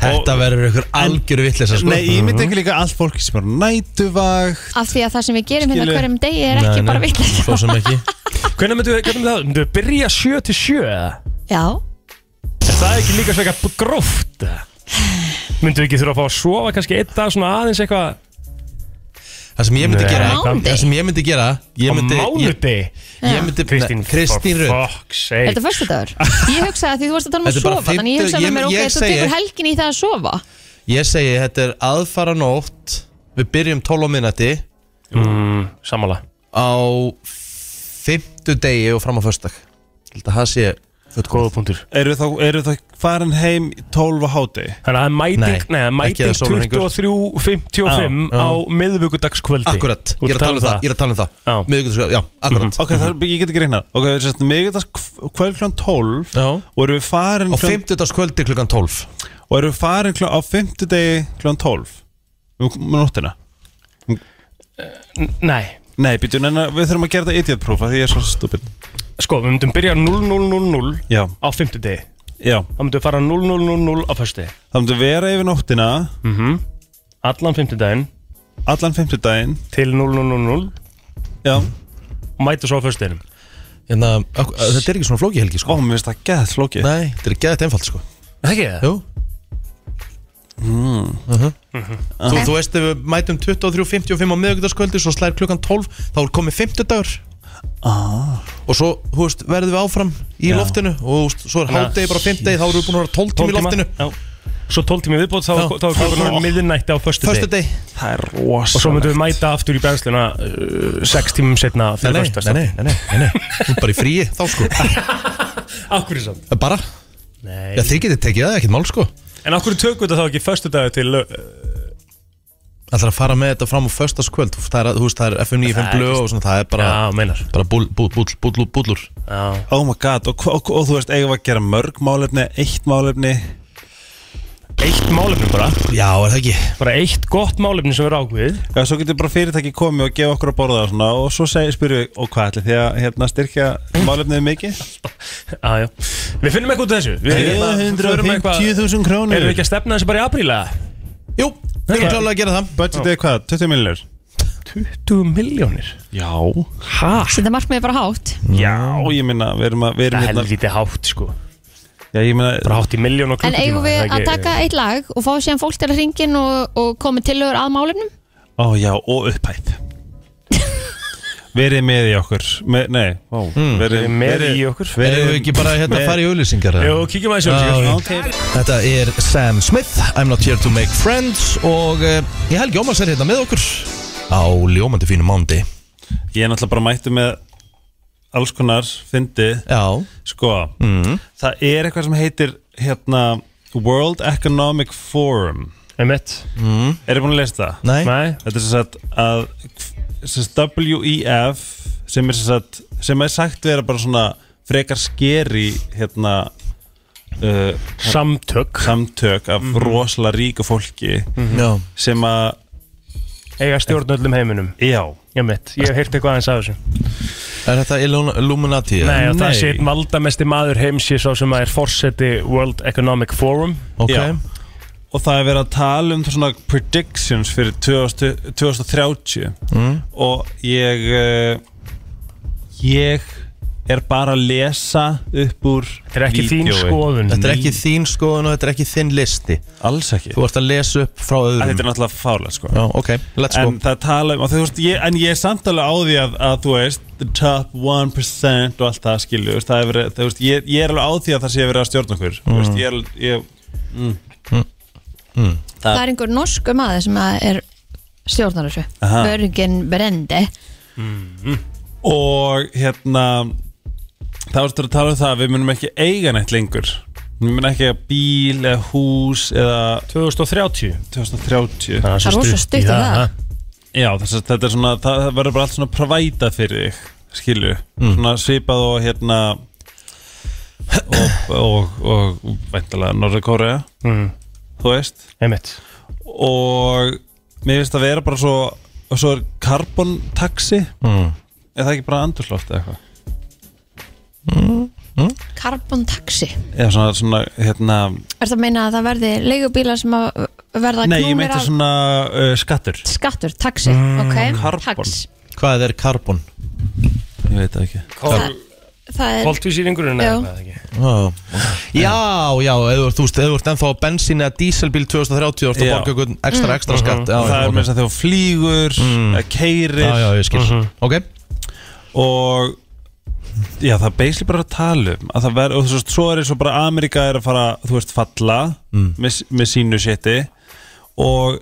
Speaker 1: Þetta verður ykkur algjöru vittlis sko.
Speaker 8: Nei, ég myndi ekki líka allt fólk sem er á nætuvakt
Speaker 2: Af því að það sem við gerum hérna
Speaker 8: Skilu.
Speaker 2: hverjum degi er ekki
Speaker 1: Nei,
Speaker 2: bara
Speaker 1: nei,
Speaker 2: vitleisa
Speaker 1: Svo sem ekki
Speaker 3: Hvernig myndum við, hvernig myndum við, myndum við byrja 7 til 7 eða?
Speaker 2: Já,
Speaker 3: Er það ekki líka svega gróft eða? Myndum við ekki þurfa að fá að sofa kannski einn dag svona aðeins eitthvað
Speaker 1: Það sem ég myndi
Speaker 3: Nei,
Speaker 1: gera
Speaker 2: hvað-
Speaker 1: Það sem ég myndi gera Ég
Speaker 3: á
Speaker 1: myndi ég-
Speaker 3: mánudegi
Speaker 1: Ég myndi
Speaker 3: Kristín,
Speaker 1: Nei, Kristín
Speaker 3: for
Speaker 1: Rönd
Speaker 3: fuck's sake
Speaker 2: er þetta föstudagur? Ég hugsaði að því þú varst að tala um að
Speaker 1: Þetta er bara
Speaker 2: sofa Þannig ég
Speaker 1: fimmtu-
Speaker 2: hugsaði
Speaker 1: ég-
Speaker 2: með mér,
Speaker 1: ég
Speaker 2: ok, þú
Speaker 1: segi-
Speaker 2: tekur helgin í það að sofa
Speaker 1: Ég segi þetta er aðfara nótt Við byrjum 12 á minnati
Speaker 3: mm, Sammála
Speaker 1: Á Fymtu degi og fram á föstak Þetta það sé
Speaker 3: Góða punktur
Speaker 8: Eru þá, eru þá farin heim 12 á háti
Speaker 3: Þannig að það er mæting,
Speaker 1: Nei,
Speaker 3: nei, nei,
Speaker 1: ekki
Speaker 3: mæting
Speaker 1: það sólarhringur.
Speaker 3: 23.55
Speaker 1: Já, já.
Speaker 3: á miðvíkudagskvöldi
Speaker 1: Akkurat,
Speaker 3: Þú
Speaker 1: ég er að
Speaker 3: ert
Speaker 1: tala um það Ég er að tala um
Speaker 3: Já.
Speaker 1: það Miðvikudags- Já, Mhm. akkurat
Speaker 8: Ok, það, er- ég get ekki reynað Ok, sérst, miðvikudagsk- kvöld klukkan 12
Speaker 1: Já.
Speaker 8: Og eru við farin
Speaker 1: Á fymtudagskvöldi klukkan 12
Speaker 8: Og eru við farin klukkan, á 5. degi klukkan 12 Um um nóttina
Speaker 3: N- Nei,
Speaker 8: Nei, býtum, en við þurfum að gera þetta idiotpróf af Því ég er svo stupid
Speaker 3: sko, við myndum byrja 0000
Speaker 8: Já,
Speaker 3: á 50 degi
Speaker 8: já
Speaker 3: Það myndum við fara 0000 á 1. degi
Speaker 8: Það myndi vera yfir nóttina
Speaker 3: Allan 50 daginn
Speaker 8: Allan 5. daginn
Speaker 3: til 0000
Speaker 8: Já
Speaker 3: og mæta svo á fyrstu einum
Speaker 1: Hérna, ak- Þetta er ekki svona flóki helgi
Speaker 8: Ó,
Speaker 1: sko
Speaker 8: mér finnst það gæð flókið
Speaker 1: Nei, þetta er geðið einfalt sko
Speaker 3: Það ekki það?
Speaker 1: Jú Mhm. Þú, þú veist ef við mætum 23.55 á miðugdaskvöldi Svo slær klukkan 12 Þá er komið 50 dagur Og svo þú veist, verðum við áfram í
Speaker 8: Já.
Speaker 1: loftinu Og þú veist, svo er
Speaker 3: Þannig að-
Speaker 1: hátegi bara 5 degi Þá erum við búin að vera 12 tíma í loftinu
Speaker 3: Já. Svo 12 tími viðbót þá,
Speaker 1: Já.
Speaker 3: þá er klokkan orðin miðinætti á fyrstu
Speaker 1: Föstu
Speaker 3: degi
Speaker 1: deg
Speaker 8: Það er rosalegt
Speaker 3: Og svo myndum við mæta aftur í brennsluna 6 tímum setna
Speaker 1: Nei,
Speaker 3: fyrir
Speaker 1: nei,
Speaker 3: fyrstu
Speaker 1: nei, nei, nei, nei, nei. Þú er bara í fríi þá sko
Speaker 3: Akkur er samt
Speaker 1: Bara, já,
Speaker 3: Nei
Speaker 1: þið getið tekið það, ekkert mál sko
Speaker 3: En akkur tökum þetta þá ekki fyrstu dagu til uh,
Speaker 1: Það er að fara með þetta fram á föstaskvöld Þú það er- þú veist, það er FM 95
Speaker 3: Það er
Speaker 1: blöð og svona Það er bara,
Speaker 3: Já, meinar
Speaker 1: bara búll, búll, búll, búll, búllur
Speaker 3: Já
Speaker 8: Oh my god, og, og, og, þú veist, eigum við að gera mörg málefni, eitt málefni
Speaker 3: Eitt málefni bara
Speaker 1: Já, er það ekki
Speaker 3: Bara eitt gott málefni sem er ákveðið
Speaker 8: Já, svo getur bara fyrirtæki komið og gefa okkur að borða og svona, og svo segir, spyrjum við, og hvað ætli því að hérna, styrkja málefnið mikið?
Speaker 3: Já, já Við finnum eitthvað út af þessu Við hérna, förum eitthvað-
Speaker 8: 150.000 krónur
Speaker 3: Erum við ekki að stefna þessu bara í apríla?
Speaker 1: Jú, við erum klálega að gera það
Speaker 8: Budgetið er hvað, 20 millir?
Speaker 3: 20 miljónir
Speaker 8: Já
Speaker 3: Hæ?
Speaker 2: Þetta markmiðið bara hátt
Speaker 8: Já, ég minna, við erum að, við
Speaker 3: Það
Speaker 8: erum
Speaker 3: er
Speaker 8: hérna
Speaker 3: helvítið Mm. hátt sko
Speaker 8: Já, ég minna,
Speaker 3: Bara hátt í miljón og
Speaker 2: En
Speaker 3: klukkutíma
Speaker 2: eigum
Speaker 3: það
Speaker 2: við
Speaker 3: er
Speaker 2: að
Speaker 3: ekki-
Speaker 2: taka eitt lag og fá síðan fólk til að ringin og, og komi tillögur að málefnum?
Speaker 8: ó já, og upphæð Verið með í okkur, Me, nei, ó, verið
Speaker 3: Verið með í okkur.
Speaker 1: Erum við ekki bara hérna að fara í auðlýsingar? eða?
Speaker 3: Jú, kíkjum aðeins í auglýsingar.
Speaker 1: Já,
Speaker 8: Ok.
Speaker 1: ok. Þetta er Sam Smith, I'm not here to make friends og uh, ég helgi Ómars er hérna með okkur á ljómandi fínu mándi
Speaker 8: Ég er náttúrulega bara mættu með alls konar, fyndi
Speaker 1: Já,
Speaker 8: Sko, það er eitthvað sem heitir hérna World Economic Forum
Speaker 3: Einmitt.
Speaker 8: Er þið búin að lesa það?
Speaker 1: nei,
Speaker 3: Nei.
Speaker 8: Þetta er sem sagt að sem sagt, WEF sem er sem sagt sem er sagt vera bara svona frekar skeri hérna uh,
Speaker 3: Samtök
Speaker 8: samtök af rosalega ríku fólki
Speaker 1: Mhm. já
Speaker 8: sem að
Speaker 3: eiga stjórn öllum heiminum
Speaker 8: já,
Speaker 3: Einmitt. Ég hef heyrt eitthvað aðeins af þessu
Speaker 1: Er þetta Illum- Illuminati? eða?
Speaker 3: Nei, og það
Speaker 8: Nei.
Speaker 3: sé einn valdamesti maður heims ég sá sem að er forseti World Economic Forum
Speaker 1: Ok,
Speaker 8: já. og það er verið að tala um svona predictions fyrir 2000, 2030 og ég eh, ég er bara að lesa upp úr
Speaker 3: Þetta er ekki þín
Speaker 8: vídeói.
Speaker 3: skoðun
Speaker 1: þetta er ekki þín skoðun og þetta er ekki þinn listi
Speaker 8: alls ekki
Speaker 1: Þú ert að lesa upp frá
Speaker 8: Að þetta
Speaker 1: öðrum
Speaker 8: er náttúrulega fárlega sko
Speaker 1: Já, ok, let's go
Speaker 8: en það tala um og þú veist, ég, en ég er samtala á því að, að þú veist, the top 1% og allt það skilju, þú veist, það er verið þú veist, ég, ég er alveg á því að það sé verið að stjórna okkur þú veist, ég er alveg, ég, mm.
Speaker 2: Það er einhver norsku maður sem að er stjórnar þessu.
Speaker 8: Aha.
Speaker 2: Börgin Brende.
Speaker 8: og hérna þá ertu að tala um það að við munum ekki eiga neitt lengur við munum ekki eiga bíl eða hús eða
Speaker 3: 2030
Speaker 8: 2030
Speaker 3: Það
Speaker 2: Það er rosa stutt í það.
Speaker 8: já þess að þetta er svona það það verður bara allt svona provæta fyrir þig skilju, svona svipað og hérna og, og, og, og væntalega Norra Kórea
Speaker 3: Mm.
Speaker 8: þú veist
Speaker 3: Einmitt
Speaker 8: og mér finnst að vera bara svo og svo er karbontaxi
Speaker 3: Mm.
Speaker 8: er það ekki bara andurslóft eða eitthvað
Speaker 2: Carbon taxi
Speaker 8: eða svona, svona hérna
Speaker 2: Er það að meina að það verði leigubílar sem að verða
Speaker 8: nei, ég
Speaker 2: knúnir
Speaker 8: meinti
Speaker 2: af
Speaker 8: svona uh, skattur
Speaker 2: skattur, taxi ok,
Speaker 8: carbon.
Speaker 2: tax
Speaker 1: Hvað er karbon?
Speaker 8: ég veit það ekki
Speaker 2: það, það er
Speaker 3: Koltvísýringurinn
Speaker 2: Já.
Speaker 3: eða eitthvað, ekki?
Speaker 1: Já, já, já eða þú veist, eða þú ert ennþá á bensín eða díselbíl 2030 og ert að
Speaker 8: Já. Mm. Mhm.
Speaker 1: borga einhvern ekstra, ekstra skatt já,
Speaker 8: það
Speaker 1: já,
Speaker 8: er
Speaker 1: ok.
Speaker 8: með þess að þegar þú flýgur
Speaker 1: Mm.
Speaker 8: mm. keirir
Speaker 1: Já, já, ég skil Ok,
Speaker 8: og já, það er basically bara að tala um að það verður, og þú veist, svo er eins og bara Amerika er að fara, þú veist, falla með, með sínu sétti og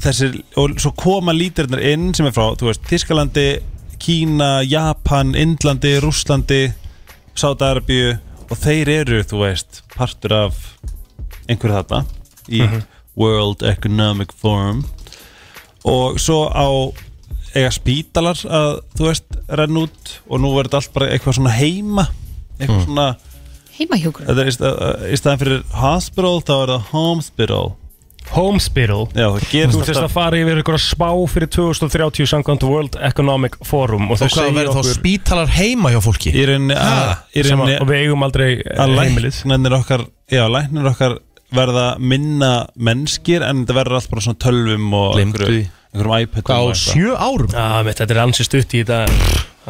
Speaker 8: þessir, og svo koma lítirinnar inn sem er frá, þú veist, Þískalandi Kína, Japan, Indlandi Rússlandi, Sádarabíu og þeir eru, þú veist partur af einhverju þarna í World Economic Forum og svo á eiga spítalar að þú veist renn út og nú verður þetta allt bara eitthvað svona heima eitthvað
Speaker 3: Mm.
Speaker 8: svona
Speaker 2: heimahjúkur
Speaker 8: þetta er í, stað, í staðan fyrir hospital þá er það homespital
Speaker 3: Home Spiral
Speaker 8: já það gerist
Speaker 3: Þú þess að fara yfir ykkur spá fyrir 2030 samkvæmt World Economic Forum og þau
Speaker 1: og hvað
Speaker 3: segja
Speaker 1: verður þá
Speaker 3: okkur
Speaker 1: spítalar heima hjá fólki?
Speaker 8: í rauninni að í
Speaker 3: sem að,
Speaker 8: rauninni
Speaker 3: og við eigum aldrei eh,
Speaker 8: að
Speaker 3: heimilið
Speaker 8: læknarnir okkar já læknarnir okkar verða minna mennskir en þetta verður allt bara svona tölvum og
Speaker 1: Gleymdu því.
Speaker 8: einhverju- einhverjum iPad
Speaker 1: Hvað á sjö árum?
Speaker 3: Já, mitt, þetta er ansið stutt í þetta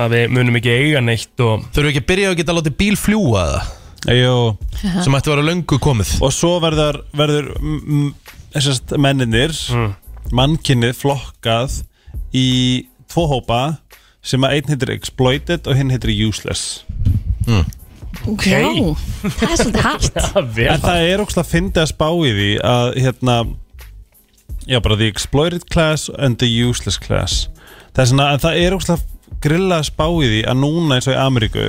Speaker 3: að við munum ekki eiga neitt og
Speaker 1: Þurfum við ekki að byrja að geta að láta bíl fljúa það
Speaker 8: sjö
Speaker 1: sem ætti að vera löngu komið
Speaker 8: og svo verður, verður mm, mm, þessast menninir mm. mannkinnið flokkað í tvo hópa sem að einn heitir exploited og hinn heitir useless
Speaker 2: okay. það er svolítið hægt
Speaker 3: vel,
Speaker 8: en það er ógslag að fyndi að spá í því að hérna já bara the exploited class and the useless class það er svona, en það er ógslag grilla að spá í því að núna eins og í Ameríku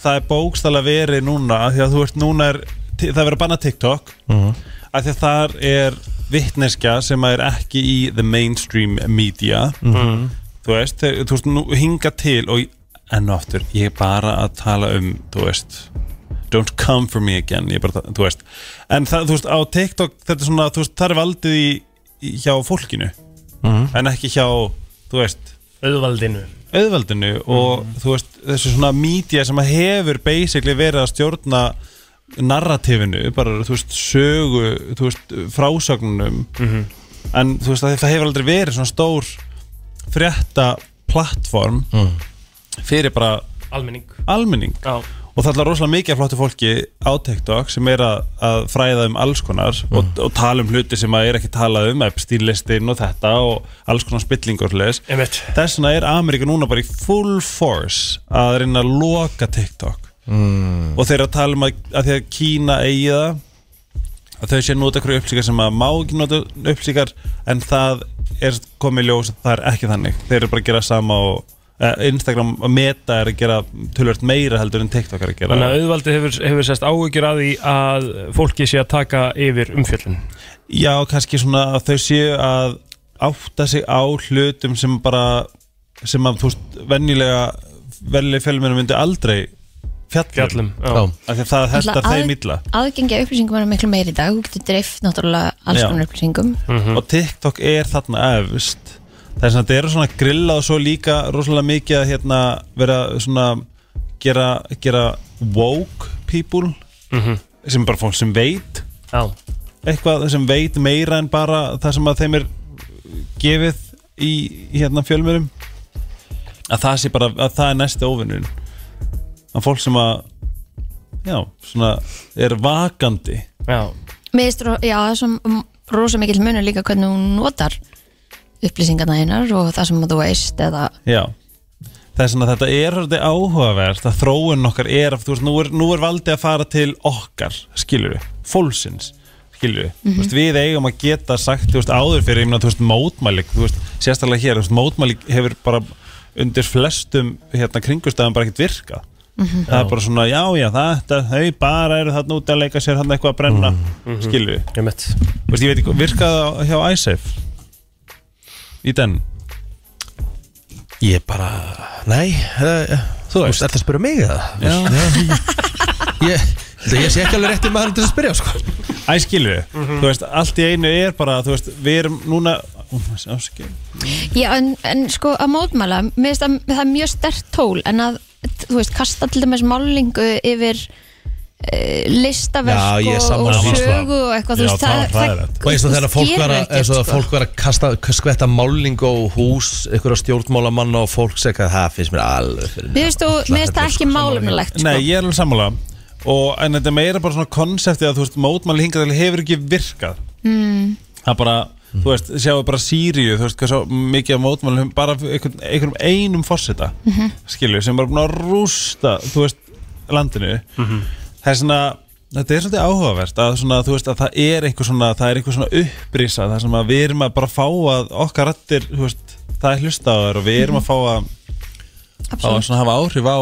Speaker 8: það er bókstala verið núna af því að þú ert núna er, ti- það verður að banna TikTok af því að þar er vittneskja sem er ekki í the mainstream media þú veist, þeir, þú veist, nú hinga til og enn og aftur, ég er bara að tala um, þú veist don't come for me again, ég er bara, að- þú veist en það, þú veist, á TikTok þetta er svona, þú veist, það er valdið í, í hjá fólkinu, en ekki hjá þú veist,
Speaker 3: auðvaldinu
Speaker 8: auðveldinu og þú veist, þessu svona mídía sem að hefur basically verið að stjórna narratífinu, bara þú veist sögu, þú veist, frásögnunum en þú veist að það hefur aldrei verið svona stór frétta plattform fyrir bara
Speaker 3: Almenning
Speaker 8: almenning
Speaker 3: Já,
Speaker 8: og það er rosalega mikið af flottu fólki á TikTok sem er að, að fræða um alls konar og, og tala um hluti sem að er ekki talað um stílistin og þetta og alls konar spillingur þess
Speaker 3: einmitt
Speaker 8: vegna er Ameríka núna bara í full force að reyna að loka TikTok mm. og þeir eru að tala um að, að því að Kína eigi það að þau sé að nota hverju upplýsingar sem að má ekki nota upplýsingar en það er komið í ljós að það er ekki þannig þeir eru bara að gera sama og eh, Instagram og Meta er að gera tölvöld meira heldur en TikTok er að gera
Speaker 3: Þannig að auðvaldið hefur, hefur sérst áhyggjur að því að fólki sé að taka yfir umfjöllun
Speaker 8: Já, kannski svona að þau séu að átta sig á hlutum sem bara sem að þú veist venjulega venjulega fjölmennum myndi aldrei fjallum,
Speaker 3: fjallum
Speaker 1: Já.
Speaker 8: af því að það hestar
Speaker 2: Náttúrulega
Speaker 8: þeim
Speaker 2: að-
Speaker 8: illa
Speaker 2: aðgengi að upplýsingum er miklu meiri í dag þú getur dreift náttúrulega alls
Speaker 8: Já.
Speaker 2: konar upplýsingum
Speaker 8: og TikTok er þarna efst það er svona, þetta eru svona grilla og svo líka rosalega mikið að hérna vera svona gera, gera woke people sem er bara fólk sem veit
Speaker 3: Já,
Speaker 8: eitthvað sem veit meira en bara það sem að þeim er gefið í, í hérna fjölmjölum að það sé bara að það er næsti óvinnun að fólk sem að já, svona er vakandi
Speaker 3: já,
Speaker 2: Mér finnst ró- já, það er svo rosa mikill munur líka hvernig hún notar upplýsingarna hennar og það sem þú veist eða
Speaker 8: já það er svona að þetta er orðið áhugavert að þróun okkar er að þú veist, nú er, nú er valdið að fara til okkar skilur við, fólksins skilur við, þú veist, við eigum að geta sagt, þú veist, áður fyrir, ég meina, þú veist, mótmæli þú veist, sérstaklega hér, þú veist, mótmæli hefur bara undir flestum hérna kringustæðum bara ekkert virkað það er bara svona, já, já, þetta þau bara eru þarna út að leika sér þarna eitthvað að brenna, mm skilur við
Speaker 3: einmitt
Speaker 8: Þú veist, ég veit ekki, virkaði það hjá ISAF í den
Speaker 1: Ég bara, nei eh, Þú veist, ert að spyrja mig það? Já Ég, ég, ég sé ekki alveg rétti maður til að spyrja sko.
Speaker 8: Æ, skilur við, þú veist, allt í einu er bara, þú veist, við erum núna Ó, áskil,
Speaker 2: Já, en, en sko að mótmæla mér finnst að það er mjög stert tól en að, þú veist, kasta til dæmis málingu yfir e,
Speaker 1: Já,
Speaker 2: listaverk
Speaker 1: ég er
Speaker 2: og,
Speaker 1: sammála
Speaker 2: og
Speaker 1: því, sko.
Speaker 2: sögu og eitthvað, þú
Speaker 8: Já,
Speaker 2: veist,
Speaker 8: það var hræðilegt.
Speaker 1: Og eins og þegar fólk
Speaker 2: gerir
Speaker 1: var að,
Speaker 2: ekkert,
Speaker 1: eins og
Speaker 2: sko.
Speaker 1: þegar fólk var að kasta, skvetta málingu og hús, einhverja stjórnmálamanna og fólk segja að það finnst mér alveg fyrir
Speaker 2: Mér finnst þú, mér
Speaker 1: sko
Speaker 2: finnst það ekki sko. málumlegt
Speaker 8: Nei, ég er alveg sammála og, En þetta er meira bara svona konsepti að þú veist mótmæli hingað til hefur ekki virkað mm. Það bara, þú veist, sjáu bara Sýriu, þú veist, hvað svo mikið af mótmæli bara einhvern, einhverjum einum forseta mm -hmm. skilju, sem bara búin að rústa þú veist, landinu Það er svona, þetta er svolítið áhugavert að svona, þú veist, að það er einhver svona það er einhver svona upprisa, það sem að við erum að bara fá að okkar rættir, þú veist það er hlusta á þær og við erum að fá að þá að svona hafa áhrif á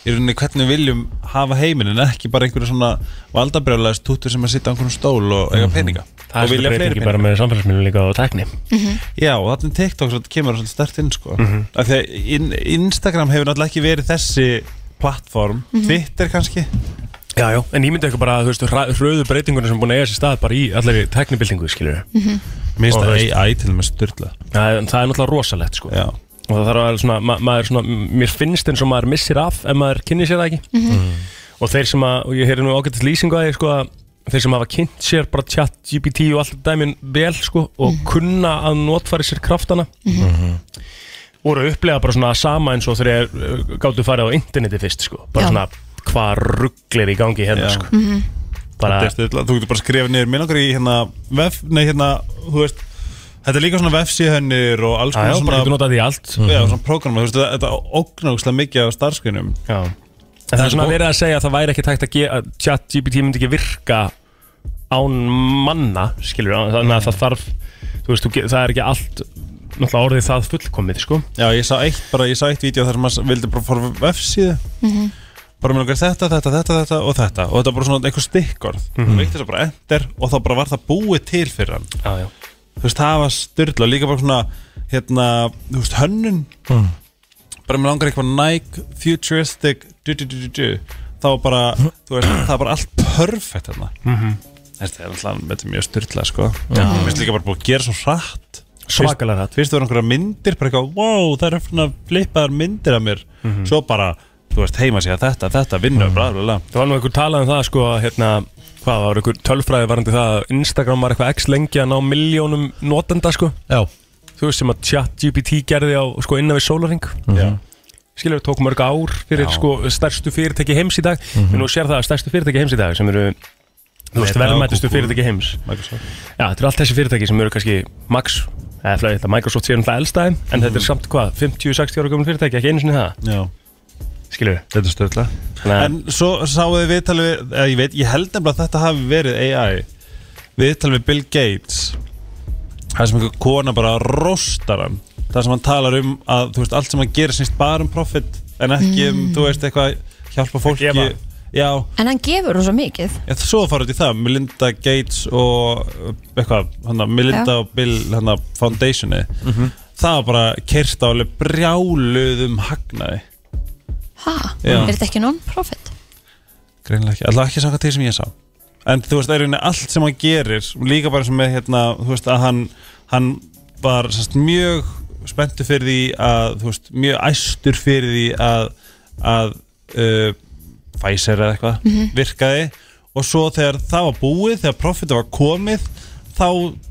Speaker 8: í rauninni hvernig við viljum hafa heiminn en ekki bara einhverju svona valdabrjálæðis tútur sem að sitja á einhverjum stól og eiga peninga
Speaker 3: Það
Speaker 8: og
Speaker 3: er
Speaker 8: vilja
Speaker 3: svolítið
Speaker 8: fleiri
Speaker 3: breytingi
Speaker 8: peninga
Speaker 3: bara með samfélagsmiðlum líka og tækni
Speaker 8: Já, og þannig TikTok svolítið kemur svolítið stert inn sko. af því að in, Instagram hefur náttúrulega ekki verið þessi plattform, Twitter kannski
Speaker 3: Já, já En ég myndi eitthvað bara, þú veist, hra- hröðu breytingunum sem er búin að eiga sér stað bara í allari tæknibildingu, skilur við
Speaker 8: Mér
Speaker 3: Og
Speaker 8: finnst
Speaker 3: þú
Speaker 8: að
Speaker 3: veist-
Speaker 8: AI til og með styrla
Speaker 3: Það er það er náttúrulega rosalegt, sko
Speaker 8: Já,
Speaker 3: Og það þarf að vera svona, ma maður svona, m- mér finnst eins og maður missir af ef maður kynni sér það ekki
Speaker 8: Mhm.
Speaker 3: Og þeir sem að, og ég heyri nú ágættist lýsingu að ég, sko að Þeir sem hafa kynnt sér bara chat, GPT og allt dæmin vel, sko Og kunna að notfæri sér kraftana
Speaker 8: Mhm.
Speaker 3: voru að upplega bara svona sama eins og þegar uh, gáttu farið á interneti fyrst sko.
Speaker 2: Já.
Speaker 3: bara svona hvað rugglir í gangi hérna
Speaker 8: Já.
Speaker 3: sko. bara,
Speaker 8: þetta er styrla, þú getur bara að skrifa niður mér langar í hérna, vef, nei hérna þú veist, þetta er líka svona vefsíðhönnir og alls
Speaker 3: Ah, já, já, bara
Speaker 8: konar svona Mhm.
Speaker 3: getur notað því allt
Speaker 8: Já, svona prógrama, þú veist, þetta- þetta ógnáðslega mikið af starfskynum
Speaker 3: já. en það er svona verið að segja að það væri ekki tækt að, ge- að chat GPT myndi ekki virka án manna skilur, þannig að það þarf þú veist, þú ge- það er ekki allt náttúrulega orðið það fullkomið sko.
Speaker 8: Já, ég sá eitt, bara ég sá eitt vídeo þar sem maður vildi bara fara á vefsíðu bara með langar þetta, þetta, þetta, þetta og þetta og þetta var bara svona einhver stikkorð
Speaker 3: Mhm.
Speaker 8: mm -hmm. veikti þess að bara enter og þá bara var það búið til fyrir hann
Speaker 3: já, já.
Speaker 8: þú veist, það var styrla og líka bara svona hérna, þú veist, hönnun
Speaker 3: Mhm.
Speaker 8: bara með langar eitthvað Nike futuristic du, du, du, du, du. þá var bara, þú veist, það var bara allt perfect hérna
Speaker 3: Mhm.
Speaker 8: þetta er alltaf, þetta er mjög styrla, sko mér finnst líka bara búið að gera svo hratt
Speaker 3: svakalega rætt
Speaker 8: Fyrst voru einhverja myndir, bara eitthvað, wow, það eru svona flippaðar myndir af mér Svo bara, þú veist, heima sig að þetta, þetta, vinnu, mm -hmm. bla, bla, bla
Speaker 3: Það var nú einhver talað um það sko að, hérna, hvað það var einhver tölfræði varandi það að Instagram var eitthvað x lengi að ná miljónum notenda sko
Speaker 1: Já,
Speaker 3: þú veist sem að ChatGPT gerði á sko innan við Solaring
Speaker 8: Já.
Speaker 3: skilur við tók mörg ár fyrir sko stærstu fyrirtæki heims í dag en nú sér það að stærstu fyrirtæki heims í dag sem eru þú veist
Speaker 8: Mhm. Meta,
Speaker 3: verðmættustu
Speaker 8: Google.
Speaker 3: fyrirtæki heims
Speaker 8: Microsoft
Speaker 3: já þetta eru allt þessi fyrirtæki sem eru kannski Max eða flæði þetta Microsoft sér um það elstaði en þetta
Speaker 8: Mhm.
Speaker 3: er samt hvað 50-60 ára gömul fyrirtæki ekki einu sinni það
Speaker 8: Já,
Speaker 3: skilur við
Speaker 8: þetta er stöðla
Speaker 3: Þannig að-
Speaker 8: En svo sáum við viðtalið við, eða ég veit, ég held nefnilega að þetta hafi verið AI Viðtalið við Bill Gates Það sem einhver kona bara róstar hann Það sem hann talar um að, þú veist, allt sem hann gerir sinst bara um profit En ekki um, þú veist, eitthvað hjálpa fólki
Speaker 3: Gefa.
Speaker 8: Já,
Speaker 2: En hann gefur rosa mikið
Speaker 8: Já, það- svo farið í það, Melinda Gates og uh, eitthvað, hana, Melinda og Bill hana, Foundationi það var bara kert á alveg brjáluðum hagnaði
Speaker 2: Ha,
Speaker 8: Já.
Speaker 2: er þetta ekki non-profit?
Speaker 8: greinlega ekki, alltaf ekki samkvæmt því sem ég sá en þú veist, það er í rauninni allt sem hann gerir líka bara sem með, hérna, þú veist að hann, hann var sérst, mjög spenntu fyrir því að þú veist, mjög æstur fyrir því að að uh, Pfizer eða eitthvað virkaði og svo þegar það var búið þegar profitið var komið þá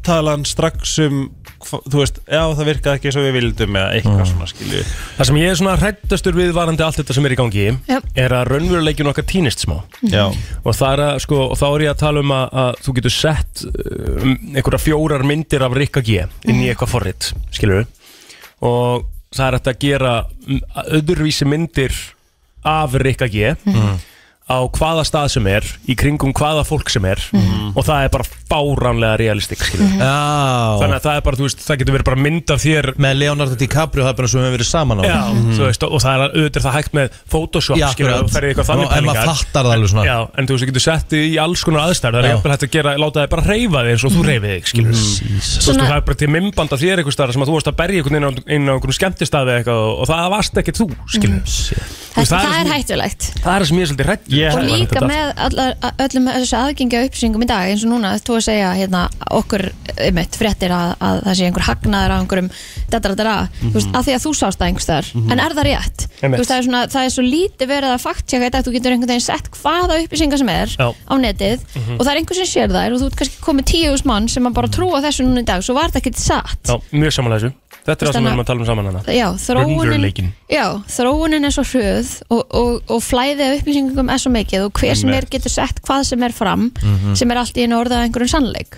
Speaker 8: tala hann strax um hva- þú veist, já það virkaði ekki svo við vildum eða eitthvað svona skilju
Speaker 3: það sem ég er svona hrættastur við varandi allt þetta sem er í gangi
Speaker 2: Já.
Speaker 3: er að raunveruleikin okkar týnist smá
Speaker 8: já,
Speaker 3: og, það er að, sko, og þá er ég að tala um að, að þú getur sett um, einhverja fjórar myndir af Rikka G inn í eitthvað forrit, skilur og það er hægt að gera mm, öðruvísi myndir af Rikka G á hvaða stað sem er, í kringum hvaða fólk sem er og það er bara fáránlega realistik, skilur
Speaker 1: já
Speaker 3: þannig að það er bara, þú veist, það getur verið bara mynd af þér
Speaker 1: Með Leonardo DiCaprio, það er bara svo við höfum verið saman á
Speaker 3: Já, þú veist, og það er auðvitað það hægt með Photoshop,
Speaker 1: Mhm. Já,
Speaker 3: skilur,
Speaker 1: akkurat.
Speaker 3: þú ferði eitthvað
Speaker 1: Nú,
Speaker 3: þannig
Speaker 1: en maður fattar það alveg svona.
Speaker 3: Já, en þú veist, þú getur sett þig í alls konar aðstæður
Speaker 1: Já.
Speaker 3: Það er
Speaker 1: Mhm.
Speaker 3: jafnvel hægt að gera, láta þig bara reyfa þig eins og þú reyfið þig, skilur Þú veist,
Speaker 2: Svona-
Speaker 3: það er bara til mymband af þér einhvers staðar sem að þú varst að berja einhvern inn á, inn á einhvern
Speaker 1: Mhm.
Speaker 3: skemmtistaði eitthvað og, og það varst ekki þú, skilur mm.
Speaker 2: Þetta, það er hættulegt
Speaker 3: Það er það sem ég er svolítið um. hrætt Ég-
Speaker 2: og líka með allar, öllum þessu aðgengja upplýsingum í dag eins og núna þú að segja hérna, okkur mitt fréttir að, að það sé einhver hagnaður að einhverjum dadra, dadra, mm veist, að því að þú sást það einhverstaðar
Speaker 9: Mhm.
Speaker 2: en er það rétt?
Speaker 9: Einmitt.
Speaker 2: Þú Veist, það, er svona, það er svo lítið verið að faktsjaka þetta þú getur einhvern veginn sett hvaða upplýsingar sem er
Speaker 9: Já.
Speaker 2: á netið
Speaker 9: Mhm.
Speaker 2: og það er einhver sem sér þær og þú ert kannski komið tíu hús mann sem að bara trúa þessu núna í dag svo var það ekkert satt
Speaker 3: Já, mjög samanlega þessu Þetta er það sem við erum að tala um saman hana
Speaker 2: Já, þróunin,
Speaker 3: Raunveruleikinn.
Speaker 2: já, þróunin er svo hröð og, og, og flæðið af upplýsingum er svo mikið og hver sem er
Speaker 3: Einmitt.
Speaker 2: getur sett hvað sem er fram
Speaker 3: Mhm.
Speaker 2: sem er allt í einu orðað að einhverjum sannleik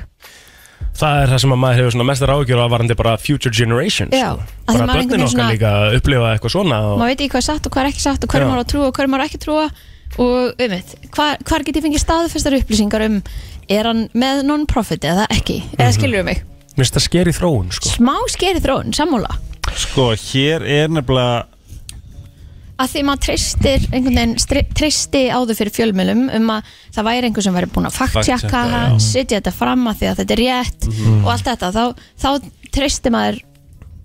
Speaker 3: Það er það sem að maður hefur svona mestar ágjör af varandi bara future generations
Speaker 2: Já,
Speaker 3: sko.
Speaker 2: að því maður einhvern
Speaker 3: Bara börnin
Speaker 2: veginn
Speaker 3: okkar
Speaker 2: svona-
Speaker 3: líka að upplifa eitthvað svona og...
Speaker 2: maður veit ekki hvað er satt og hvað er ekki satt og hverju
Speaker 3: Já.
Speaker 2: maður á að trúa og hverju maður á ekki að trúa og um eitt, hvar get ég fengið staðfestar upplýsingar um er hann með non-profit eða ekki,
Speaker 3: Mhm.
Speaker 2: eða skilur um mig
Speaker 3: Mér finnst það skeri þróun sko.
Speaker 2: smá skeri þróun, sammála
Speaker 8: Sko, hér er nefnilega
Speaker 2: að því maður treystir einhvern veginn stri- treysti áður fyrir fjölmjölum um að það væri einhver sem væri búin að faktsjaka
Speaker 9: Faktjaka, já.
Speaker 2: setja þetta fram að því að þetta er rétt
Speaker 3: Mhm.
Speaker 2: og allt þetta, þá, þá treystir maður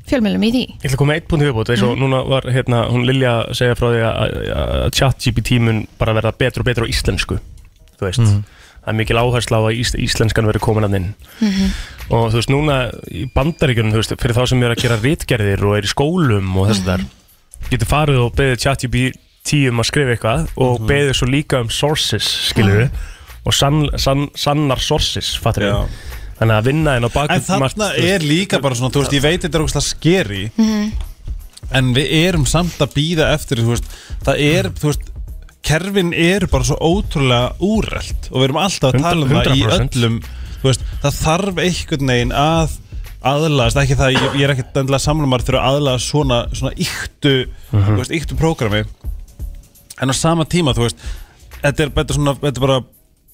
Speaker 2: fjölmjölum í því
Speaker 3: Ég ætla að koma með eitt punkt í viðbútt eins og
Speaker 9: Mhm.
Speaker 3: núna var hérna, hún Lilja að segja frá því að- að að ChatGPT mun bara verða betur og betur á íslensku þú veist
Speaker 9: Mhm.
Speaker 3: það er mikil áhersla á að ís, íslenskan verður komin að inn
Speaker 9: Mhm.
Speaker 3: og þú veist núna í bandaríkjunum þú veist fyrir þá sem eru að gera rítgerðir og eru í skólum og þess
Speaker 9: Mhm.
Speaker 3: að þar getur farið og beðið ChatGPT um að skrifa eitthvað og
Speaker 9: Mhm.
Speaker 3: beðið svo líka um sources skilur við og sann, sann, sannar sources fattur við þannig að vinna en á bakum
Speaker 8: En þarna er líka bara svona, þú veist, ég veit þetta er ógust að skeri En við erum samt að býða eftir, þú veist Það er, þú veist, kerfin eru bara svo ótrúlega úrelt Og við erum alltaf að tala um það í
Speaker 3: 100%.
Speaker 8: öllum Þú veist, það þarf einhvern veginn að aðlaðast Ekki það, ég, ég er ekkert endilega samlumar þurfa að aðlaðast svona, svona yktu, þú veist, yktu prógrami En á sama tíma, þú veist, þetta er, þetta er svona, þetta er bara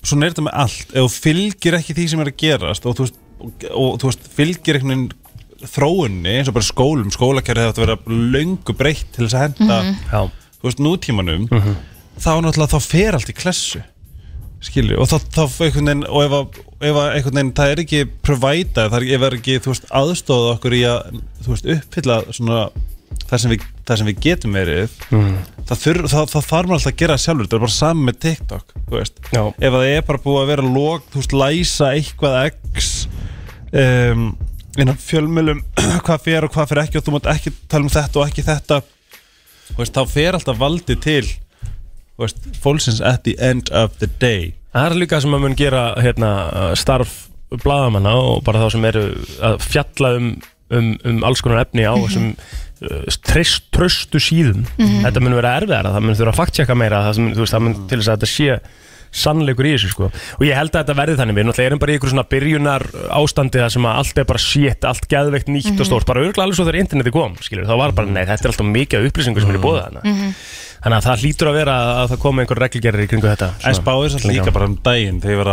Speaker 8: Svona er þetta með allt, ef þú fylgir ekki því sem er að gerast og þú veist, og, og, þú veist fylgir einhvern veginn þróunni eins og bara skólum, skólakjörði þetta verið að löngu breytt til þess að henda
Speaker 9: Mhm.
Speaker 8: þú veist, nútímanum þá náttúrulega þá fer allt í klessu skilju, og þá, þá einhvern veginn, og ef, að, ef að einhvern veginn það er ekki provæta, það er, ef er ekki þú veist, aðstóða okkur í að þú veist, uppfylla svona það sem við, það sem við getum verið
Speaker 3: Mhm.
Speaker 8: það, þurr, það, það þarf maður alltaf að gera sjálfur það er bara saman með TikTok, þú veist
Speaker 3: Já.
Speaker 8: ef að það er bara búið að vera log, þú veist, læsa eitthvað x um, innan fjölmjölum hvað fer og hvað fer ekki og þú mátt ekki tala um þetta og ekki þetta þú veist, þá fer alltaf valdi til þú veist, fólksins at the end of the day
Speaker 3: Það er líka sem að mun gera hérna, starf bladamanna og bara þá sem eru að fjalla um, um, um alls konar efni á þessum uh, treyst, tröstu síðum
Speaker 9: Mhm.
Speaker 3: þetta mun vera erfiðara, það mun þurfa að faktsjaka meira það, sem, þú veist, það mun til þess að þetta sé sannleikur í þessu sko og ég held að þetta verði þannig, við náttúrulega erum bara í ykkur svona byrjunar uh, ástandi það sem að allt er bara shit allt geðveikt nýtt og
Speaker 9: Mhm.
Speaker 3: stórt, bara örgla alveg svo þegar interneti kom, skilur, þá var bara nei, þetta er alltaf mikið af upplýsingu sem er í bóða þarna
Speaker 9: Mhm.
Speaker 3: þannig að það hlýtur að vera að það komi einhver reglgerðir í kringu þetta
Speaker 8: En spáir samt líka bara um daginn þegar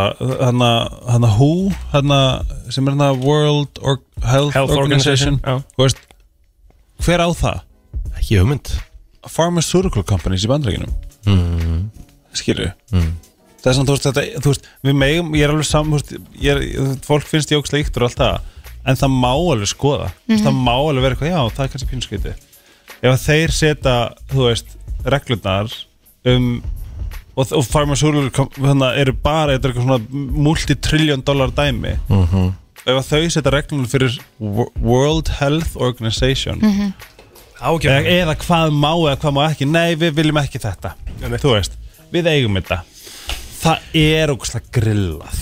Speaker 8: hann að WHO hann sem er hann að World Or Health,
Speaker 3: Health
Speaker 8: Organization,
Speaker 3: Organization,
Speaker 8: þú veist, hver á það?
Speaker 1: Ekki hugmynd
Speaker 8: Pharmaceutical Companies í bandreikinum
Speaker 1: mm.
Speaker 8: skilju
Speaker 1: Mm.
Speaker 8: það er svona, þú veist, þetta, þú veist, við megum ég er alveg saman, þú veist, ég er, fólk finnst ég ógstlega yktur og allt það, en það má alveg skoða, mm
Speaker 9: Mhm.
Speaker 8: það má alveg vera eitthvað já, það er kannski pínskviti ef að þeir setja, þú veist, reglurnar um og, og farmasúlur, þannig eru bara þetta er eitthvað svona multitriljón dólar dæmi
Speaker 1: Mhm.
Speaker 8: ef að þau setja reglurnar fyrir Wo- World Health Organization
Speaker 9: Mhm.
Speaker 8: eða, eða hvað má eða hvað má ekki nei við viljum ekki þetta þú veist, við eigum þetta það er ógustlega grillað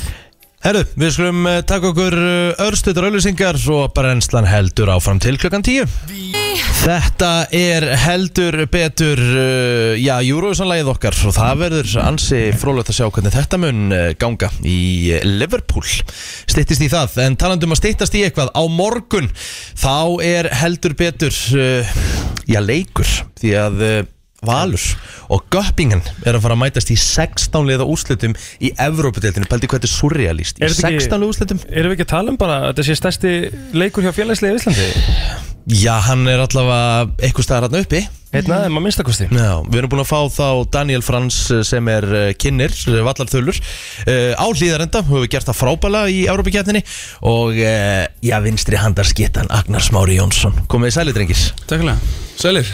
Speaker 1: Herru, við skulum eh, taka okkur örstuður auðlýsingar svo brennslan heldur áfram til klukkan 10 Þetta er heldur betur eh, já, Eurovision-lægið okkar og það verður ansi frólægt að sjá hvernig þetta mun eh, ganga í eh, Liverpool Styttist í það, en talandum að styttast í eitthvað á morgun þá er heldur betur eh, já, leikur því að eh, Valur og Göppingen er að fara að mætast í 16 liða úrslitum í Evrópudeldinu, pældi hvað þetta er surrealist í 16 liða úrslitum
Speaker 3: Erum við ekki að tala um bara að þetta sé stærsti leikur hjá félagslega í Íslandi?
Speaker 1: Já, hann er allavega eitthvað staðar hann uppi
Speaker 3: Einn aðeim Hérna, um að minnstakosti
Speaker 1: Mm. Já, við erum búin að fá þá Daniel Frans eh, sem er eh, kynnir, eh, vallarþulur eh, á hlýðarenda, höfum við gert það frábæla í Evrópuketninni og eh, já, vinstri handarskittan Agnar Smári Jónsson, komið í sæli drengis
Speaker 10: Takkilega, sælir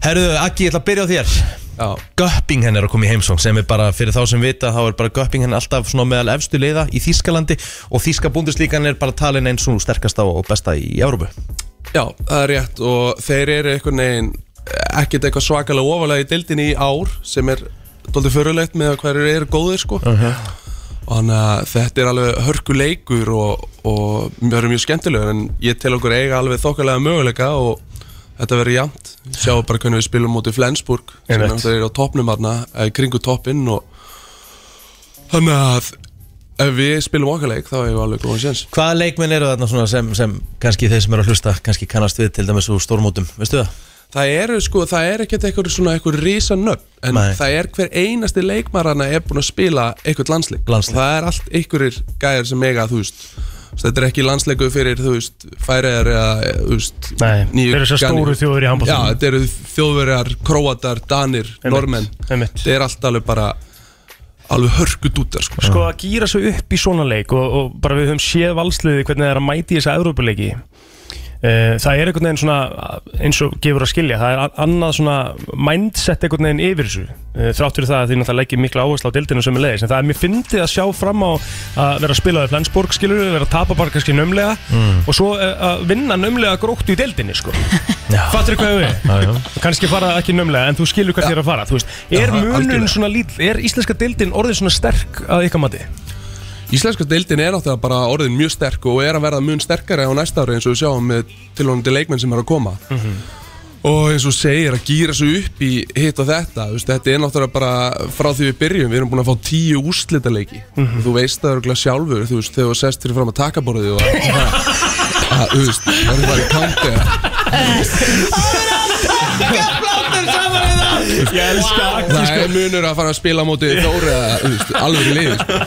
Speaker 1: Herðu, Aggi, ég ætla að byrja á þér Já. Göpping henn er að koma í heimsóng sem er bara, fyrir þá sem vita, þá er bara Göpping henn alltaf svona meðal efstu leiða í Þískalandi og Þíska búnduslíkan er bara talin eins og sterkasta og besta í Európu
Speaker 9: Já, það er rétt og þeir eru einhvern veginn ekkert eitthvað svakalega ofalega í deildin í ár sem er doldið förulegt með að hverju eru góðir sko og þannig að þetta er alveg hörku leikur og, og verður mjög skemmtilegur en ég tel okkur eiga alveg þokkalega möguleika og þetta verður jæmt sjáum bara hvernig við spilum mútið Flensburg sem
Speaker 3: Einmitt.
Speaker 9: er náttúrulega á toppnum hérna eh, kringu toppinn og þannig að ef við spilum okkar leik þá hefur alveg góðan séns
Speaker 1: Hvaða leikmenn eru þarna svona sem, sem kannski þeir sem eru að hlusta kannski kannast við til dæmis úr stórmótum, veistu það?
Speaker 9: Það eru sko, það er ekkert eitthvað svona eitthvað rísa nöfn En
Speaker 1: Nei.
Speaker 9: það er hver einasti leikmarana er búin að spila eitthvað landsleik
Speaker 1: Landsleik.
Speaker 9: Og Það er allt einhverjir gæjar sem mega, þú veist þú veist, Þetta er ekki landsleiku fyrir, þú veist, færiðar eða, þú veist
Speaker 3: Nei,
Speaker 9: nýju
Speaker 3: þeir eru þessar
Speaker 9: Gani-
Speaker 3: stóru þjóðir í handboltanum.
Speaker 9: Já, þetta eru þjóðverjar, króatar, danir, normenn
Speaker 3: einmitt.
Speaker 9: Þetta er allt alveg bara, alveg hörku dútar sko
Speaker 3: sko að gýra svo upp í svona leik og, og bara við höfum séð valsliði hvernig það er að mæti í þessa Evrópuleiki Eh, það er einhvern veginn svona eins og gefur að skilja, það er a- annað svona mindset einhvern veginn yfir þessu Eh, þrátt fyrir það að því að það leggir mikla áherslu á deildinu sem er leiðis, en það er mér fyndið að sjá fram á að vera að spila við Flensborg skilur vera að tapa bara kannski nömlega
Speaker 1: Mm.
Speaker 3: og svo eh, að vinna nömlega gróttu í deildinni sko, fattur hvað við
Speaker 1: Já, já.
Speaker 3: kannski fara ekki nömlega, en þú skilur hvað þér að fara, þú veist,
Speaker 9: al-
Speaker 3: er munun
Speaker 9: algjörlega.
Speaker 3: svona lítill, er íslenska deildin orðið svona sterk að ykkar mati?
Speaker 9: Íslenska deildin er náttúrulega bara orðin mjög sterk og er að verða mjög sterkari á næsta ári eins og við sjáum með tilhóðandi leikmenn sem er að koma
Speaker 3: Mhm.
Speaker 9: og eins og þú segir að gýra svo upp í hitt og þetta þú veist, þetta er náttúrulega bara frá því við byrjum við erum búin að fá tíu úrslitaleiki
Speaker 3: Mhm.
Speaker 9: og þú veist það örgulega sjálfur þú veist, þegar þú sest fyrir fram að takaborðið og að, að, þú veist, það er bara í kanti
Speaker 3: Ég elska
Speaker 9: það er munur að fara að spila á móti Þóri eða, þú veist, alveg í liði sko.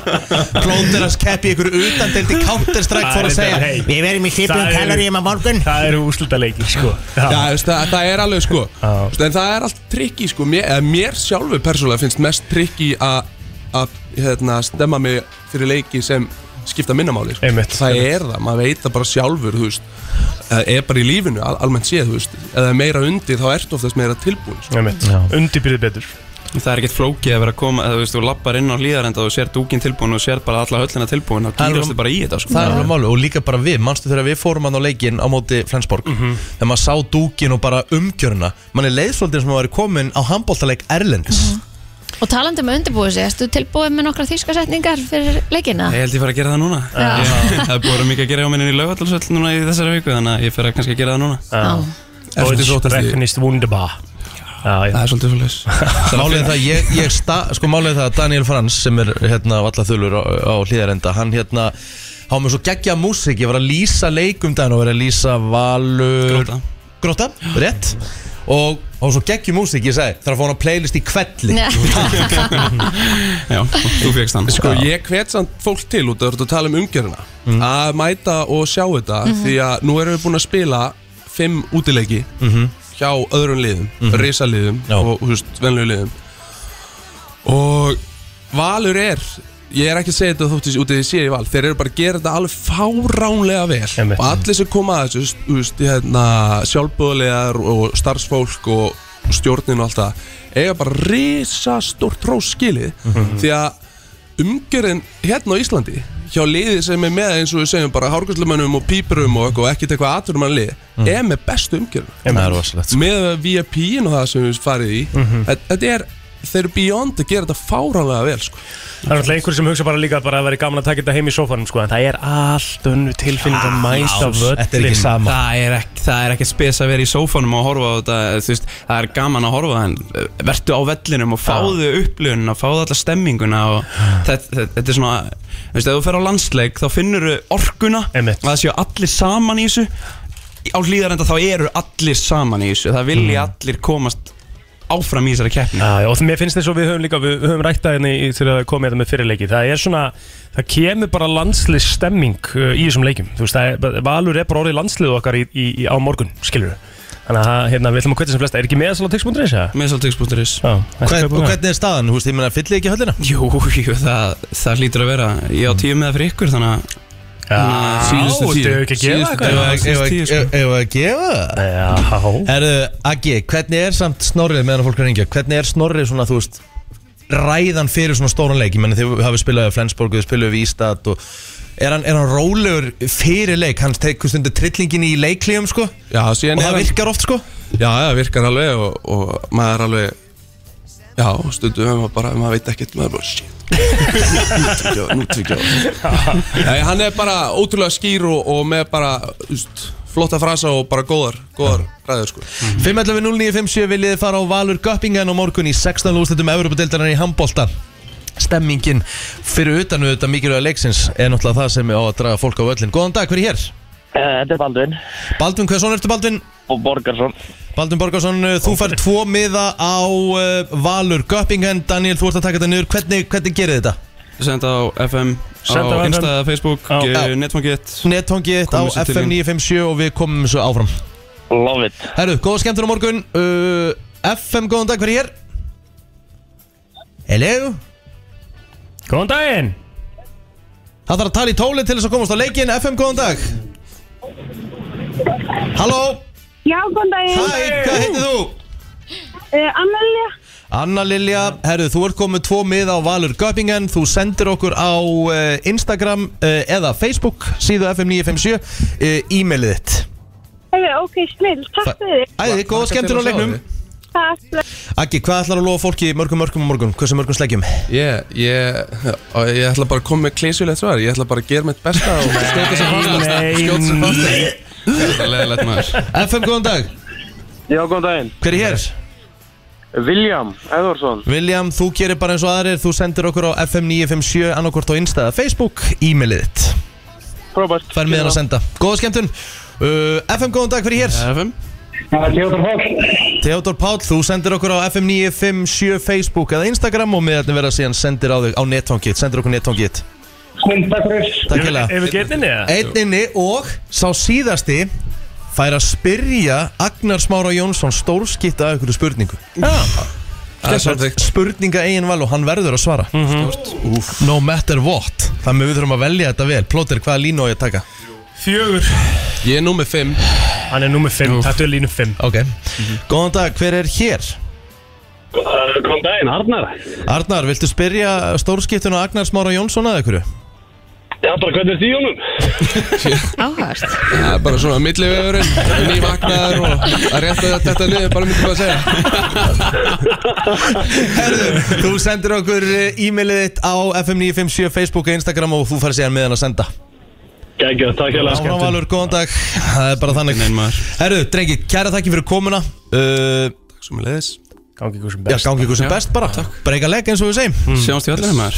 Speaker 1: Plóter að skeppi ykkur utan til Counter-Strike fór að segja
Speaker 3: Hey,
Speaker 10: Við verðum í
Speaker 3: Það
Speaker 10: hlipum
Speaker 3: er-
Speaker 1: um
Speaker 10: kaloríum á morgun
Speaker 3: Það eru úslita leiki sko
Speaker 9: Já,
Speaker 3: Já,
Speaker 9: þú veist, það, það er alveg sko Þú veist, En það er allt trikki sko Mér, eða mér sjálfur persónulega finnst mest trikki að að, hérna, stemma mig fyrir leiki sem skipta minnamáli sko.
Speaker 3: Einmitt.
Speaker 9: Það er það, maður veit það bara sjálfur þú veist, Það er bara í lífinu al, almennt séð þú veist, Ef það er meira undir þá ertu oftast meira tilbúin sko.
Speaker 3: Undibyrðið betur
Speaker 11: Það er ekkert flókið að vera að koma eða þú veist, þú lappar inn á hlýðarenda og sér dúkin tilbúin og sér bara alla höllina tilbúin og
Speaker 1: er
Speaker 11: kýrast
Speaker 1: alveg-
Speaker 11: þið bara í þetta sko.
Speaker 1: Það er alveg máli og líka bara við, manstu þegar við fórum hann á leikin á móti Flensborg
Speaker 3: Mhm.
Speaker 1: þegar maður sá dúkin og bara umgjörna mann er leiðsvöldin sem maður er komin á handbóltaleik
Speaker 10: Mhm.
Speaker 1: Erlendis
Speaker 2: Og talandi um að undirbúið sig, erstu tilbúið með nokkra þýskasetningar fyrir leikina?
Speaker 11: Ég held ég fara að gera það núna
Speaker 2: Já.
Speaker 11: Ég- Það er búin mikið að gera á minni í laugallsöld núna í þessari viku þannig að ég fer að kannski að gera það núna
Speaker 2: Já.
Speaker 9: Ertu sóttist því?
Speaker 3: Reknist wunderbar Já, já
Speaker 11: Það er svolítið svolítið
Speaker 1: Málið er það, ég, ég sta, sko málið er það að Daniel Frans sem er hérna vallathulur á, á hlýðarenda, hann hérna há með svo geggja músík, ég var að lýsa leikum daginn og verið að lýsa valur
Speaker 11: Grótta.
Speaker 1: Gróta, rétt og há svo geggju músík, ég sagði þarf að fá hann á playlist í kvelli
Speaker 2: Nei.
Speaker 11: Já, þú fegst hann
Speaker 9: Sko ég hvet samt fólk til út að þú ert að tala um umgjörna að mæta og sjá þetta því að nú erum við búin að spila fimm útileiki hjá öðrum liðum, mm risaliðum
Speaker 1: Já.
Speaker 9: og þú veist, venlegu liðum og Valur er ég er ekki að segja þetta þóttist út í því sé í val þeir eru bara að gera þetta alveg fáránlega vel
Speaker 3: Einmitt.
Speaker 9: og allir sem koma að þessu þú veist, hérna, sjálfbúðulegar og starfsfólk og stjórnin og allt það eiga bara risastórt róskilið mm því að umgjörðin hérna á Íslandi hjá liðið sem er með eins og við segjum bara hárgjöldlumönnum og pípurum og, eitthvað og ekkert eitthvað aðturumann lið er með bestu umgjörðin
Speaker 1: Það er rosalegt sko. Mhm.
Speaker 9: með VIP-in og það sem við farið í þetta- þetta er, þeir eru beyond að gera þetta fáránlega vel sko.
Speaker 3: Það er náttúrulega einhver sem hugsa bara líka bara að vera gaman að taka þetta heim í sófanum sko, en það er allt önnu tilfinning að mæta völlin
Speaker 1: Þetta er ekki sama
Speaker 11: Það er ekki, það er ekki spes að vera í sófanum og horfa á þetta, þú veist, það er gaman að horfa en eh, vertu á vellinum og fáðu upplunum og fáðu alla stemminguna og þetta, þetta, þetta er svona, þú veist, ef þú fer á landsleik þá finnur þú orkuna
Speaker 3: Einmitt.
Speaker 11: að það séu allir saman í þessu á hlýðarenda þá eru allir saman í þessu, það vilja allir komast áfram í þessari keppni
Speaker 3: Já, já, og það- mér finnst þess að við höfum líka, við höfum ræktað henni í- þegar við komum hérna með fyrirleiki Það er svona, það kemur bara landslið stemming uh, í þessum leikum Þú veist, það er, Valur er bara orðið landslið okkar í, í, í, á morgun, skilur Þannig að það, hérna, við ætlum að kvita sem flesta, er ekki með þess að tix.ri, segja?
Speaker 11: með saltix.is
Speaker 3: Já, ertu
Speaker 1: Hvern,
Speaker 3: kaupur
Speaker 1: Og
Speaker 3: það?
Speaker 1: hvernig er staðan, hú veist, ég meina fyllir ekki höllina
Speaker 11: Jú, jú, það, það hlýtur að vera Ég á tíu með það fyrir ykkur þannig að
Speaker 1: Svona
Speaker 3: Síðustu tíu.
Speaker 1: þetta er ekki að gefa
Speaker 3: Síðustu-
Speaker 1: eitthvað.
Speaker 3: Já,
Speaker 1: Ef-
Speaker 3: síðustu
Speaker 1: ef-
Speaker 3: tíu, sko.
Speaker 1: ef- ef að gefa það
Speaker 3: Já
Speaker 1: Herðu, Aggi, hvernig er samt snorrið meðan fólk er að ringja, hvernig er snorrið svona, þú veist ræðan fyrir svona stóran leik ég menna þið hafið spilað í Flensborg, þið spilaðu í Ístad og er hann, er hann rólegur fyrir leik, hann tekur stundu trillingin í leiklíum sko,
Speaker 9: Já, síðan er
Speaker 1: og það
Speaker 9: hann-
Speaker 1: virkar oft sko
Speaker 9: Já, það virkar alveg og, og maður er alveg Já, stundum er maður bara, maður veit ekkert, maður er bara shit Nú tvíkja Nei, hann er bara ótrúlega skýr og, og með bara, þú veist, flotta frasa og bara góðar, góðar ræður sko
Speaker 1: 5.11.09.57 viljið þið fara á Valur Göppingen á morgun í 16. úrslitum Európa-deildarinnar í handbólta Stemmingin fyrir utan við þetta mikilvæga leiksins er náttúrulega það sem er á að draga fólk á völlin Góðan dag, hver er hér?
Speaker 10: Eh, Þetta er Baldvin
Speaker 1: Baldvin, hvað svona ertu Baldvin?
Speaker 10: Og Borgarsson
Speaker 1: Baldvin Borgarsson, uh, þú fær tvo miða á uh, Valur Göppingen Daniel, þú ert að taka þetta niður, hvernig, hvernig gerir þetta?
Speaker 11: Senda á FM Á
Speaker 1: Senda á FM.
Speaker 11: Insta, Facebook, eh, netfangitt
Speaker 1: Nettongitt á
Speaker 11: Komum sér til
Speaker 1: FM
Speaker 11: þín.
Speaker 1: 957 og við komum svo áfram
Speaker 10: Love it
Speaker 1: Herru, góða skemmtun á morgun uh, FM, góðan dag, hver er hér? Hello
Speaker 3: Góðan daginn
Speaker 1: Það þarf að tala í tóli til þess að komast á leikin FM, góðan dag Halló
Speaker 12: Já, góðan daginn
Speaker 1: Hæ, hvað heitir þú?
Speaker 12: Uh, Amelia
Speaker 1: Anna Lilja, herru, þú ert komið tvo miða á Valur Göppingen, þú sendir okkur á uh, Instagram uh, eða Facebook, síðu FM957 uh, e-mailið þitt
Speaker 12: Hefur, Eh, ok, snill, takk fyrir
Speaker 1: Æði, góða skemmtun á leiknum
Speaker 12: Takk fyrir
Speaker 1: Aggi, hvað ætlar að lofa fólki mörgum mörgum á morgun? Hversu mörgum sleggjum?
Speaker 9: Ég, ég, og ég ætla bara að koma með klísulegt svar Ég ætla bara að gera mitt besta og skjóta sem fastast Skjóta sem fastast Þetta er leðilegt maður
Speaker 1: FM, góðan dag
Speaker 6: Já, góðan daginn
Speaker 1: Hver er hér?
Speaker 6: William Edvarsson
Speaker 1: William, þú gerir bara eins og aðrir, þú sendir okkur á FM957 annarkvort á Insta eða Facebook, e-mailið þitt
Speaker 6: Frábært
Speaker 1: Fær miðan að senda Góða skemmtun uh, FM, góðan dag, hver er hér? FM
Speaker 6: Theodor Páll
Speaker 1: Theodor Páll, þú sendir okkur á FM 957 Facebook eða Instagram og miðarnir verða síðan sendir á þig á netfangið, sendir okkur netfangið
Speaker 6: Takk fyrir
Speaker 1: Takk hella
Speaker 3: Ef við getinni það
Speaker 1: Einninni og sá síðasti fær að spyrja Agnar Smára Jónsson stórskitta að einhverju spurningu Það er svolítið Spurninga eigin val og hann verður að svara Stort No matter what Þannig við þurfum að velja þetta vel Plóter, hvaða línu á ég að taka?
Speaker 3: Fjögur
Speaker 9: Ég er númið 5
Speaker 3: Hann er númið 5, þetta er línu 5
Speaker 1: Ok Góðan dag, hver er hér?
Speaker 6: Eh, Góðan daginn, Arnar
Speaker 1: Arnar, viltu spyrja stórskiptun á Agnar Smára Jónsson að einhverju?
Speaker 6: Já, bara hvernig er því honum?
Speaker 2: Áhört
Speaker 9: Það er bara svona millivegurinn, nývagnar og að rétta þetta niður, bara myndi bara að segja
Speaker 1: Þú sendir okkur eh, e-mailið þitt á FM957 Facebook og Instagram og þú fær síðan með hann að senda
Speaker 6: Gægja, takk hella
Speaker 1: Áfram Valur, góðan dag Það er bara þannig Herru, drengi, kæra þakki fyrir komuna uh, Takk
Speaker 9: sem leðis
Speaker 3: Gangi ykkur sem
Speaker 1: Já,
Speaker 3: best
Speaker 1: gangi ykkur sem best bara Breyka legg eins og við segjum mm.
Speaker 11: Sjáumst í öllinu maður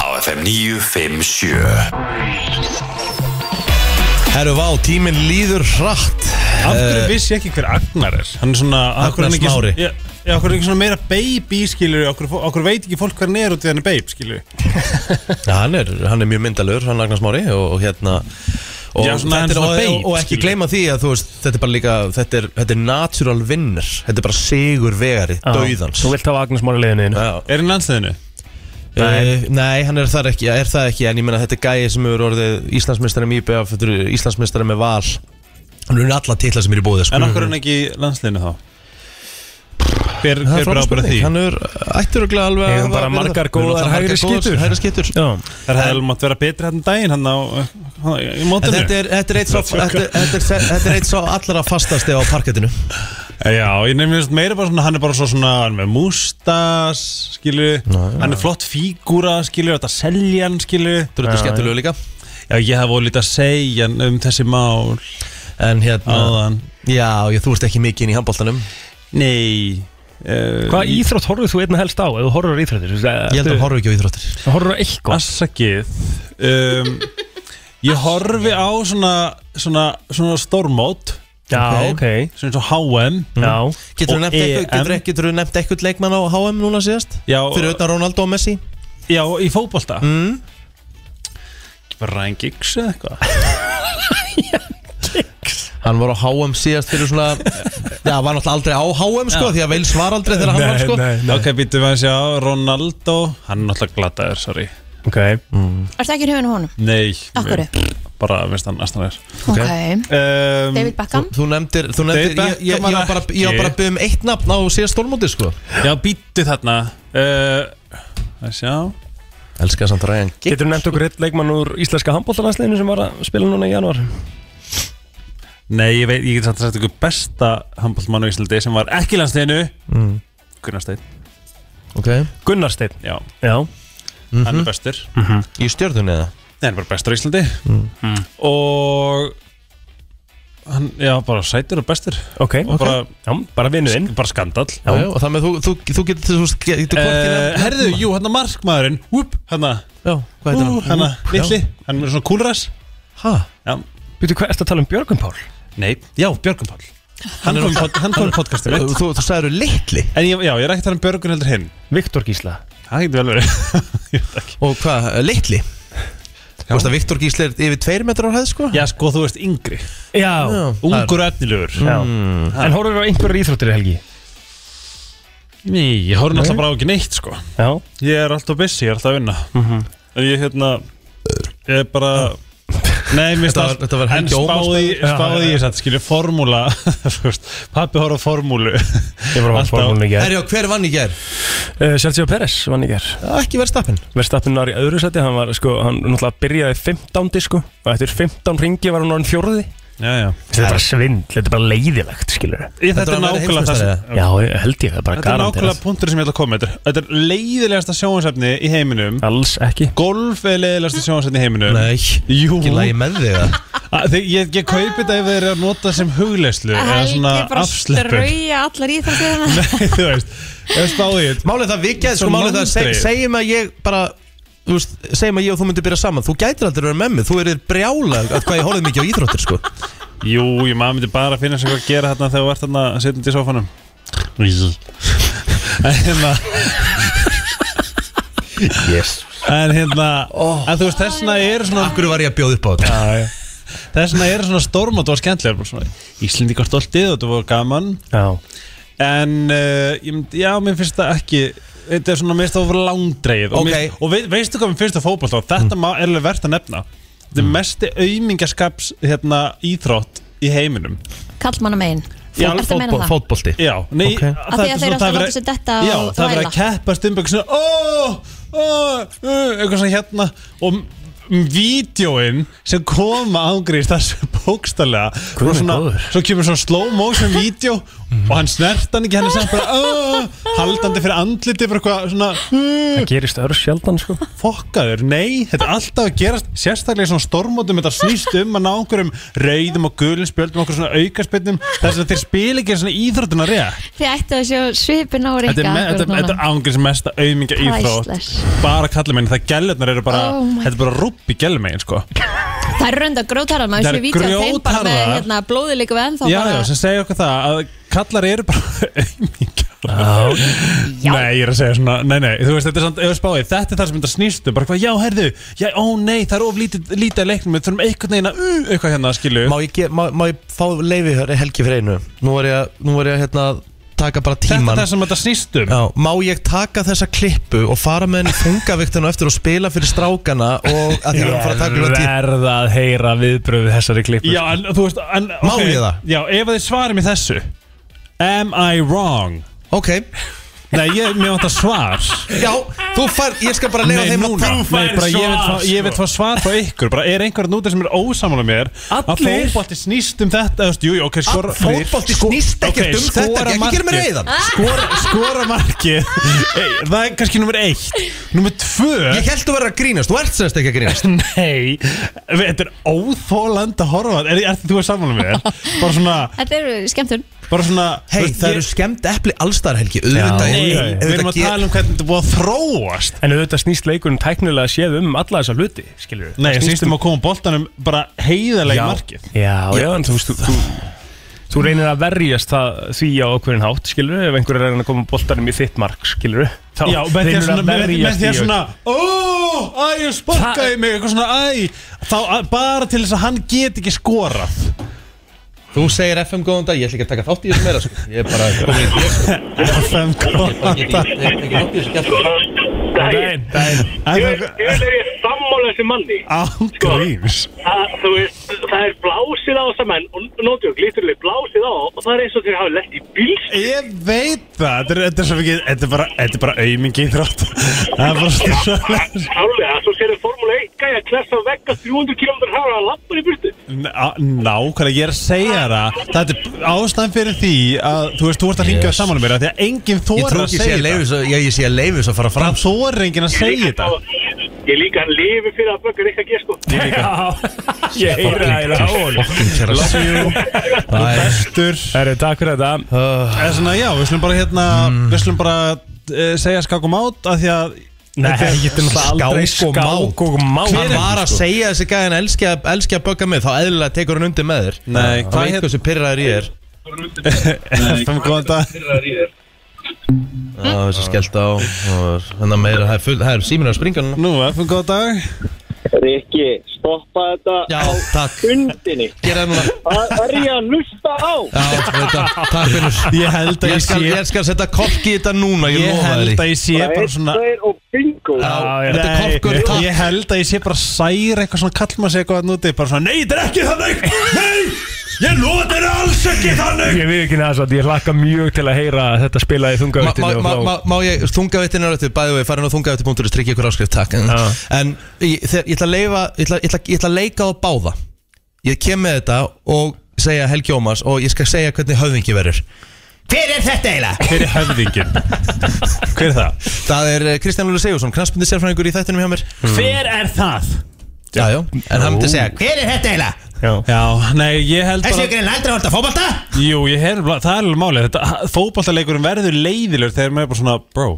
Speaker 4: Á FM 957
Speaker 1: Herru, vá, tíminn líður hratt
Speaker 8: Af
Speaker 11: Eh,
Speaker 8: hverju vissi ég ekki hver Agnar er? Hann er svona af hverju er hann ekki-
Speaker 1: Agnar Smári.
Speaker 8: Já, já, af hverju er hann ekki svona meira baby, skilur Okkur, okkur veit ekki fólk hver hann er út í hann er babe, skilur
Speaker 1: Já, hann er, hann er mjög myndalur, hann Agnar Smári og, og hérna Og,
Speaker 8: Já, svona-
Speaker 1: þetta
Speaker 8: hann
Speaker 1: er,
Speaker 8: er svona
Speaker 1: og,
Speaker 8: babe,
Speaker 1: og, og ekki
Speaker 8: skilur.
Speaker 1: gleyma því að þú veist Þetta er bara líka, þetta er, þetta er natural vinner Þetta er bara sigur vegari, dauðans
Speaker 3: Þú vilt hafa Agnes Mára leiðinu
Speaker 1: Er
Speaker 8: hann landsliðinu?
Speaker 1: Nei. Eh, nei, hann er það ekki, er það ekki En ég meina þetta er gæi sem eru orðið Íslandsmeistari með IBF, þetta eru Íslandsmeistari með Val Hann er alla titla sem eru í bóði sko.
Speaker 8: En okkur er
Speaker 11: Mm.
Speaker 8: hann ekki í landsliðinu þá?
Speaker 1: Það er
Speaker 8: Hver, hver ber
Speaker 1: frábær
Speaker 8: ábæra því?
Speaker 1: spurning. Hann er ættur og alveg að
Speaker 8: Eigum
Speaker 1: hafa
Speaker 8: bara
Speaker 1: verið
Speaker 8: margar
Speaker 1: það. Við erum
Speaker 8: góðar
Speaker 1: alltaf
Speaker 8: hægri
Speaker 1: margar góðar
Speaker 8: skytur.
Speaker 1: Hægri skytur
Speaker 8: Það hefði alveg mátt vera betri hann daginn hann á hann á- í
Speaker 1: En
Speaker 8: mótinu
Speaker 1: þetta er, þetta er eitt sá þetta er- þetta er- þetta er eitt sá allra fastasti á parkettinu
Speaker 8: Eh, Já, ég nefnir veist meira bara svona, hann er bara svo svona hann er með mústas, skilju hann er flott fígúra, skilju, þetta selja hann, skilju
Speaker 1: Drullu skemmtilegur líka
Speaker 8: Já, ég hef ólítið að segja um þessi mál
Speaker 1: En hérna
Speaker 8: Áðan
Speaker 1: Já, ég, þú ert ekki mikið inn í handbóltanum
Speaker 8: Nei uh,
Speaker 3: Hvað íþrótt horfðu þú einna helst á ef þú horfður á íþróttir?
Speaker 1: Ég held að hann horfði ekki á íþróttir
Speaker 3: Það horfður á eitthvað
Speaker 8: Assakið um, Ég horfi á svona svona, svona stórmót
Speaker 3: Já, ok.
Speaker 8: Svona eins og HM
Speaker 3: Já.
Speaker 1: Getur þú
Speaker 8: Og
Speaker 1: nefnt eitthvað- getur-
Speaker 8: EM.
Speaker 1: getur þú nefnt eitthvað leikmann á HM núna síðast?
Speaker 8: Já,
Speaker 1: Fyrir utan Ronaldo E og Messi
Speaker 8: já, í fótbolta mm. Ekki bara Ryan Giggs eða eitthvað
Speaker 1: Hann var á HM síðast fyrir svona Já, var náttúrulega aldrei á HM sko Því að Veils var aldrei þegar hann var sko
Speaker 8: Ok, býtum við að sjá Ronaldo Hann er náttúrulega glataður, sorry
Speaker 3: Ok
Speaker 2: Ertu ekki hrifin af honum?
Speaker 8: Nei
Speaker 2: Af hverju?
Speaker 8: Bara, veist hann, aðstæðan
Speaker 2: Ok.
Speaker 8: um,
Speaker 2: David Beckham?
Speaker 1: Þú nefndir, þú nefndir
Speaker 8: David
Speaker 1: ég, ég, ég var bara, ég var bara að byggja um eitt nafn á síðast stólmóti sko
Speaker 8: Já, býttu þarna uh, Það sjá
Speaker 1: Elskar samt ræðan
Speaker 3: Getur nefnt okkur eitt leikmann úr íslenska handbóltalansleginu sem var að spila núna í januar
Speaker 8: Nei, ég veit, ég get samt að þetta ykkur besta handbóltmann á Íslandi sem var ekki í landsliðinu
Speaker 3: Mm.
Speaker 8: Gunnar Steinn
Speaker 1: Ok Mhm.
Speaker 3: Gunnarsteinn
Speaker 8: Já,
Speaker 2: Mhm.
Speaker 3: Já
Speaker 8: hann er bestur
Speaker 1: Í stjörðunni eða?
Speaker 8: Nei, hann er bara bestur á Íslandi
Speaker 2: Mhm.
Speaker 3: Mm.
Speaker 8: Og hann, já, bara sætur og bestur
Speaker 3: Ok,
Speaker 8: og bara,
Speaker 3: já, bara vinnuðinn
Speaker 8: Bara skandall
Speaker 1: Já, já, og það með þú, þú, þú getur þú veist, getur hvorki
Speaker 8: Eh,
Speaker 1: nefnt-
Speaker 8: Herðu, jú, hann er markmaðurinn Whoop, hann er
Speaker 1: Já, hvað heitir hann?
Speaker 8: Hann er
Speaker 1: Whoop,
Speaker 8: litli,
Speaker 1: já.
Speaker 8: hann er svona kúlras
Speaker 1: Hæ?
Speaker 8: Já
Speaker 3: Býtu, hvað ertu að tala um Björgum Pál?
Speaker 8: Nei, já, Björgum Pál Hann er á pod- hann kom í podcastið mitt
Speaker 1: Þú, þú sagður litli
Speaker 8: En ég, já, ég er ekki að tala um Björgun heldur hinn
Speaker 3: Viktor Gísla
Speaker 8: Það getur vel verið
Speaker 1: Og hvað, litli? Þú veist að Viktor Gísli er yfir tveir metrar á hæð sko?
Speaker 8: Já, sko, þú veist yngri
Speaker 3: Já,
Speaker 8: Ungur og efnilegur
Speaker 3: Já. En horfum við á einhverjar íþróttir í helgi?
Speaker 8: Nei, ég
Speaker 3: Nei.
Speaker 8: horfði náttúrulega bara á ekki neitt, sko
Speaker 3: Já
Speaker 8: Ég er alltaf busy, ég er alltaf að vinna En ég, hérna Ég er bara Nei, mér
Speaker 1: Þetta var-
Speaker 8: allt-
Speaker 1: þetta var
Speaker 8: En
Speaker 1: Helgi Ómars
Speaker 8: spáði,
Speaker 1: maður. Já,
Speaker 8: spáði
Speaker 1: já,
Speaker 8: ég satt, skilja, formúla Þú veist, Pappi horfði á formúlu Ég
Speaker 3: var að horfa á formúluna í gær.
Speaker 1: Herjá, hver vann í ger?
Speaker 3: Uh, Sergio Pérez vann í ger
Speaker 1: Ekki verið stappin
Speaker 3: Verstappin var í öðru seti, hann var sko, hann náttúrulega byrjaði 15 sko og eftir 15 ringi var hann orðin fjórði
Speaker 8: Já, já
Speaker 3: Þetta er bara svindl, þetta er bara leiðilegt skilur
Speaker 8: Ég, þetta er nákvæmlega það sem
Speaker 3: Já, ég- held ég, það er bara
Speaker 8: Þetta er
Speaker 3: garanterað.
Speaker 8: nákvæmlega punktur sem ég ætla að koma með Þetta er leiðilegasta sjóhansefni í heiminum
Speaker 3: Alls ekki
Speaker 8: Golf er leiðilegasta sjóhansefni í heiminum
Speaker 1: Nei,
Speaker 8: Jú
Speaker 1: ekki lagi með þig það
Speaker 8: Að Ah, þið- Ég, ég kaupi þetta ef þeir eru að nota sem hugleyslu eða svona
Speaker 2: Helgi bara
Speaker 8: afsleppun
Speaker 2: strauja allar hérna. í þessu
Speaker 8: Nei, þú veist, ég spáði ég
Speaker 1: Málið það við gæðum, sko
Speaker 8: Svo
Speaker 1: málið það seg,
Speaker 8: monstrið.
Speaker 1: Segjum að ég bara þú veist, Segjum að ég og þú myndir byrja saman Þú gætir aldrei verið með mig, þú erir brjála að Hvað ég horfði mikið á íþróttir sko
Speaker 8: Jú, ég maður myndi bara að finna sem hvað að gera þarna þegar þú ert þarna sittandi í sófanum En hérna
Speaker 3: Yes
Speaker 8: En hérna,
Speaker 2: Oh.
Speaker 8: en þú veist, þessna er svona
Speaker 1: Akkur var ég að bjóða upp á þetta
Speaker 8: Þessna er svona stormot og skemmtilega bara svona, Íslendingar stoltið og þetta var gaman
Speaker 3: Já
Speaker 8: En uh, ég myndi, já, mér finnst það ekki Þetta er svona, mér finnst það ofur langdreið
Speaker 1: Ok.
Speaker 8: Og, mér, og vei, veistu hvað mér finnst það fótboll og þetta mm. er alveg verðt að nefna Þetta er mesti aumingaskaps hérna, íþrótt í heiminum
Speaker 2: Kallmanna megin
Speaker 8: Já,
Speaker 2: Ertu að meina það?
Speaker 1: Fótbolti
Speaker 8: Já, nei,
Speaker 1: Ok.
Speaker 8: okay.
Speaker 2: Af því að þeir alltaf láta sig detta
Speaker 8: Já,
Speaker 2: og
Speaker 8: það er
Speaker 2: þvæla.
Speaker 8: verið að keppast um eitthvað svona Ó, ó, ó, eitthvað svona hérna Og m- vídjóin sem koma ángriðist þessu bókstallega
Speaker 3: Guð minn
Speaker 8: svona,
Speaker 3: góður.
Speaker 8: svo kemur svona slow motion vídjó og hann snert hann ekki hann er samt bara ó, haldandi fyrir andliti bara eitthvað svona
Speaker 3: Það gerist öðru sjaldan sko
Speaker 8: fokkaður, nei, þetta er alltaf að gerast sérstaklega í svona stormótum, þetta snýst um að ná einhverjum rauðum og gulum spjöldum okkur svona aukaspjöldum, þess að þeir spila ekki svona íþrótuna rétt
Speaker 2: Þið ættu að sjá svipin á
Speaker 8: Þetta er,
Speaker 2: Rikka
Speaker 8: me, þetta, þetta er ángrið sem mesta auðminga íþrótt
Speaker 2: Priceless.
Speaker 8: Bara kallið meginn, það gælutnar eru bara
Speaker 2: Oh my
Speaker 8: Þetta er bara rúpp í gælu meginn sko
Speaker 2: Það eru rönda grótarðar, maður
Speaker 8: Þær
Speaker 2: séu
Speaker 8: eru
Speaker 2: vítjum þeim bara með
Speaker 8: grjótharðar.
Speaker 2: hérna, blóði líka við ennþá
Speaker 8: Já, já,
Speaker 2: bara
Speaker 8: sem segir okkur það að kallar eru bara auðmingar
Speaker 2: Já.
Speaker 8: Nei, ég er að segja svona, nei, nei, þú veist, þetta er samt, ef við spáði, þetta er það sem þetta snýstu, bara hvað, já, herðu, já, ó, nei, það er of lítið, lítið að leiknum, við þurfum einhvern veginn að, uh, eitthvað hérna, skilu,
Speaker 1: Má ég, ge- má, má ég fá leifi helgi fyrir einu Nú var ég, að- nú var ég að, hérna, taka bara
Speaker 8: þetta er
Speaker 1: tíman
Speaker 8: það sem þetta um. snýstum,
Speaker 1: Já, má ég taka þessa klippu og fara með henni fungaviktinu eftir og spila fyrir strákana og að því að fara að taka um tíma
Speaker 3: Verða að heyra viðbröðu þessari klippu
Speaker 8: já, en, þú veist, en,
Speaker 1: Má
Speaker 8: ok,
Speaker 1: ég það?
Speaker 8: Já, ef þið svarið mér þessu, am I wrong?
Speaker 1: Ok,
Speaker 8: Nei, ég, mér vant að svar
Speaker 1: já, þú fær, ég skal bara leifa
Speaker 8: Nei,
Speaker 1: þeim að
Speaker 8: núna
Speaker 1: taka-
Speaker 8: Nei, bara ég vil fá- ég vil fá svar frá ykkur bara er einhverjum nútið sem er ósamála mér að
Speaker 3: Allir?
Speaker 8: fótbolti snýst um þetta þú veist, jú, jú, ok, skora
Speaker 1: Fótbolti snýst ekkert um þetta, ekki gera mér reyðan
Speaker 8: skora, skora marki það er kannski nummer eitt nummer tvö
Speaker 1: Ég held þú verið að grínast, þú ert semst ekki að grínast
Speaker 8: nei við- þetta er óþóland að horfa á þetta. er, er þú er samála mér bara svona,
Speaker 2: Þetta eru skemmtun
Speaker 8: bara svona
Speaker 1: Hei,
Speaker 8: þú veist,
Speaker 1: það eru skemmt epli allstar Helgi Auðvitað
Speaker 8: nei,
Speaker 1: er-
Speaker 8: við erum
Speaker 1: auðvitað
Speaker 8: að
Speaker 1: ger-
Speaker 8: tala um hvernig þetta er búið að þróast
Speaker 3: En auðvitað snýst leikurinn tæknilega séð um alla þessa hluti skilur
Speaker 8: Nei,
Speaker 1: um-
Speaker 8: snýstum að koma boltanum bara heiðarlega í markið
Speaker 3: Já, já, en þú veist þú, þú, þú reynir að verjast það því á okkurinn hátt, skilur ef einhver er að reyna að koma boltanum í þitt mark, skilur þá
Speaker 8: Já, með því að
Speaker 3: reynirðu
Speaker 8: svona, með, með því að
Speaker 3: því á-
Speaker 8: svona Ó, æ, ég sparkaði mig Eitthvað svona, æ Þá að- bara til þess að hann get ekki skorað
Speaker 1: Þú segir FM góðan dag, ég ætla ekki að taka þátt í þessu meira sko. Ég er bara komin í
Speaker 8: FM, góðan dag
Speaker 1: Ég er ekki þátt í þessu kjæftu
Speaker 13: daginn Ég er ég er alveg sammála þessu manni
Speaker 8: Án gríns
Speaker 13: Það- Þú veist, það er blásið á þessa menn og nótjók, líturlega blásið á og það er eins og þeir hafi lett í bílst
Speaker 8: Ég veit það, þetta er, þetta er svo mikið, þetta er bara, þetta er bara aumingi þrátt Það er bara styrst
Speaker 13: Klálega, svo séu Formule 1 gæja klessa á vegga 300 km hraða að lappa í bílstu
Speaker 8: Nákvæmlega, ég er að segja það Þetta er ástæðan fyrir því að þú veist, þú ert að ringja
Speaker 1: Yes.
Speaker 8: yes. saman um mér Því að enginn
Speaker 1: Ég
Speaker 8: þóra
Speaker 1: trú
Speaker 8: að
Speaker 1: ekki sé
Speaker 8: segja
Speaker 1: að
Speaker 8: þetta
Speaker 1: leifu svo, ég, ég sé að leifu svo að fara fram
Speaker 8: Þú er enginn að segja þetta
Speaker 13: Ég líka hann lifi fyrir að böggar eitthvað geð sko Ég líka
Speaker 3: Ég heyra það á honum Love you
Speaker 8: Bestur
Speaker 3: Herru, takk fyrir þetta
Speaker 8: Það er svona, já, við slum bara hérna, við slum bara uh, segja skakum át að því að
Speaker 3: Nei,
Speaker 8: þetta
Speaker 3: ég get náttúrulega aldrei skák sko, og mát
Speaker 1: Hann var að segja þessi gæðin elski að, elski að bögga mig Þá eðlilega tekur hann undir með þér
Speaker 8: Nei,
Speaker 1: Hann
Speaker 8: hvað
Speaker 1: veit
Speaker 8: hét-
Speaker 1: hversu pyrraður ég er
Speaker 8: FM, góðan dag
Speaker 1: Já, þessi skellt á og Þannig að meira, það er full, það er síminu að springa núna
Speaker 8: Nú, FM, góðan dag
Speaker 14: Rikki, stoppa þetta Já, á
Speaker 1: takk.
Speaker 14: fundinni
Speaker 1: Gera núna
Speaker 14: Það er ég að hlusta á
Speaker 1: Já, þetta, takk fyrir
Speaker 8: Ég held að
Speaker 1: Ég
Speaker 8: ég
Speaker 1: skal,
Speaker 8: sé-
Speaker 1: ég skal setja kork í þetta núna, ég,
Speaker 8: Ég
Speaker 1: lofa þér
Speaker 8: held að ég sé bara svona
Speaker 14: Tveir og bingo
Speaker 1: Já,
Speaker 8: Nei,
Speaker 1: þetta er korkur,
Speaker 8: ég-
Speaker 1: takk
Speaker 8: Ég held að ég sé bara særa eitthvað svona kallma sig eitthvað þarna úti Bara svona, nei, þetta er ekki þannig Nei, ég lofa þetta er alls ekki þannig
Speaker 3: Ég við ekki neða svo Ég hlakka mjög til að heyra að þetta spilaði
Speaker 1: Má-
Speaker 3: þungavittinu
Speaker 1: má-
Speaker 3: og
Speaker 1: má-
Speaker 3: frá
Speaker 1: má- Má ég, þungavittinu er eftir, bæði og ég farin á þungavittinu.is, tryggja ykkur áskrift, takk En, en ég, þegar, ég ætla að leifa, ég ætla, ég ætla, ég ætla að leika á báða Ég kem með þetta og segja Helgi Ómars og ég skal segja hvernig höfðingi verður Hver er þetta eiginlega?
Speaker 8: Hver er höfðingin? Hver er það?
Speaker 1: Það er eh, Kristján Lúli Sigursson, knastbundi sérfræðingur í þættinum hjá mér
Speaker 8: Hver er það?
Speaker 1: Já, já, en hann myndi segja Hver er þetta eiginlega?
Speaker 3: Já.
Speaker 8: Já, nei, ég held bara
Speaker 1: grein aldrei holda fótbolta?
Speaker 8: Jú, ég held bara, það er alveg málið Þetta fótballtaleikurinn verður leiðilegur þegar maður er bara svona Bro,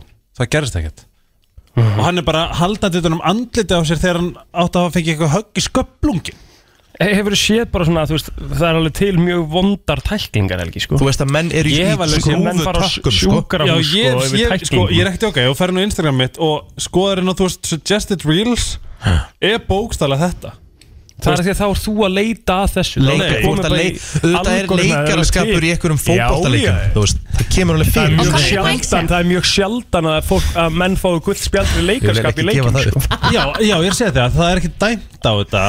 Speaker 8: það gerist ekkert
Speaker 3: Mhm.
Speaker 8: Og hann er bara haldandi utan um andliti á sér þegar hann átt að hafa fengið eitthvað högg í sköplungin
Speaker 3: Hefur séð bara svona, þú veist, það er alveg til mjög vondar tæklingar, Helgi, sko
Speaker 1: Þú veist að menn eru í
Speaker 3: Ég hef alveg séð menn fara á
Speaker 1: skrúfutökkum, sko.
Speaker 8: Já,
Speaker 3: sjúkrahús,
Speaker 8: ég,
Speaker 3: sko, yfir
Speaker 8: ég, sko,
Speaker 3: tæklingum.
Speaker 8: ég er ekkert okkar, ég fer nú á Instagram mitt og skoðar inn á, þú veist, suggested reels er bókstala þetta
Speaker 3: Það er því að þá er þú að leita að þessu
Speaker 1: Leikar, þú ert að leik Auðvitað er leikaraskapur í einhverjum fótboltaleikum Þú veist, það kemur alveg
Speaker 3: Það er
Speaker 1: fyrir
Speaker 3: mjög sjaldan, það er mjög sjaldan að, fólk, að menn fái guldspjald við leikarskap í
Speaker 1: Ég vil ekki gefa
Speaker 3: leikum
Speaker 1: það
Speaker 3: sko.
Speaker 8: Já, já, ég er að segja það, það er ekki dæmt á þetta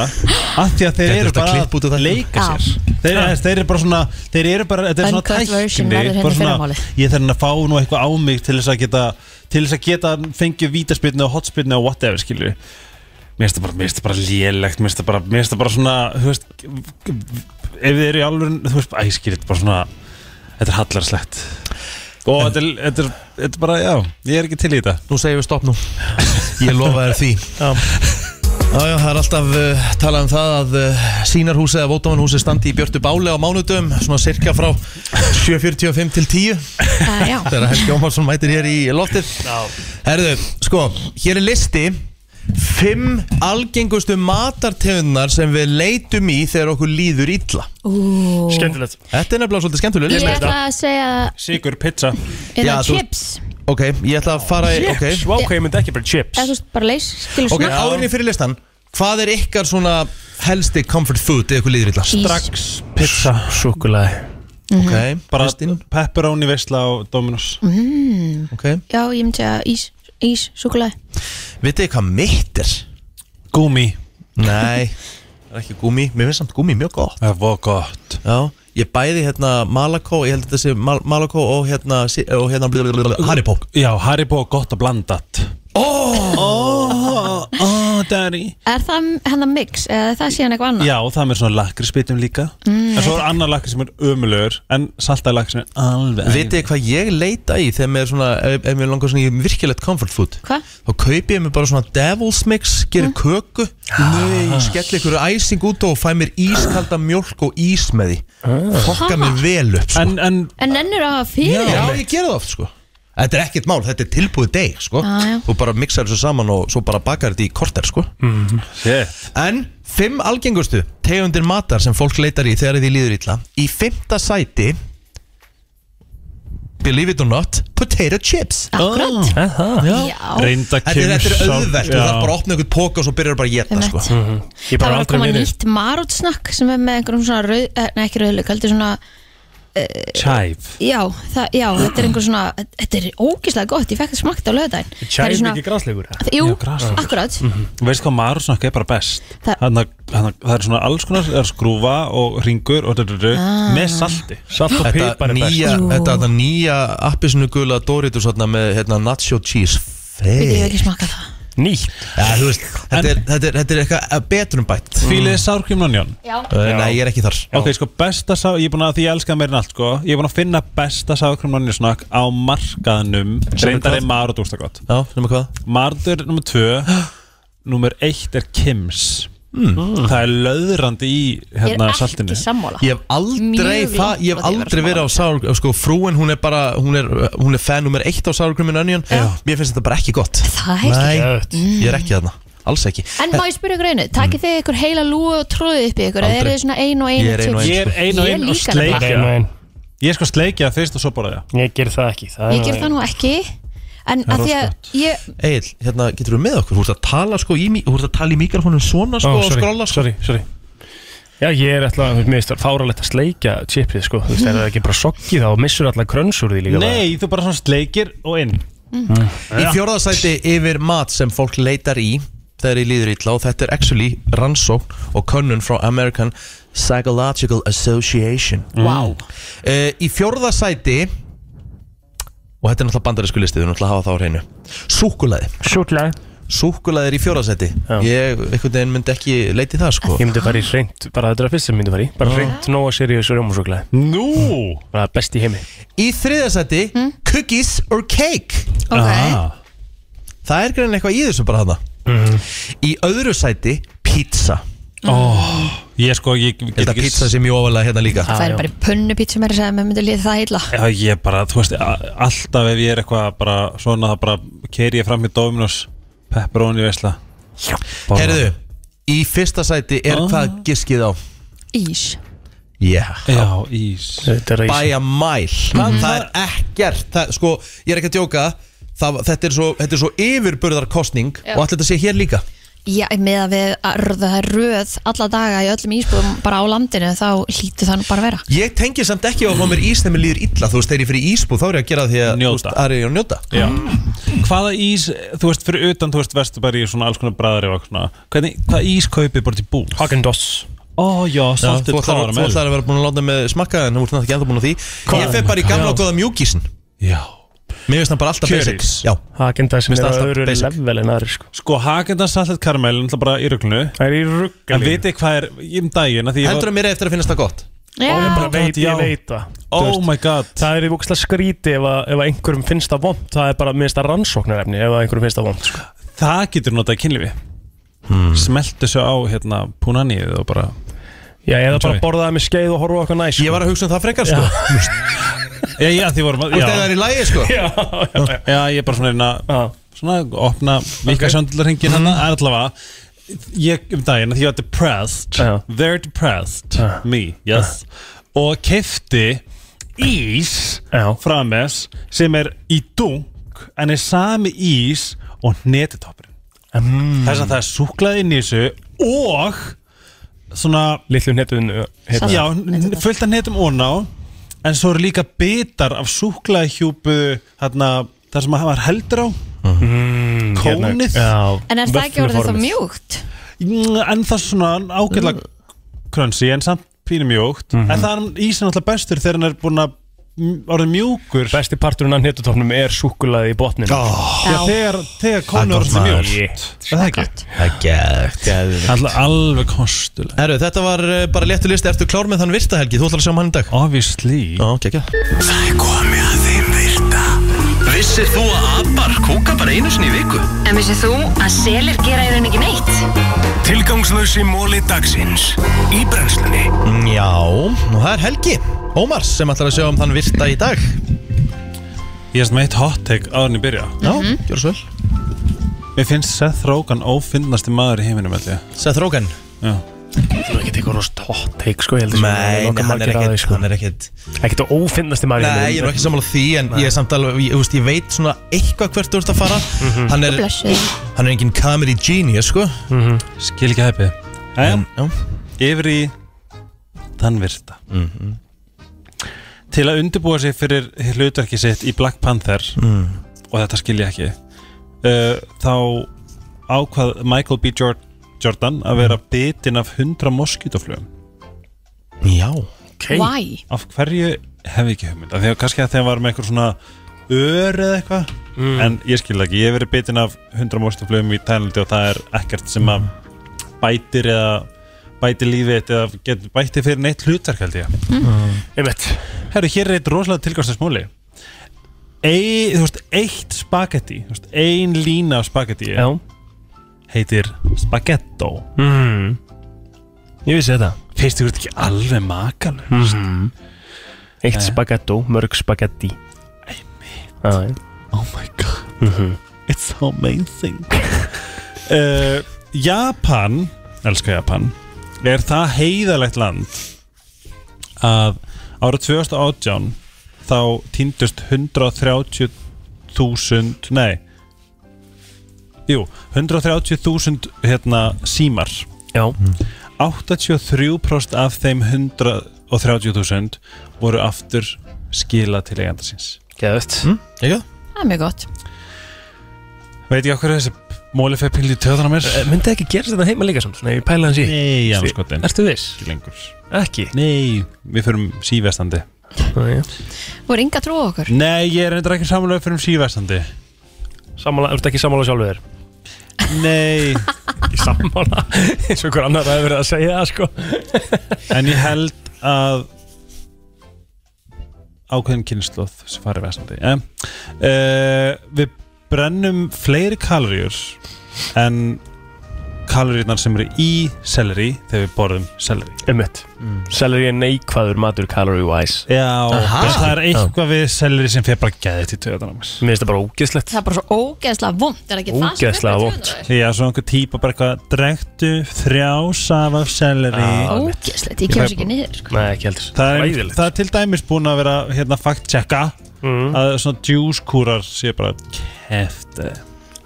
Speaker 8: af því að þeir
Speaker 1: Þetta
Speaker 8: eru
Speaker 1: er
Speaker 8: bara
Speaker 1: að klippa út úr
Speaker 8: að
Speaker 1: þættinum.
Speaker 8: leika
Speaker 1: Já.
Speaker 8: sér þeir, eh,
Speaker 1: Já.
Speaker 8: þeir eru bara svona, þeir eru bara, þetta er svona
Speaker 1: Uncut version
Speaker 8: tækni
Speaker 1: verður hérna
Speaker 8: bara
Speaker 1: í
Speaker 8: svona,
Speaker 1: fyrramálið.
Speaker 8: Ég þarf hérna að fá nú eitthvað á mig til þess að geta til þess að geta fengið vítaspilni og hotspilni og whatever, skilur Mér finnst það bara, mér finnst það bara lélegt, mér finnst það bara, mér finnst það bara svona, þú veist, ef þið eru í alveg, þú veist, æ, skilur, þetta er bara svona, þetta er hallarslegt. Og þetta er, þetta er, þetta er bara, já, ég er ekki til í þetta.
Speaker 1: Nú segjum við stopp nú Ég lofa þér því Já, já, það er alltaf uh, talað um það að uh, sínarhúsið eða vótamanhúsið standi í Björtu Báli á mánudum svona cirka frá 7.45 til 10
Speaker 2: já.
Speaker 1: þegar Helgi Ómarsson mætir hér í loftið Herðu, sko, hér er listi Fimm algengustu matartegunnar sem við leitum í þegar okkur líður illa
Speaker 2: Ú.
Speaker 3: Skemmtilegt
Speaker 1: Þetta er nefnilega svolítið skemmtilegt
Speaker 2: Ég ætla að segja
Speaker 8: Sigur pizza
Speaker 2: Er það chips?
Speaker 1: Ok, ég ætla að fara í
Speaker 3: Chips,
Speaker 1: ok.
Speaker 3: vá, ok, ég myndi ekki bara chips
Speaker 2: Eða þú veist bara leys Skilur
Speaker 1: Ok,
Speaker 2: svona
Speaker 1: áðurinn fyrir listan Hvað er ykkar svona helsti comfort food eða eitthvað líður illa?
Speaker 2: Ís.
Speaker 1: Strax
Speaker 8: pizza
Speaker 3: Súkulæði
Speaker 1: Ok,
Speaker 8: bara pepperoni veisla á Dominos
Speaker 2: mm.
Speaker 1: ok
Speaker 2: Já, ég myndi að ís Ís, súkulega
Speaker 1: Vitið þið hvað mitt er?
Speaker 8: Gúmi
Speaker 1: Nei, það er ekki gúmi Mér finnst samt gúmi mjög gott
Speaker 8: Það er voð gott
Speaker 1: Já, ég bæði hérna Malaco Ég held að þetta sé Mal Malaco og hérna, si- og hérna blablabla, Haribo
Speaker 8: Já, Haribo er gott að blanda Oh, oh, daddy
Speaker 2: Er það hennar mix? Eða er það síðan eitthvað annað?
Speaker 8: Já, það er með svona lakrispitum líka
Speaker 2: Mm.
Speaker 8: En svo er annar lakri sem er ömulegur En saltaði lakri sem er alveg
Speaker 1: Vitið þið hvað ég leita í þegar mér er svona Ef, ef mér langar svona í virkilegt comfort food
Speaker 2: Hva?
Speaker 1: Þá kaupi ég mér bara svona devil's mix Gerir köku Nei, skelli ykkur æsing út á og fæ mér ískalda mjólk og ís með því Fokka mér vel upp sko.
Speaker 8: en, en,
Speaker 2: En nennur að hafa fyrir
Speaker 1: Já, ég gera það oft sko Þetta er ekkert mál, þetta er tilbúið deg sko
Speaker 2: Já, já.
Speaker 1: Þú bara mixar þessu saman og svo bara bakar þetta í korter sko
Speaker 8: mm.
Speaker 1: En fimm algengustu tegundir matar sem fólk leitar í þegar því líður illa Í fimmta sæti Believe it or not, potato chips
Speaker 2: Akkurat
Speaker 3: Ah,
Speaker 1: oh, Já,
Speaker 2: Já.
Speaker 8: Reynda
Speaker 1: Þetta er, þetta er
Speaker 8: kemur
Speaker 1: auðvelt,
Speaker 8: samt-
Speaker 1: þú þarf
Speaker 8: Já.
Speaker 1: bara að opna einhvern póka og svo byrjar bara að geta sko
Speaker 3: Ég
Speaker 2: Það var að koma nýtt marútsnakk sem er með einhverjum svona rauð, eh, nei ekki rauðlug, heldur svona
Speaker 3: Chive
Speaker 2: já, það, já, þetta er einhver svona þetta er ógislega gott, ég fekk þetta smakt á löðdæn
Speaker 8: Chive svona... ekki grásleikur
Speaker 2: Jú, akkurat
Speaker 8: Mm. Veist hvað marusnakka er bara best
Speaker 2: Það-
Speaker 8: Þarna- þarna- Það er svona alls konar það er skrúfa og ringur og drrrr,
Speaker 2: Ah.
Speaker 8: með salti
Speaker 3: Salt
Speaker 1: þetta nýja, þetta, þetta nýja appisinu gula Doritos hérna, með hérna, nacho cheese
Speaker 2: Við hefum
Speaker 1: Feitt.
Speaker 2: ekki smakað það
Speaker 3: Nýtt
Speaker 1: ja, þú veist, þetta, er, þetta, er, þetta er eitthvað betrum bætt
Speaker 8: Fýlið sárkrimn og njón
Speaker 2: Já.
Speaker 1: Eh, nei, ég er ekki þar
Speaker 8: Ok, sko, besta sá, ég er búin að því ég elska meirinn allt, sko Ég er búin að finna besta sákrumlónjusnakk á markaðnum
Speaker 1: Sem er
Speaker 8: Reyndar
Speaker 1: hvað?
Speaker 8: er marut úrsta gott
Speaker 1: Já, nema hvað?
Speaker 8: Marutur nummer 2 Nummer 1 er Kims Hmm.
Speaker 1: Mm.
Speaker 8: Það er löðrandi í
Speaker 2: Ég
Speaker 8: hérna,
Speaker 2: er
Speaker 8: saltinu
Speaker 2: ekki sammála
Speaker 1: Ég hef aldrei,
Speaker 2: Mjög
Speaker 1: fa, ég hef
Speaker 2: langt frá því að vera
Speaker 1: aldrei verið á sár sko, frúin, hún er bara hún er, eh, hún er fan nummer eitt á sárkrummin önjun mér finnst þetta bara ekki gott
Speaker 2: Það er
Speaker 1: Nei,
Speaker 2: ekki-
Speaker 1: ég er ekki þarna, alls ekki
Speaker 2: En má ég spyrja ykkur einu, takið þið ykkur heila lúu og tróðið upp í ykkur, eða
Speaker 1: Aldrei.
Speaker 2: eru þið svona ein og ein
Speaker 1: Ég er ein og sko. ein,
Speaker 8: Ég er ein og
Speaker 2: Ég
Speaker 8: ein og
Speaker 2: líka nefnilega.
Speaker 8: sleikja Ég er sko sleikja fyrst og svo bara það
Speaker 3: Ég ger það ekki það
Speaker 2: Ég ger það nú ekki En
Speaker 1: Það er
Speaker 2: að því að ég,
Speaker 1: Egil, hérna getur við með okkur, þú ert að tala sko í, mí- þú ert að tala í mikrofónum svona sko
Speaker 3: Ó,
Speaker 1: og
Speaker 3: sorry,
Speaker 1: skrolla sko
Speaker 3: sorry, sorry. Já, ég er alltaf, mér finnst það fáralegt að sleikja chipið, sko, þú veist, er það ekki bara sokki þá og missur alltaf krönsur því líka
Speaker 8: Nei, þú bara svona sleikir og inn
Speaker 1: Í fjórðasæti yfir mat sem fólk leitar í þegar ég líður illa og þetta er actually rannsókn og könnun frá American Psychological Association
Speaker 2: Vá.
Speaker 1: Eh, Í fjórðasæti og þetta er náttúrulega bandarísku listi við erum náttúrulega að hafa það á hreinu Súkulaði
Speaker 3: Súkulaði
Speaker 1: Súkulaði er í fjórðasæti Ég einhvern veginn myndi ekki leiti það sko
Speaker 3: Ég myndi fara í reynd, bara þetta er að fyrst sem ég myndi fara í bara reynd Nóa Sirius og Rjómusúklaði
Speaker 8: Nú
Speaker 3: Það er best í heimi
Speaker 1: Í þriðasæti Cookies or cake
Speaker 2: Ok. Ah.
Speaker 1: Það er grein eitthvað í þessu bara hana Í öðru sæti Pizza
Speaker 8: oh, Ég sko, ég get
Speaker 1: Þetta pizza sem ég ofalega hérna líka
Speaker 2: það er bara í pönnu pítsu meira sem ég myndi liða það heila
Speaker 8: Já, ég bara, þú veist, a- alltaf ef ég er eitthvað bara svona, það bara keiri ég fram í Dominos pepperoni veisla
Speaker 1: Herðu, í fyrsta sæti er hvað giskið á?
Speaker 2: Ís
Speaker 1: Yeah.
Speaker 8: Já, ís
Speaker 3: Þetta
Speaker 1: By a mile Það er ekkert það, Sko, ég er ekki að djóka það, þetta, er svo, þetta er svo yfirburðarkostning
Speaker 2: Já.
Speaker 1: Og allir þetta sé hér líka
Speaker 2: Já, með að við að röð- það er röð alla daga í öllum ísbúðum bara á landinu þá hlýtu það nú bara að vera
Speaker 1: Ég tengi samt ekki á að fá mér ís þegar mér líður illa Þú veist, þegar ég fyrir ísbúð þá er ég að gera því að Njóta veist, Það er ég að njóta
Speaker 8: Já. Hvaða ís, þú veist, fyrir utan, þú veist, vestu bara í svona alls konar bræðari og svona Hvernig, hvaða ís kaupið bara til búl?
Speaker 3: Hagendoss
Speaker 8: Ó,
Speaker 1: Já,
Speaker 8: já,
Speaker 1: Þú
Speaker 8: saltið
Speaker 1: ætlar
Speaker 8: klára
Speaker 1: þú
Speaker 8: með
Speaker 1: ætlar að vera búin að láta með smakka En þú ert náttúrulega ekki enda búin að því Ég fer bara í gamla og góða mjúkísin
Speaker 8: Já
Speaker 1: Mér finnst það bara alltaf basic
Speaker 3: Kjörís.
Speaker 1: Já
Speaker 3: Hagendoss sem
Speaker 1: Mér finnst
Speaker 3: er á
Speaker 1: alltaf
Speaker 3: öðru
Speaker 1: basic.
Speaker 3: level en aðri, sko
Speaker 8: Sko, Hagendas saltið karamell, náttúrulega bara í rugglunu
Speaker 3: Það er í rugglinu
Speaker 8: En vitið hvað er, í um daginn að því
Speaker 1: Heldur að mér eftir að finnast það gott
Speaker 2: Já,
Speaker 3: Ó, ég bara veit,
Speaker 8: Já.
Speaker 3: ég veit það
Speaker 8: Oh
Speaker 3: Þú veist,
Speaker 8: my god
Speaker 3: Það er í vokislega skríti ef, að- ef að einhverjum finnst það vond Það er bara minnst að rannsóknarefni ef að einhverjum finnst það vond sko.
Speaker 8: Það getur notað í kynlífi hmm. Smeltu svo á, hérna, púnanið og bara
Speaker 3: Já, eða
Speaker 8: Enjoy.
Speaker 3: bara borða það með skeið og horfa okkur næs
Speaker 1: Ég var að hugsa um það frekar sko Þú
Speaker 8: Já, já, því vorum að
Speaker 1: veist, það er í lægi sko
Speaker 3: Já, já, já.
Speaker 8: Já, ég er bara svona einna Svona, opna mikla
Speaker 3: Ok.
Speaker 8: okay. söndularhingin hann Það er allavega Ég um daginn, því ég var depressed
Speaker 3: Já.
Speaker 8: Very depressed Me, yes Og kefti ís
Speaker 3: Já.
Speaker 8: Frames Sem er í dunk En er sami ís Og netitoppurinn mm. Þess að það er súklað inn í þessu Og Svona
Speaker 3: Lillu netuðin
Speaker 2: Salt.
Speaker 8: Já, n- fullt af netum óná En svo eru líka bitar af súklaðhjúpu Þarna, þar sem að maður heldur á
Speaker 3: hérna.
Speaker 8: Kónið.
Speaker 2: En er það ekki orðið þá mjúkt?
Speaker 8: Mm, En það er svona ágætlega krönsi En samt pínum mjúkt En það er ísinn alltaf bestur þegar hann er búin að m- Orðið mjúkur
Speaker 3: Besti parturinn af netutofnum er súkulaði í botninu
Speaker 1: Ó,
Speaker 8: Já, þegar, þegar kónið
Speaker 1: er
Speaker 8: orðið
Speaker 1: gott
Speaker 8: mjúkt
Speaker 3: Shit.
Speaker 8: Er Það er ekki
Speaker 1: Það er geðvegt, geðvegt.
Speaker 8: Alltaf alveg kostulega
Speaker 1: Herru, þetta var eh, bara léttu listi Ertu klár með þann virta helgi? Þú ætlar að sjá um hann í dag
Speaker 8: Obviously
Speaker 1: Já, ekki, ekki
Speaker 4: Það er komið að þeim virta Vissir þú að abar kúka bara einu sinni í viku?
Speaker 15: En vissið þú að selir gera í raun ekki neitt?
Speaker 4: Tilgangslösi móli dagsins Í brennslunni
Speaker 1: Já, og það er Helgi Ómars sem ætlar að sjá um þann virta í dag
Speaker 8: Ég er svona eitt hot take á hann í byrja
Speaker 1: Já, mm
Speaker 3: Mhm.
Speaker 1: -hmm. gjör svo vel
Speaker 8: Mér finnst Seth Rogen ófinnasti maður í heiminum held ég.
Speaker 1: Seth Rogen
Speaker 8: Já
Speaker 3: Það er ekki eitthvað rost hot take sko ég held að sé
Speaker 1: Nei, nei,
Speaker 3: nokkuð
Speaker 1: hann er
Speaker 3: margir að því,
Speaker 1: ekkit
Speaker 3: sko.
Speaker 1: Hann er ekkit
Speaker 3: Ekkert að ófinnast í maður
Speaker 1: Nei, ég er nú ekki sammála því En ég er samt alveg Ég, þú veist, ég veit svona eitthvað hvert þú ert að fara
Speaker 3: Mhm.
Speaker 1: Hann er
Speaker 2: Blessuð.
Speaker 1: Hann er engin comedy genius, sko
Speaker 8: Skil ekki hæpið
Speaker 3: Mm.
Speaker 8: Æja,
Speaker 1: Já
Speaker 8: yfir í Þann virta til að undirbúa sig fyrir hlutverki sitt í Black Panther
Speaker 1: Mm.
Speaker 8: og þetta skil ég ekki uh, þá ákvað Michael B. Jor- Jordan að vera bitinn af 100 moskítoflugum
Speaker 1: Já
Speaker 8: okay.
Speaker 2: Why?
Speaker 8: Af hverju hef ég ekki hugmynd af því að kannski að þeim var með eitthvað svona ör eða eitthvað
Speaker 3: Mm.
Speaker 8: en ég skil það ekki, ég hef verið bitinn af 100 moskítoflugum í Tælandi og það er ekkert sem að bætir eða bætir lífið þitt eða getur bætið fyrir neitt hlutverk held ég
Speaker 3: Mm.
Speaker 8: Einmitt. Herru, hér er eitt rosalega tilgjóðslega smóli Ei, Þú veist, eitt spagetti þú veist, Ein lína af spagetti Já. Heitir spagettó mm. Ég vissi þetta Fyrst þú ert ekki alveg makalust
Speaker 3: Mhm. Eitt
Speaker 8: Jæja.
Speaker 3: spagettó, mörg spagetti Einmitt
Speaker 8: Oh my god It's so amazing uh, Japan Elskar Japan Er það heiðalegt land Að ára 2018 Þá týndust 130.000 Nei Jú, 130.000 hérna, símar Já
Speaker 3: Hmm.
Speaker 8: 83% af þeim 130.000 voru aftur skila til eiganda síns Geðvögt mm, Ekki
Speaker 2: Það er mjög gott
Speaker 8: Veit ég okkur þessi móli fyrir pílið í töðan á mér
Speaker 3: Eh, myndi ekki gerast þetta heima líka svona, svona ef ég pæla hans í
Speaker 8: Nei, já, sko
Speaker 3: Ertu viss?
Speaker 8: Ekki lengur
Speaker 3: Ekki?
Speaker 8: Nei, við förum síðvestandi
Speaker 2: Þú er ynga trú á okkur
Speaker 8: Nei, ég er reyndar ekki samanlega fyrir um síðvestandi
Speaker 3: Sammála, ertu ekki sammála sjálfur þér?
Speaker 8: Nei
Speaker 3: Ekki sammála, eins og hver annar hafi verið að segja það sko
Speaker 8: En ég held að ákveðin kynnslóð sem farið vestandi eh, uh, Við brennum fleiri kaloríur en kaloríurnar sem eru í selleri þegar við borðum selleri
Speaker 3: Einmitt
Speaker 8: Hmm.
Speaker 3: Selleri er neikvæður matur calorie wise
Speaker 8: Já,
Speaker 3: Aha.
Speaker 8: veist, það er eitthvað við selleri sem fyrir bara gæðið til töðan á mér
Speaker 3: Mér finnst það bara ógeðslegt
Speaker 2: Það er bara svo ógeðslega vond Er ekki það sem
Speaker 8: Ógeðslega vond Já, svo einhver típa bara eitthvað Drektu þrjá saf af selleri
Speaker 2: Já, Ógeðslegt, ég kemst ekki niður, sko.
Speaker 8: Nei, ekki heldur Það er,
Speaker 3: Hræðilegt. Mm.
Speaker 8: það er til dæmis búin að vera hérna fact-checka að svona djúskúrar sé bara kefti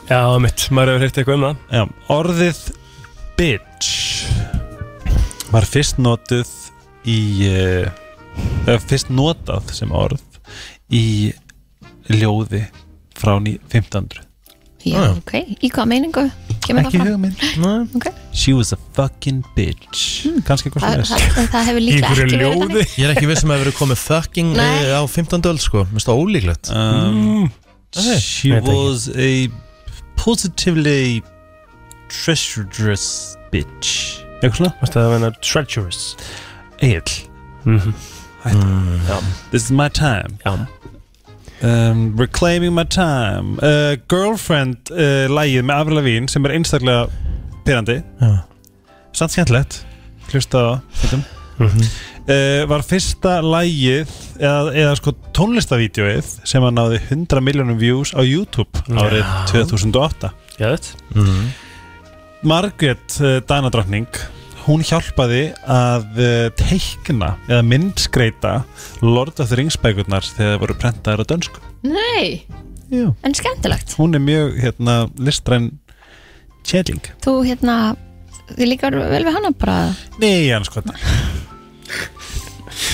Speaker 3: Já, mitt, maður hefur heyrt eitthvað um það
Speaker 8: Já, orðið bitch var fyrst notuð í eh, eða fyrst notað sem orð í ljóði frá ní- 1500
Speaker 2: Já, ok, í hvað meiningu kemur
Speaker 8: Ah, Ekki
Speaker 2: það
Speaker 8: hugmynd
Speaker 2: okay.
Speaker 8: She was a fucking bitch Kanski eitthvað
Speaker 2: Hmm. það,
Speaker 8: svona
Speaker 2: það, það, það hefur líklega ekki verið þannig.
Speaker 1: Ég er ekki viss um að það hefur komið fucking
Speaker 2: Nei.
Speaker 1: eh, á 15. öld sko Mér finnst það ólíklegt
Speaker 3: Mm.
Speaker 8: um, She
Speaker 1: Nei, þetta ekki.
Speaker 8: was a positively treacherous bitch Eitthvað svona?
Speaker 3: Varstu að meina treacherous?
Speaker 8: Egil Mhm. mm. This is my time um, Reclaiming my time uh, Girlfriend uh, Lægið með Avril Lavín sem er einstaklega pyrrandi
Speaker 1: Já.
Speaker 8: Samt skemmtilegt Hlusta á mm uh, Var fyrsta lægið eða, eða sko tónlistavídeóið sem að náði 100 miljónum views á YouTube árið
Speaker 3: Já.
Speaker 8: 2008
Speaker 3: Geðvögt
Speaker 1: Mhm.
Speaker 8: Margrét uh, Danadrottning hún hjálpaði að uh, teikna eða myndskreita Lord of the Rings bækurnar þegar það voru prentaðar á dönsku
Speaker 2: Nei,
Speaker 8: Já.
Speaker 2: en skemmtilegt
Speaker 8: hún er mjög hérna, listræn tjelling
Speaker 2: Þú hérna, þið líkar vel við hana bara
Speaker 8: Nei, hann sko Nei,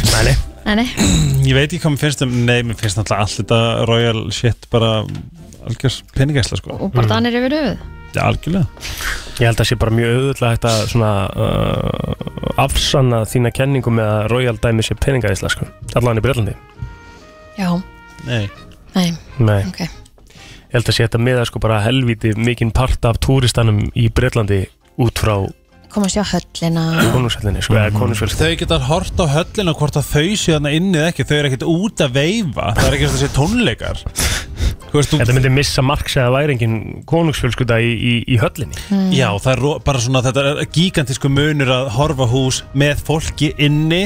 Speaker 8: nei
Speaker 2: Nei, nei,
Speaker 8: Ég veit ekki hvað mér finnst um, nei, mér finnst alltaf allt þetta royal shit bara algjör peningæsla sko
Speaker 2: og bara danir yfir höfuð
Speaker 8: Já, algjörlega
Speaker 3: Ég held að sé bara mjög auðvitað þetta svona uh, afsanna þína kenningu með að Royal dæmi sé peningaðisla sko Allan í Breitlandi
Speaker 2: Já,
Speaker 8: Nei
Speaker 2: nei,
Speaker 3: Nei
Speaker 2: ok
Speaker 3: Ég held að sé þetta með að sko bara helviti mikinn part af túristanum í Breitlandi út frá
Speaker 2: Koma að sjá höllina
Speaker 3: konungsvellinni sko
Speaker 8: Mhm.
Speaker 3: eða konungsvellinni
Speaker 8: Þau getar hort á höllina hvort að þau séu þarna inni eða ekki, þau eru ekkert út að veifa það er ekki þessi tónleikar veist,
Speaker 3: Þetta myndi missa marks eða væri engin konungsfjölskylda í, í, í höllinni
Speaker 2: Mm.
Speaker 8: Já, það er ro- bara svona þetta er gigantísku munur að horfa á hús með fólki inni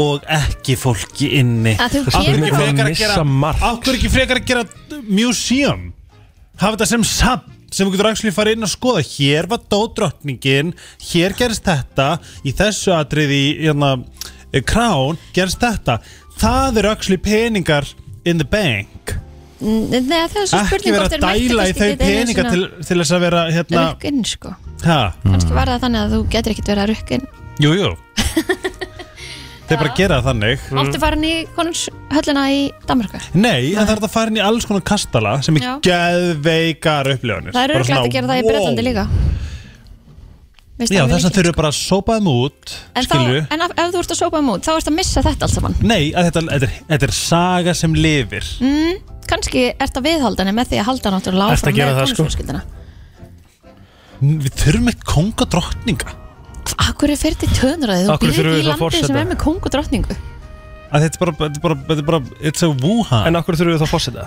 Speaker 8: og ekki fólki inni
Speaker 3: Að þú
Speaker 8: Af
Speaker 3: kemur
Speaker 8: hverju ekki
Speaker 3: á-
Speaker 8: frekar að
Speaker 3: Missa
Speaker 8: gera Akkur ekki frekar að gera museum hafa þetta sem safn sem við getur actually farið inn og skoða hér var dódrottningin, hér gerist þetta í þessu atrið í hérna, eh, krán gerist þetta það eru actually peningar in the bank
Speaker 2: Nei, það er svo
Speaker 8: ekki
Speaker 2: spurning
Speaker 8: vera
Speaker 2: hvort
Speaker 8: að
Speaker 2: þeir mættu
Speaker 8: dæla í
Speaker 2: kannski
Speaker 8: þau
Speaker 2: ekki einu
Speaker 8: peninga til, Mm.
Speaker 2: sinni
Speaker 8: til þess að vera
Speaker 2: að
Speaker 8: hérna,
Speaker 2: rukka inn, sko
Speaker 8: ha?
Speaker 2: Kannski var það þannig að þú getur ekkert verið að rukka inn
Speaker 8: Jú, jú Þeir bara gera það þannig
Speaker 2: Oftu farin í konungshöllina í Danmarku
Speaker 8: Nei, en það er þetta farin í alls konar kastala sem er
Speaker 2: Já.
Speaker 8: geðveikar upplifunir
Speaker 2: Það er
Speaker 8: Bara
Speaker 2: örglætt
Speaker 8: svona,
Speaker 2: að gera það í
Speaker 8: wow.
Speaker 2: Breitlandi líka Veist
Speaker 8: Já,
Speaker 2: það mjög
Speaker 8: þess að
Speaker 2: líklegt. sko.
Speaker 8: þeir eru bara að sópa þeim út
Speaker 2: En, þá,
Speaker 8: skilju.
Speaker 2: en af, ef þú ert að sópa um út þá ert að missa þetta allt saman
Speaker 8: Nei, að þetta, þetta, er, þetta er saga sem lifir
Speaker 2: mm, Kanski ert að viðhalda henni með því að halda náttúrulega
Speaker 8: Ertu að
Speaker 2: áfram
Speaker 8: gera
Speaker 2: með
Speaker 8: það, sko?
Speaker 2: konungsfjölskyldina Mm.
Speaker 8: Við þurfum eitt kongadrottninga
Speaker 2: Akkur er fyrir til tönraði, þú
Speaker 8: Af hverju
Speaker 2: býr
Speaker 8: þurfum
Speaker 2: ekki í
Speaker 8: við þá
Speaker 2: landi sem
Speaker 8: forseta?
Speaker 2: er með kong og drottningu
Speaker 8: að þetta er bara, þetta er bara, þetta er bara it's a Wuhan
Speaker 3: En okkur þurfum við þá fórseta?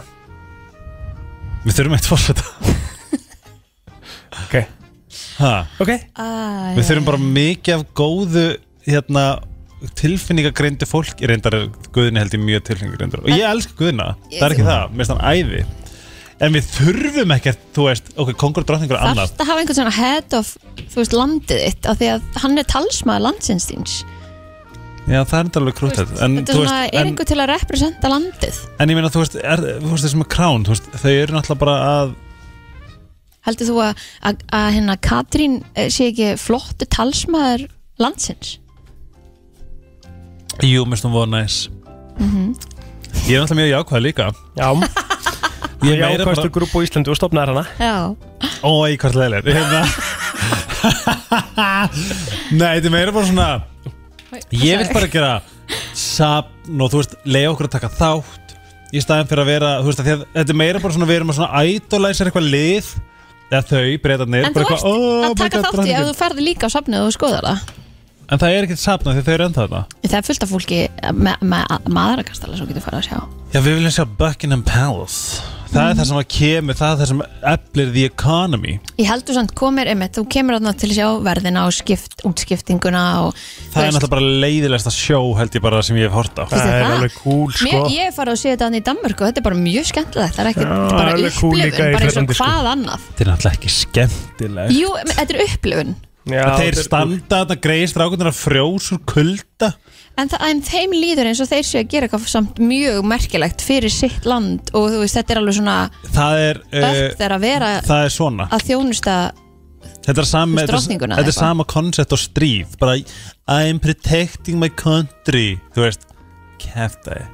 Speaker 8: Við þurfum eitt fórseta
Speaker 3: Ok
Speaker 8: ha.
Speaker 3: Ok
Speaker 2: ah,
Speaker 8: Við þurfum bara mikið af góðu hérna, tilfinningagreindu fólk Ég reyndar er Guðni held ég mjög tilfinningagreindur og ég elska Guðna, það er ekki það, mér finnst hann æði En við þurfum ekkert, þú veist, ok, kongur og drottningur er annað
Speaker 2: Þarft að hafa einhvern svona head of þú veist, landið þitt af því að hann er talsmaður landsins þíns
Speaker 8: Já, það er enda alveg krútt
Speaker 2: Þetta er svona, er einhver til að representa landið
Speaker 8: En ég meina, þú veist, er, þú veist þessum með krán, þú veist, þau eru náttúrulega bara að
Speaker 2: Heldur þú að, að, að hérna Katrín eh, sé ekki flottu talsmaður landsins?
Speaker 8: Jú, mér finnst hún voða næs
Speaker 2: Mm
Speaker 8: Ég er náttúrulega mjög jákvæð líka
Speaker 3: Já
Speaker 8: Ég er meira
Speaker 3: Jákvæðstu
Speaker 8: bara
Speaker 3: grúpp á Íslandi og stopnaði hana
Speaker 2: Já
Speaker 8: Ó, ég hvort leilir hérna. Nei, þetta er meira bara svona Ég vil bara gera Sapn og þú veist, leiða okkur að taka þátt Í staðin fyrir að vera Þú veist, að að, þetta er meira bara svona Við erum að svona idolizer eitthvað lið Eða þau, breytarnir
Speaker 2: En þú
Speaker 8: bara
Speaker 2: ert
Speaker 8: eitthvað, "Oh
Speaker 2: að taka
Speaker 8: my God,
Speaker 2: þátt í ef
Speaker 8: drottningin."
Speaker 2: þú ferði líka á safnið og þú skoðar það
Speaker 8: En það er ekkert sapna því þau eru ennþá þarna
Speaker 2: Það er fullt af fólki með me, maðurakastala sem getur farið að sjá
Speaker 8: Já, við viljum sjá Buckingham Palace Það er það sem að kemur, það er það sem eflir the economy
Speaker 2: Ég heldur samt komir, einmitt, þú kemur þarna til að sjá verðina og skipt, útskiptinguna og
Speaker 8: Það er náttúrulega bara leiðilegsta sjó held ég bara sem ég hef hort á
Speaker 2: Finnst þér Það er það? alveg
Speaker 8: cool sko.
Speaker 2: Mér, ég er farið að sé þetta hann í Danmörku og þetta er bara mjög skemmtilegt, það er ekkert
Speaker 8: Já,
Speaker 2: bara
Speaker 8: alveg kúl
Speaker 2: upplifun,
Speaker 8: líka í
Speaker 2: bara eins og
Speaker 8: Finnlandi, sko.
Speaker 2: hvað annað
Speaker 8: Þetta er náttúrulega ekki skemmtilegt
Speaker 2: Jú, em, þetta er upplifun
Speaker 8: Já, Þeir standa þarna greiðist rákundir að frjós úr kulda
Speaker 2: en, það, en þeim líður eins og þeir séu að gera eitthvað samt mjög merkilegt fyrir sitt land og þú veist, þetta er alveg svona
Speaker 8: Það er,
Speaker 2: Öpp þeirra að vera-
Speaker 8: Eh, það er svona
Speaker 2: að þjónusta
Speaker 8: Þetta er sama,
Speaker 2: Þú veist,
Speaker 8: þetta er,
Speaker 2: drottninguna
Speaker 8: þetta er
Speaker 2: eitthvað.
Speaker 8: sama koncept og stríð bara I'm protecting my country þú veist, kæftæði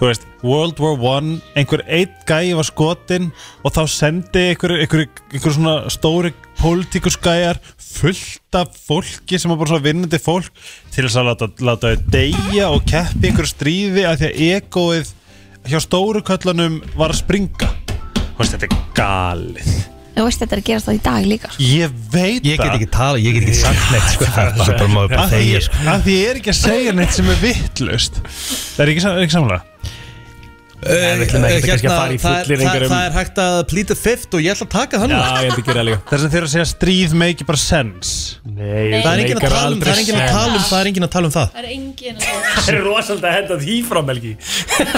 Speaker 8: þú veist, World War One einhver eitt gæi var skotin og þá sendi einhver, einhver, einhver svona stóri pólitíkusgæjar fullt af fólki sem var bara svona vinnandi fólk til þess að láta, láta þau deyja og keppi í einhverju stríði af því að egoið hjá stóru köllanum var að springa þú veist, þetta er galið
Speaker 2: Þú veist, þetta er að gera það í dag líka sko.
Speaker 8: Ég veit
Speaker 1: Ég get ekki tala, ég get ekki sagt neitt sko, það er bara, bara maður bara
Speaker 8: Af því-
Speaker 1: þegja sko.
Speaker 8: af því ég er ekki að segja neitt sem er vittlust Það er ekki, sam- er ekki samlega
Speaker 1: Nei,
Speaker 8: við ætlum ekkert kannski að
Speaker 1: Hérna,
Speaker 8: fara í
Speaker 1: það er- það-
Speaker 8: fullyrðingar um-
Speaker 1: það er hægt að plýta fifth og ég ætla að taka þannig
Speaker 8: Já, ég held ekki það líka Það er sem þeir eru að segja stríð make bara sense Nei,
Speaker 1: Það er enginn að tala um það, er enginn að tala um það, er enginn að tala um það
Speaker 2: Það er engin
Speaker 3: Það er rosalega að henda því frá Melgi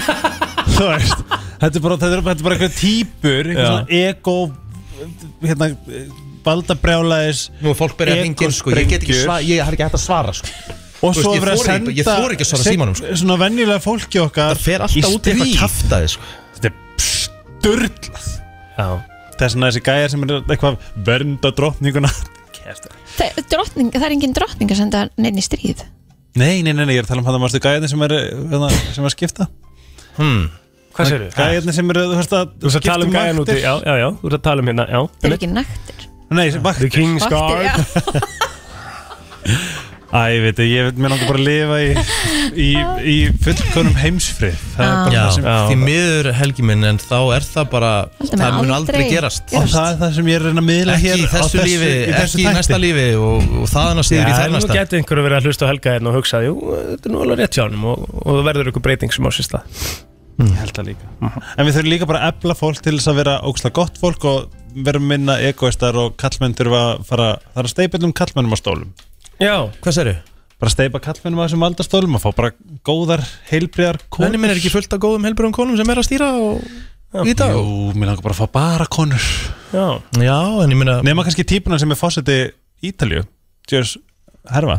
Speaker 8: Þú veist, þetta er bara, þetta er, þetta er bara eitthvað típur Eitthvað
Speaker 1: Já.
Speaker 8: svona ego Hérna, baldabrjálaðis
Speaker 1: Nú, fólk byrja að hringja inn, sko, ég get ekki
Speaker 8: Egosprengjur.
Speaker 1: sva- ég hef ekki hægt að svara sko.
Speaker 8: Og
Speaker 1: Þú
Speaker 8: svo
Speaker 1: veist, ég
Speaker 8: verið að
Speaker 1: þori ekki-
Speaker 8: senda
Speaker 1: Ég þor ekki að svara
Speaker 8: sig-
Speaker 1: símanum sko.
Speaker 8: Svona venjulega fólki okkar
Speaker 1: Það fer alltaf út í eitthvað kjaftaði sko.
Speaker 8: Þetta er sturglað Það er svona þessi gæjar sem er eitthvað vernda drottninguna
Speaker 2: það, drottning, það er engin drottning að senda neinn í stríð
Speaker 8: Nei, nei, nei, nei, ég er að tala um hann að mástu gæðin sem er, hérna, sem er að skipta
Speaker 1: hmm.
Speaker 3: Hvað sérðu?
Speaker 8: Gæðin sem er, Ah. þú veist að
Speaker 3: Þú ert að tala um gæjan úti Já, já, já, þú ert að tala um hérna Já
Speaker 2: Það er ekki nægt
Speaker 8: Nei, vaktir
Speaker 3: The King's Guard
Speaker 8: Æ, ég veit, ég veit, mér langar bara að lifa í, í, í fullkonum heimsfrið Það er bara
Speaker 1: Já,
Speaker 8: það sem
Speaker 1: því miður helgi minn en þá er það bara
Speaker 8: Heldur
Speaker 1: það
Speaker 8: maður
Speaker 1: mun
Speaker 8: aldrei
Speaker 1: aldrei gerast
Speaker 8: Og það er það sem ég er að reyna að miðla
Speaker 1: ekki
Speaker 8: hér
Speaker 1: í
Speaker 8: á
Speaker 1: þessu lífi,
Speaker 8: í þessu
Speaker 1: ekki í
Speaker 8: þætti.
Speaker 1: næsta lífi og, og þaðan að síður í þær
Speaker 3: nú
Speaker 1: næsta
Speaker 3: getur einhverju verið að hlusta á helga hérna og hugsa Jú, þetta er nú alveg rétt hjá hann og, og það verður einhver breyting sem á sér stað
Speaker 8: Ég held það líka En við þurfum líka bara að efla fólk til þess að vera ógslag gott fólk og vera minna egoistar og kallmenn þurfa að fara það er að steipa um kallmennum á stólum
Speaker 3: Já,
Speaker 1: hvað sérðu?
Speaker 8: Bara steipa kallmennum á þessum aldastólum og fá bara góðar, heilbriðar konur
Speaker 1: Henni minn er ekki fullt af góðum helbröðum konum sem er að stýra og í dag
Speaker 8: Jú, mér langar bara að fá bara konur
Speaker 3: Já,
Speaker 1: Já en ég minna
Speaker 8: Nefna kannski típuna sem er fósetti Ítalju Jörs Herfa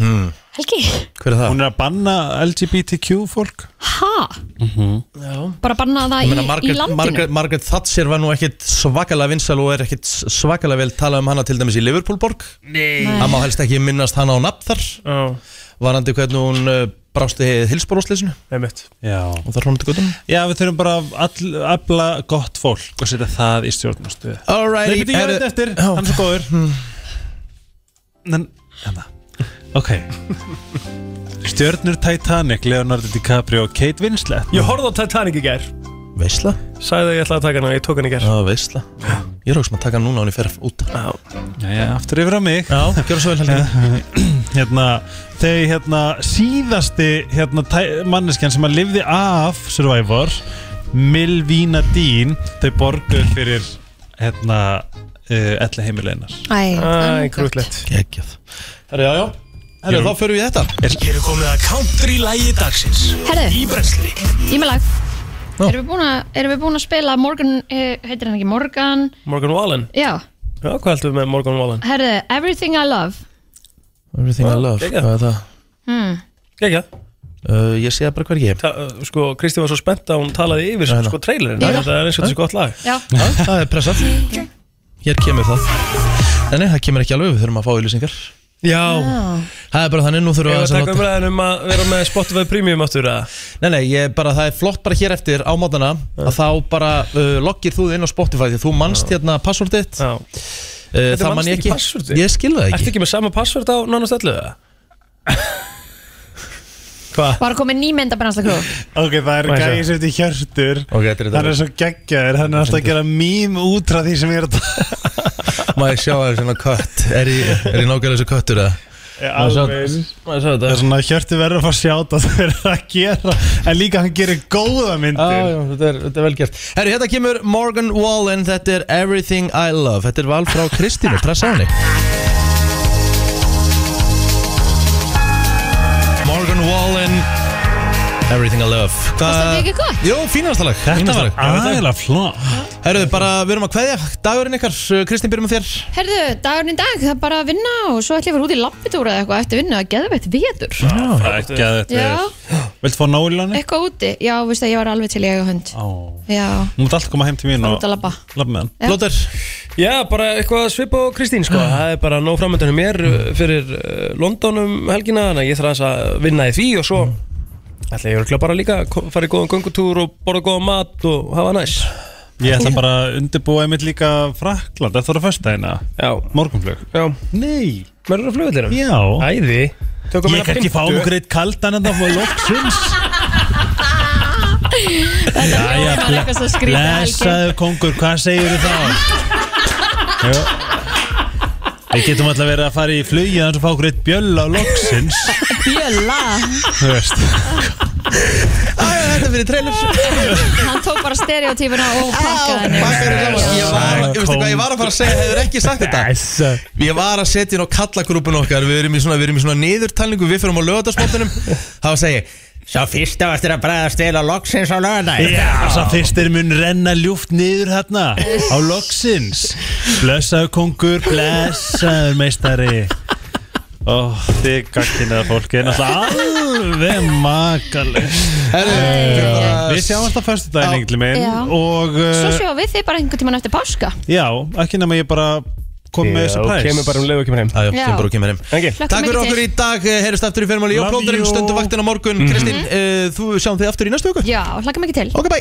Speaker 1: hmm.
Speaker 2: Helgi,
Speaker 1: Hver er það?
Speaker 8: Hún er að banna LGBTQ fólk
Speaker 2: ha?
Speaker 8: mm -hmm.
Speaker 2: Bara banna það
Speaker 1: Ég
Speaker 2: í,
Speaker 1: meina,
Speaker 2: í
Speaker 1: Margaret,
Speaker 2: landinu
Speaker 1: Margaret, Margaret Thatcher var nú ekkit svakalega vinsal og er ekkit svakalega vel talað um hana til dæmis í Liverpool borg
Speaker 3: Nei
Speaker 1: Það má helst ekki minnast hana á nafn þar
Speaker 3: oh.
Speaker 1: varandi hvernig hún uh, brásti hilsbórúsleysinu
Speaker 3: Einmitt
Speaker 8: Já
Speaker 1: Og það hrannum til guttum
Speaker 8: Já, við þurfum bara að all- afla gott fólk og setja það í stjórnarstöðu
Speaker 1: Alrighty,
Speaker 8: Nei, beti, ég
Speaker 1: er-
Speaker 8: veit eftir, hann er svo góður En, hérna Ok Stjörnur Titanic, Leonardo DiCaprio og Kate Winslet
Speaker 3: Ég horfði á Titanic í gær
Speaker 1: Veisla?
Speaker 3: Sæði að ég ætlaði að taka hana, ég tók hana í gær
Speaker 1: Já, veisla Ég er okkur sem að taka hann núna og hann fer út
Speaker 3: Já,
Speaker 8: já, aftur yfir á mig
Speaker 1: Já, gjör svo vel
Speaker 8: helgi Hérna, þegar hérna síðasti hérna, tæ- manneskjan sem að lifði af Survivor Milvína Dín, þau borguð fyrir hérna uh, elli heimileginar
Speaker 2: Æ,
Speaker 3: Æ, krútlegt
Speaker 1: Gekkjað Herra, já, já Herra, þá förum við í þetta
Speaker 8: Er,
Speaker 4: Eru komið að country lægi dagsins
Speaker 2: Herðu.
Speaker 4: Í brensli
Speaker 2: Ég með lag
Speaker 4: Já.
Speaker 2: Erum við búin að- erum við búin að spila Morgan, eh, heitir hann ekki Morgan
Speaker 3: Morgan Wallen
Speaker 2: Já,
Speaker 3: Já, hvað heldur við með Morgan Wallen?
Speaker 2: herðu, Everything I Love
Speaker 1: Everything I love,
Speaker 3: geggjað.
Speaker 1: hvað er það?
Speaker 2: hmm.
Speaker 3: Gekja
Speaker 1: Uh, ég sé það bara hvergi
Speaker 3: Ta, uh, sko, Kristi var svo spennt að hún talaði yfir
Speaker 1: Já, já.
Speaker 3: sko trailerinn,
Speaker 1: Já, já.
Speaker 3: það er eins og þessi gott lag
Speaker 2: Já,
Speaker 1: það er pressað Hér kemur það Nei, nei, það kemur ekki alveg, við þurfum að fá ylusingar
Speaker 3: Já
Speaker 1: Það er bara þannig, nú þurfum við
Speaker 3: Ég var að
Speaker 1: aðeins
Speaker 3: taka umræðin um að vera með Spotify Premium aftur að
Speaker 1: Nei, nei, ég bara, það er flott bara hér eftir á mótana að þá bara uh, loggir þú þig inn á Spotify því þú mannst hérna passvordið þitt.
Speaker 3: uh,
Speaker 1: Það mann ég ekki Ég skil það
Speaker 3: Ertu
Speaker 1: ekki
Speaker 3: ekki með sama password á nánast öllu það?
Speaker 2: bara komið nýmynda brensla krú
Speaker 8: Ok, það er
Speaker 3: Má ég sjá?
Speaker 8: gæði sem þetta hjörtur
Speaker 1: Ok, þetta er
Speaker 8: Hann er svo geggjaður, hann er alltaf að gera mím útra því sem ég er að
Speaker 1: Má ég sjá það svona kött Er ég, er ég nákvæmlega þessu köttur eða? Má ég sjá- má ég sjá
Speaker 8: Það
Speaker 1: þetta?
Speaker 8: er svona að Hjörti verður að fá sjáta það verður að gera En líka hann gerir góða myndir
Speaker 1: Já, já, þetta er, þetta er vel gert Herri, hérna kemur Morgan Wallen Þetta er Everything I Love Þetta er val frá Kristínu, pressa á henni Morgan Wallen Everything I Love Hvað
Speaker 2: Fannst þetta ekki gott?
Speaker 1: Jú, fínastalag
Speaker 8: var aðeinslega flott
Speaker 1: Herru, bara við erum að kveðja Dagurinn ykkar, Kristín byrjum með þér
Speaker 2: Herðu, dagurinn í dag, það er bara að vinna og svo ætlum ég að fara út í labbitúra eða eitthvað eftir vinnu að geða veitt vetur
Speaker 8: Það er ekki að þetta
Speaker 2: Já.
Speaker 8: er Viltu fá nólanni?
Speaker 2: Eitthvað úti, já, veist það, ég var alveg til ég eiga hund
Speaker 8: Ó Hún
Speaker 2: Já,
Speaker 8: mútt alltaf koma heim til
Speaker 2: það
Speaker 8: mín
Speaker 2: er
Speaker 8: og
Speaker 2: út að labba
Speaker 8: labba með hann
Speaker 2: Já.
Speaker 1: Blóter
Speaker 3: Já, bara eitthvað að svipa á Kristín sko Það er bara nóg framöndunum mér uh, fyrir uh, London um helgina Þannig að ég þarf aðeins að vinna í því og svo
Speaker 1: Mm.
Speaker 3: ætla ég örgla bara líka að ko- fara í góðan göngutúr og borða góðan mat og hafa næs
Speaker 8: Ég ætla bara að undirbúa einmitt líka Frakland, þetta voru fyrsta eina
Speaker 3: Já
Speaker 8: Morgunflug
Speaker 3: Já
Speaker 8: Nei
Speaker 3: Verður á flugullinum?
Speaker 8: Já
Speaker 3: Æði Tökum
Speaker 8: Ég
Speaker 3: eina
Speaker 8: kannski
Speaker 3: fimmtu.
Speaker 8: fá okkur eitt kaldan hérna en það fóði loksins
Speaker 2: Jæja, Það er eitthvað svo skrítið helgi
Speaker 8: blessaður kongur, hvað segir þú þá? Jú. Við getum alltaf verið að fara í flugið þannig að fá okkur eitt bjöll á loksins
Speaker 2: Bjölla
Speaker 8: Þú veist
Speaker 1: Æja, þetta fyrir trailer
Speaker 2: Hann tók bara stereotífuna og pakkaði henni
Speaker 1: Ég var, ég veistu hvað ég var að fara að segja Hefur ekki sagt þetta Ég var að setja inn á kallagrúpun okkar Við erum í svona, við erum í svona niðurtalningu Við fyrir á lögadagsmóttunum Það var að segja Sá fyrst á eftir að bregðast til á loksins á lögadag
Speaker 8: Já, svo fyrst er mun renna ljúft niður hérna á loksins Blessaður kongur, blessaður meistari Ó, þið gagkinnið að fólki er náttúrulega alveg makalegt Við sjáum alltaf fyrstu daginn, engli minn
Speaker 2: Já.
Speaker 8: og
Speaker 2: Svo
Speaker 8: uh,
Speaker 2: sjá við þig bara einhvern tíman eftir páska
Speaker 8: Já, ekki nema ég bara kom með
Speaker 3: Já,
Speaker 8: surprise
Speaker 3: kemur bara um leið og kemur heim
Speaker 1: Æjó,
Speaker 2: Já.
Speaker 1: kemur og kemur heim
Speaker 3: Engi
Speaker 2: Hlökkum
Speaker 1: Takk fyrir
Speaker 2: mikið
Speaker 1: okkur í
Speaker 2: til.
Speaker 1: dag, heyrðist aftur í fyrirmáli Ég og
Speaker 8: Love
Speaker 1: plóðurinn
Speaker 8: you. Mhm.
Speaker 1: stundum vaktin á morgun Kristín, eh, þú sjáum þig aftur í næstu viku
Speaker 2: Já, hlakka mikið til
Speaker 1: Ok, bye